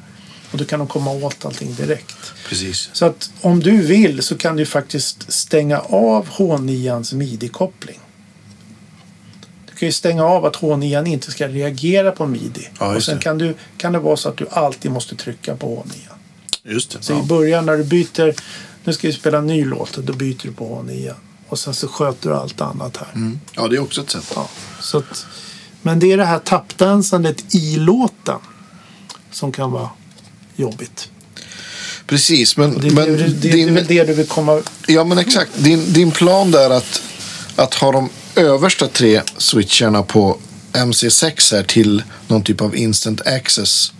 Speaker 1: Och då kan de komma åt allting direkt.
Speaker 2: Precis.
Speaker 1: Så att om du vill så kan du faktiskt stänga av H9ans midi-koppling. Du kan ju stänga av att H9 inte ska reagera på midi.
Speaker 2: Ja,
Speaker 1: och
Speaker 2: just
Speaker 1: sen
Speaker 2: det.
Speaker 1: kan, du, kan det vara så att du alltid måste trycka på H9.
Speaker 2: Just det.
Speaker 1: Så i
Speaker 2: Ja.
Speaker 1: början när du byter, nu ska vi spela en ny låt, då byter du på H9. Och sen så sköter du allt annat här.
Speaker 2: Mm. ja, det är också ett sätt.
Speaker 1: Ja, så att, men det är det här tappdansandet i låten som kan vara jobbigt.
Speaker 2: Precis, men...
Speaker 1: Det,
Speaker 2: men
Speaker 1: det, det, det, är
Speaker 2: din-
Speaker 1: väl det du vill komma...
Speaker 2: Ja, men exakt. Din, din plan där att, att ha de översta tre switcharna på MC6 här till någon typ av instant access.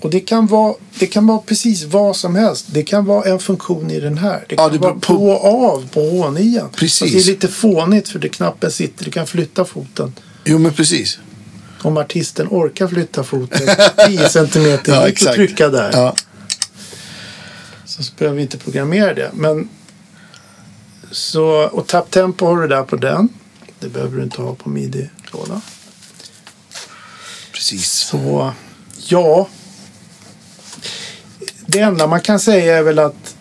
Speaker 1: Och det kan, vara, det kan vara precis vad som helst. Det kan vara en funktion i den här. Det kan
Speaker 2: Ja, det
Speaker 1: vara
Speaker 2: beror
Speaker 1: på
Speaker 2: på-
Speaker 1: och av på H9.
Speaker 2: Precis.
Speaker 1: Fast det är lite fånigt för det knappen sitter. Du kan flytta foten.
Speaker 2: Jo, men precis.
Speaker 1: Om artisten orkar flytta foten 10 centimeter
Speaker 2: Ja,
Speaker 1: hit och
Speaker 2: exakt.
Speaker 1: trycka där.
Speaker 2: Ja,
Speaker 1: Så, så behöver vi inte programmera det. Men, så, och tapptempo har du där på den. Det behöver du inte ha på midi-lådan.
Speaker 2: precis.
Speaker 1: Så ja. Det enda man kan säga är väl att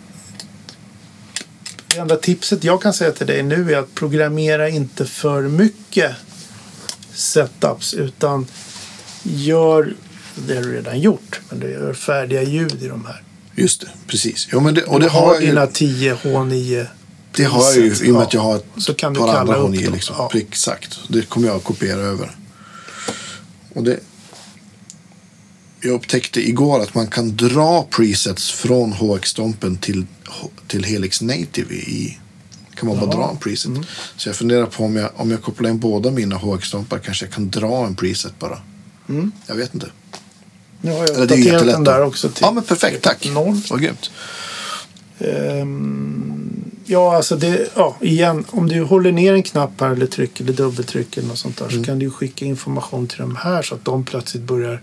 Speaker 1: det enda tipset jag kan säga till dig nu är att programmera inte för mycket setups utan gör det du redan gjort, men du gör färdiga ljud i de här.
Speaker 2: Just det, precis. Jo, men det, och det
Speaker 1: Du har,
Speaker 2: har jag ju,
Speaker 1: dina 10 H9.
Speaker 2: det har jag ju i och med att jag har ett
Speaker 1: Så kan du
Speaker 2: par
Speaker 1: kalla
Speaker 2: andra
Speaker 1: upp
Speaker 2: harmonier.
Speaker 1: dem.
Speaker 2: Liksom.
Speaker 1: Ja.
Speaker 2: Prick, Exakt, det kommer jag att kopiera över. Och det, jag upptäckte igår att man kan dra presets från HX-stompen till, till Helix Native. I, kan man bara dra en preset.
Speaker 1: Mm.
Speaker 2: Så jag funderar på om jag, om jag kopplar in båda mina HX-stompar kanske jag kan dra en preset bara.
Speaker 1: Mm.
Speaker 2: Jag vet inte.
Speaker 1: Nu har jag
Speaker 2: Eller det är ju
Speaker 1: uppdaterat
Speaker 2: jättelätt.
Speaker 1: den där också till
Speaker 2: Ja, men perfekt. Tack.
Speaker 1: noll.
Speaker 2: Vad grymt.
Speaker 1: Ehm, ja, alltså det, ja, igen, om du håller ner en knapp här eller trycker eller dubbeltrycker eller något sånt där
Speaker 2: Mm.
Speaker 1: så kan du ju skicka information till de här så att de plötsligt börjar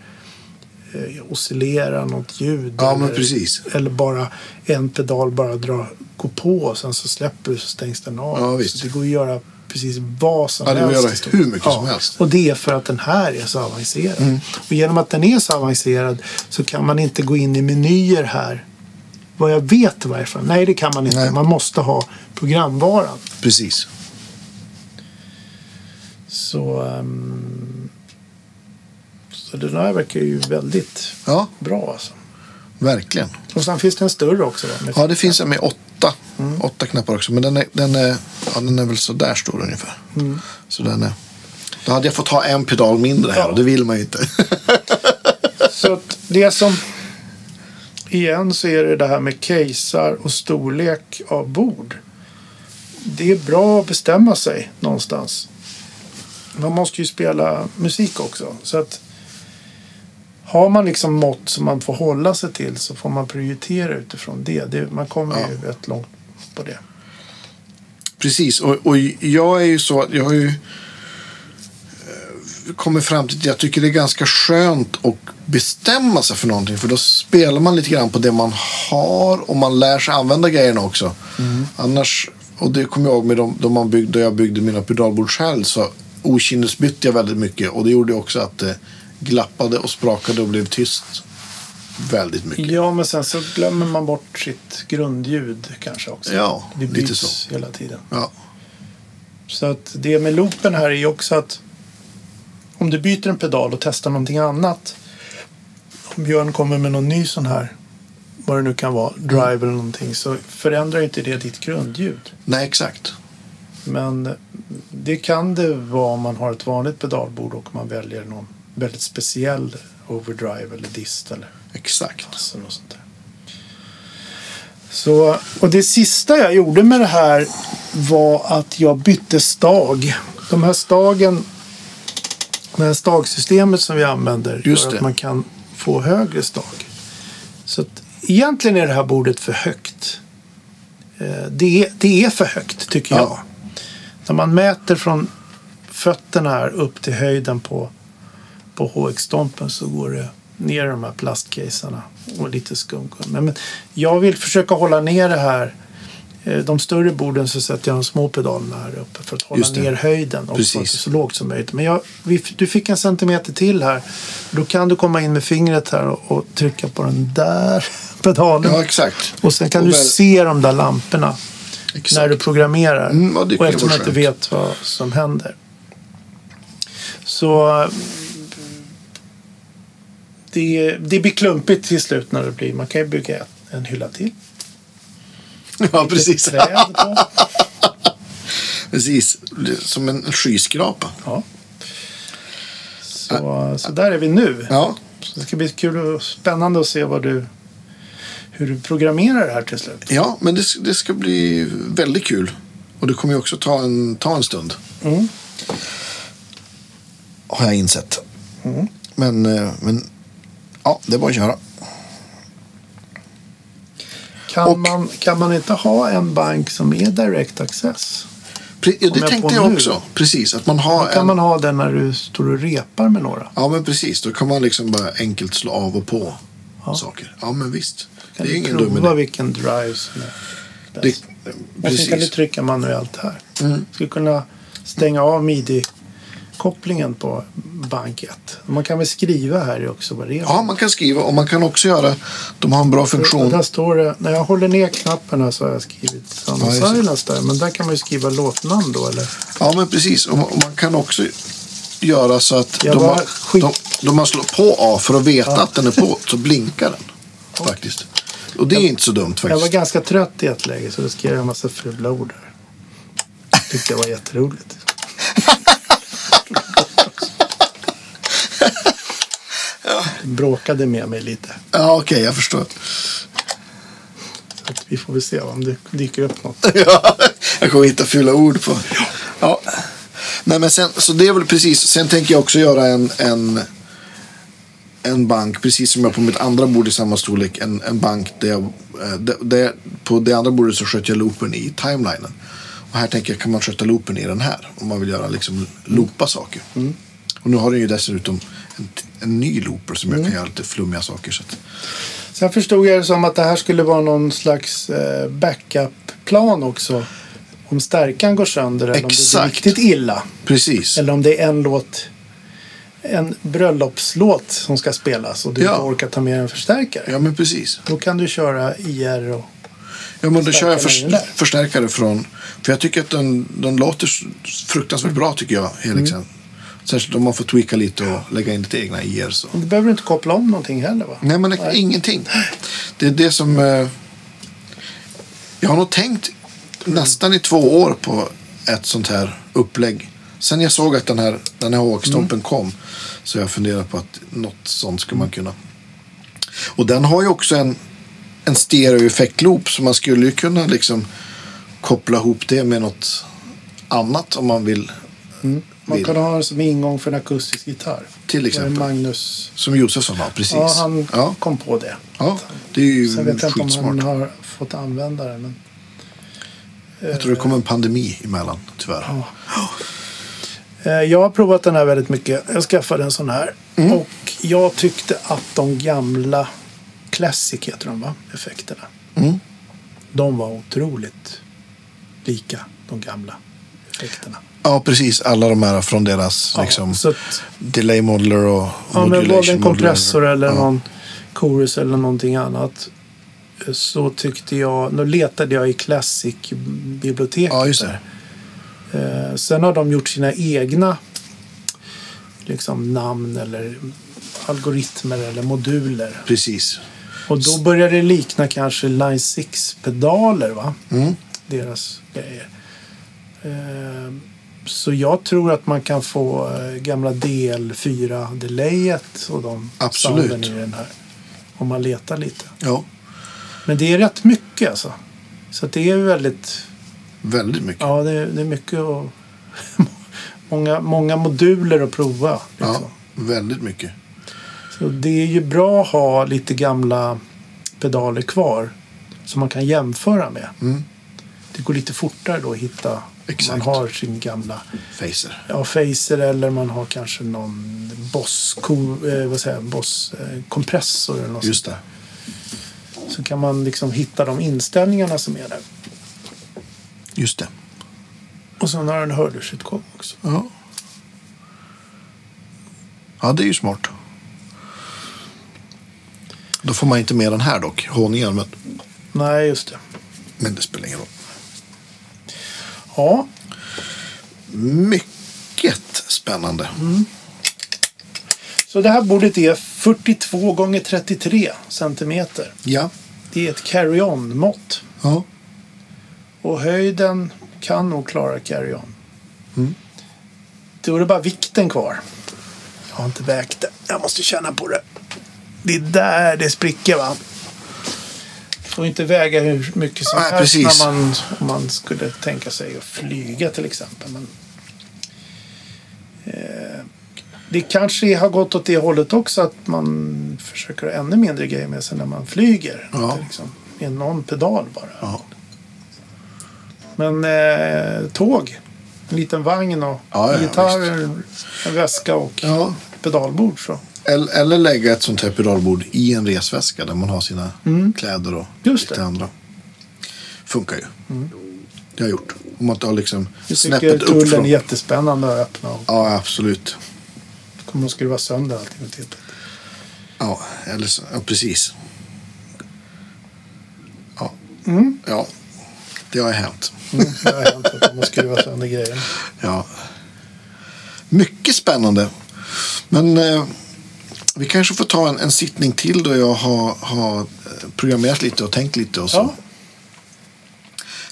Speaker 1: eh, oscillera något ljud.
Speaker 2: Ja, men
Speaker 1: eller,
Speaker 2: precis.
Speaker 1: eller bara en pedal bara dra, går på och sen så släpper du så stängs den av.
Speaker 2: Ja, visst.
Speaker 1: Så det går att göra precis vad som
Speaker 2: Ja, det går att
Speaker 1: helst.
Speaker 2: göra
Speaker 1: i stort.
Speaker 2: hur mycket som helst. Mm.
Speaker 1: Och det är för att den här är så avancerad. Och genom att den är så avancerad så kan man inte gå in i menyer här vad jag vet i varje fall. Nej, det kan man inte.
Speaker 2: Nej.
Speaker 1: Man måste ha programvaran.
Speaker 2: Precis.
Speaker 1: Så, ehm, så den här verkar ju väldigt
Speaker 2: Ja,
Speaker 1: bra. Alltså.
Speaker 2: verkligen.
Speaker 1: Och sen finns det en större också. Va? Med-
Speaker 2: Ja, det finns en med åtta, åtta knappar också. Men den är, den, är, ja, den är väl så där stor ungefär. Så den är, då hade jag fått ha en pedal mindre här
Speaker 1: Ja.
Speaker 2: och det vill man ju inte.
Speaker 1: Så att det som... Igen så är det det här med casear och storlek av bord. Det är bra att bestämma sig någonstans. Man måste ju spela musik också. Så att har man liksom mått som man får hålla sig till så får man prioritera utifrån det. det man kommer ju rätt långt på det.
Speaker 2: Precis, och, och jag är ju så att jag har ju eh, kommit fram till att jag tycker det är ganska skönt att bestämma sig för någonting. För då spelar man lite grann på det man har och man lär sig använda grejerna också.
Speaker 1: Mm.
Speaker 2: Annars, och det kommer jag ihåg med de, de man byggde, då jag byggde mina pedalbord själv så okynnesbytte jag väldigt mycket och det gjorde också att det glappade och sprakade och blev tyst väldigt mycket.
Speaker 1: Ja, men sen så glömmer man bort sitt grundljud kanske också.
Speaker 2: Ja,
Speaker 1: det
Speaker 2: lite
Speaker 1: byts
Speaker 2: så.
Speaker 1: hela tiden.
Speaker 2: Ja,
Speaker 1: Så att det med loopen här är ju också att om du byter en pedal och testar någonting annat. Om Björn kommer med någon ny sån här, vad det nu kan vara, drive eller någonting, så förändrar ju inte det ditt grundljud.
Speaker 2: nej exakt.
Speaker 1: Men det kan det vara om man har ett vanligt pedalbord och man väljer någon väldigt speciell overdrive eller dist eller
Speaker 2: Exakt.
Speaker 1: Expressen och sånt där. Så, och det sista jag gjorde med det här var att jag bytte stag. De här stagen, det här stagsystemet som vi använder
Speaker 2: Just
Speaker 1: gör att
Speaker 2: det.
Speaker 1: man kan få högre stag. Så att, egentligen är det här bordet för högt. Eh, Det är, det är för högt tycker
Speaker 2: Ja.
Speaker 1: jag. När man mäter från fötterna här upp till höjden på, på HX-stompen så går det ner i de här plastcaserna och lite skumgummi. Men jag vill försöka hålla ner det här. Eh, De större borden så sätter jag de små pedalerna här uppe för att hålla
Speaker 2: Just det.
Speaker 1: ner höjden och
Speaker 2: Precis.
Speaker 1: få det så lågt som möjligt. Men jag, vi, du fick en centimeter till här. Då kan du komma in med fingret här och, och trycka på den där pedalen.
Speaker 2: Ja, exakt.
Speaker 1: Och sen kan
Speaker 2: Och
Speaker 1: du
Speaker 2: väl-
Speaker 1: se de där lamporna
Speaker 2: exakt.
Speaker 1: när du programmerar.
Speaker 2: Mm, ja, det
Speaker 1: och
Speaker 2: kan
Speaker 1: eftersom
Speaker 2: vara
Speaker 1: jag inte
Speaker 2: skönt.
Speaker 1: vet vad som händer. Så eh, det, det blir klumpigt till slut när det blir. Man kan ju bygga ett- en hylla till.
Speaker 2: Ja, precis.
Speaker 1: Ett träd på.
Speaker 2: Precis, som en skyskrapa.
Speaker 1: Ja. Så, så där är vi nu.
Speaker 2: Ja,
Speaker 1: Så det ska bli kul och spännande att se vad du, hur du programmerar det här till slut.
Speaker 2: ja men det, det ska bli väldigt kul. Och det kommer ju också ta en, ta en stund.
Speaker 1: Mm.
Speaker 2: Har jag insett.
Speaker 1: Mm.
Speaker 2: Men, eh, men ja, det är bara att köra.
Speaker 1: Kan,
Speaker 2: Och-
Speaker 1: man, kan man inte ha en bank som är direct access?
Speaker 2: Pre- ja, det
Speaker 1: Kom jag på
Speaker 2: tänkte jag
Speaker 1: nu?
Speaker 2: också. Precis, att man har
Speaker 1: Kan
Speaker 2: en...
Speaker 1: man ha den när du står och repar med några?
Speaker 2: Ja, men precis. Då kan man liksom bara enkelt slå av och på
Speaker 1: Ja.
Speaker 2: saker. Ja, men visst.
Speaker 1: Kan
Speaker 2: det är
Speaker 1: du
Speaker 2: ingen dum
Speaker 1: prova
Speaker 2: idé.
Speaker 1: vilken drive som är
Speaker 2: Det,
Speaker 1: bäst? Och sen kan du
Speaker 2: precis. Mm.
Speaker 1: trycka manuellt här. Du skulle kunna stänga av midi-kopplingen på bank 1. Man kan väl skriva här också vad det är.
Speaker 2: Ja, man kan skriva och man kan också göra... De har en bra
Speaker 1: Och
Speaker 2: funktion.
Speaker 1: Där står det, när jag håller ner knapparna så har jag skrivit Sound
Speaker 2: Ja,
Speaker 1: of
Speaker 2: just det.
Speaker 1: Silence där. Men där kan man ju skriva låtnamn då eller?
Speaker 2: Ja, men precis. Och man, och man kan också göra så att...
Speaker 1: Jag
Speaker 2: de
Speaker 1: var
Speaker 2: har- de-
Speaker 1: skit
Speaker 2: Då man slår på A för att veta att den är på så blinkar den. Faktiskt. Och det är inte så dumt
Speaker 1: Jag var
Speaker 2: faktiskt.
Speaker 1: ganska trött i ett läge så då skrev jag en massa fula ord där. Tyckte det var jätteroligt. Bråkade med mig lite.
Speaker 2: Ja, okej, jag förstår.
Speaker 1: Så att vi får väl se om det dyker upp något.
Speaker 2: Ja, jag kommer hitta fula ord på. Ja. Nej, men sen, så det är väl precis. Sen tänker jag också göra en, en, en bank, precis som jag på mitt andra bord i samma storlek, en, en bank där jag, eh, där, där, på det andra bordet så sköt jag loopen i timelinen. Och här tänker jag, kan man sköta loopen i den här? Om man vill göra liksom loopa saker. Och nu har den ju dessutom en, en ny looper som jag kan göra lite flummiga saker. Så att,
Speaker 1: Sen förstod jag det som att det här skulle vara någon slags eh, backup-plan också. Om stärkan går sönder eller om det är
Speaker 2: Exakt.
Speaker 1: riktigt illa.
Speaker 2: precis.
Speaker 1: Eller om det är en låt, en bröllopslåt som ska spelas och du
Speaker 2: Ja.
Speaker 1: inte orkar ta med en förstärkare.
Speaker 2: Ja, men precis.
Speaker 1: Då kan du köra IR och...
Speaker 2: Ja, men då kör jag
Speaker 1: Förstärkaren är
Speaker 2: förs-
Speaker 1: där.
Speaker 2: förstärkare från... För jag tycker att den, den låter s- fruktansvärt bra, tycker jag, Helixen. Särskilt om man får tweaka lite och lägga in lite egna IR. Så.
Speaker 1: Du behöver inte koppla om någonting heller va?
Speaker 2: Nej, men det- ingenting. Det är det som... Eh, jag har nog tänkt
Speaker 1: Mm.
Speaker 2: nästan i två år på ett sånt här upplägg. Sen jag såg att den här, den här hågstompen
Speaker 1: Mm.
Speaker 2: kom så jag funderat på att något sånt skulle man kunna. Och den har ju också en, en stereoeffektloop så man skulle ju kunna liksom koppla ihop det med något annat om man vill.
Speaker 1: Mm. Man
Speaker 2: vill.
Speaker 1: kan ha den som ingång för en akustisk gitarr.
Speaker 2: Till exempel.
Speaker 1: Det var Magnus.
Speaker 2: Som Josefsson har, precis.
Speaker 1: Ja, han
Speaker 2: ja,
Speaker 1: kom på det.
Speaker 2: ja, det är ju
Speaker 1: Sen vet jag inte om
Speaker 2: skitsmart.
Speaker 1: han har fått använda det. Men...
Speaker 2: Jag tror det kom en pandemi emellan, tyvärr.
Speaker 1: Eh, Jag har provat den här väldigt mycket. Jag skaffade en sån här.
Speaker 2: Mm.
Speaker 1: Och jag tyckte att de gamla Classic heter de va? Effekterna.
Speaker 2: Mm.
Speaker 1: De var otroligt lika de gamla effekterna.
Speaker 2: Ja, precis. Alla de här från deras
Speaker 1: Ja,
Speaker 2: liksom,
Speaker 1: så att,
Speaker 2: delay modeler och
Speaker 1: ja, men
Speaker 2: modulation
Speaker 1: valde en kompressor
Speaker 2: modeler.
Speaker 1: eller
Speaker 2: ja.
Speaker 1: någon chorus eller någonting annat. eh, Så tyckte jag, då letade jag i Classic-biblioteket.
Speaker 2: Ja, just
Speaker 1: där.
Speaker 2: det.
Speaker 1: Eh, sen har de gjort sina egna liksom, namn eller algoritmer eller moduler.
Speaker 2: Precis.
Speaker 1: Och då börjar det likna kanske Line 6-pedaler, va?
Speaker 2: Mm.
Speaker 1: Deras grejer. Eh, Så jag tror att man kan få eh, gamla DL4-delayet och de
Speaker 2: Absolut.
Speaker 1: sounden i den här. Om man letar lite.
Speaker 2: Ja,
Speaker 1: Men det är rätt mycket alltså. Så att det är väldigt...
Speaker 2: väldigt mycket.
Speaker 1: Ja, det är, det är mycket och många, många moduler att prova. Liksom.
Speaker 2: Ja, väldigt mycket.
Speaker 1: Så det är ju bra att ha lite gamla pedaler kvar som man kan jämföra med.
Speaker 2: Mm.
Speaker 1: Det går lite fortare då att hitta om man
Speaker 2: Exakt.
Speaker 1: har sin gamla
Speaker 2: Facer.
Speaker 1: ja, Facer eller man har kanske någon Boss, ko, eh, vad säger, jag, boss eh, kompressor eller något
Speaker 2: Just
Speaker 1: sånt
Speaker 2: det.
Speaker 1: där. Så kan man liksom hitta de inställningarna som är där.
Speaker 2: Just det.
Speaker 1: Och sen har den hörlursutgång också.
Speaker 2: Ja. ja, det är ju smart. Då får man inte med den här dock, honingen, men,
Speaker 1: Nej, just det.
Speaker 2: men det spelar ingen roll.
Speaker 1: Ja,
Speaker 2: Mycket spännande.
Speaker 1: Mm. så det här bordet är 42 gånger 33 centimeter.
Speaker 2: Ja.
Speaker 1: Det är ett carry-on-mått.
Speaker 2: ja.
Speaker 1: Och höjden kan nog klara carry-on.
Speaker 2: Mm.
Speaker 1: Då är det bara vikten kvar. Jag har inte vägt det. Jag måste känna på det. Det är där det spricker va? Får inte väga hur mycket som
Speaker 2: Nej,
Speaker 1: helst
Speaker 2: precis.
Speaker 1: när man, om man skulle tänka sig att flyga till exempel. Men, eh, det kanske har gått åt det hållet också att man försöker ha ännu mindre grejer med sig när man flyger.
Speaker 2: Ja.
Speaker 1: Att det Liksom, är någon pedal bara.
Speaker 2: Ja.
Speaker 1: Men eh, tåg, en liten vagn och
Speaker 2: Ja, ja,
Speaker 1: gitarr, en väska och
Speaker 2: ja.
Speaker 1: pedalbord. Så.
Speaker 2: Eller, eller lägga ett sånt här pedalbord i en resväska där man har sina kläder och
Speaker 1: Mm. Just
Speaker 2: lite
Speaker 1: det.
Speaker 2: andra. Funkar ju. Det har jag gjort. Om man tar liksom
Speaker 1: Jag tycker
Speaker 2: snäppet
Speaker 1: tullen
Speaker 2: upp från...
Speaker 1: är jättespännande att öppna och
Speaker 2: Ja, absolut.
Speaker 1: kommer att skruva sönder allting och titta.
Speaker 2: Ja, eller så, ja, precis. Ja. ja, det har hänt.
Speaker 1: Mm, det har hänt att de har skruvat sönder grejer.
Speaker 2: Ja. Mycket spännande. Men eh, Vi kanske får ta en, en sittning till då jag har, har eh, programmerat lite och tänkt lite. Och så.
Speaker 1: Ja.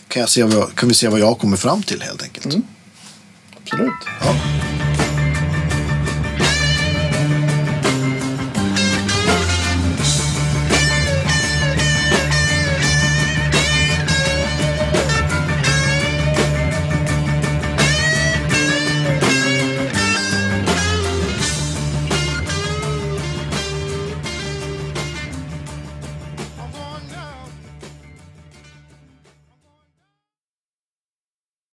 Speaker 2: Kan, jag se vad jag, kan vi se vad jag kommer fram till helt enkelt.
Speaker 1: Absolut.
Speaker 2: Ja.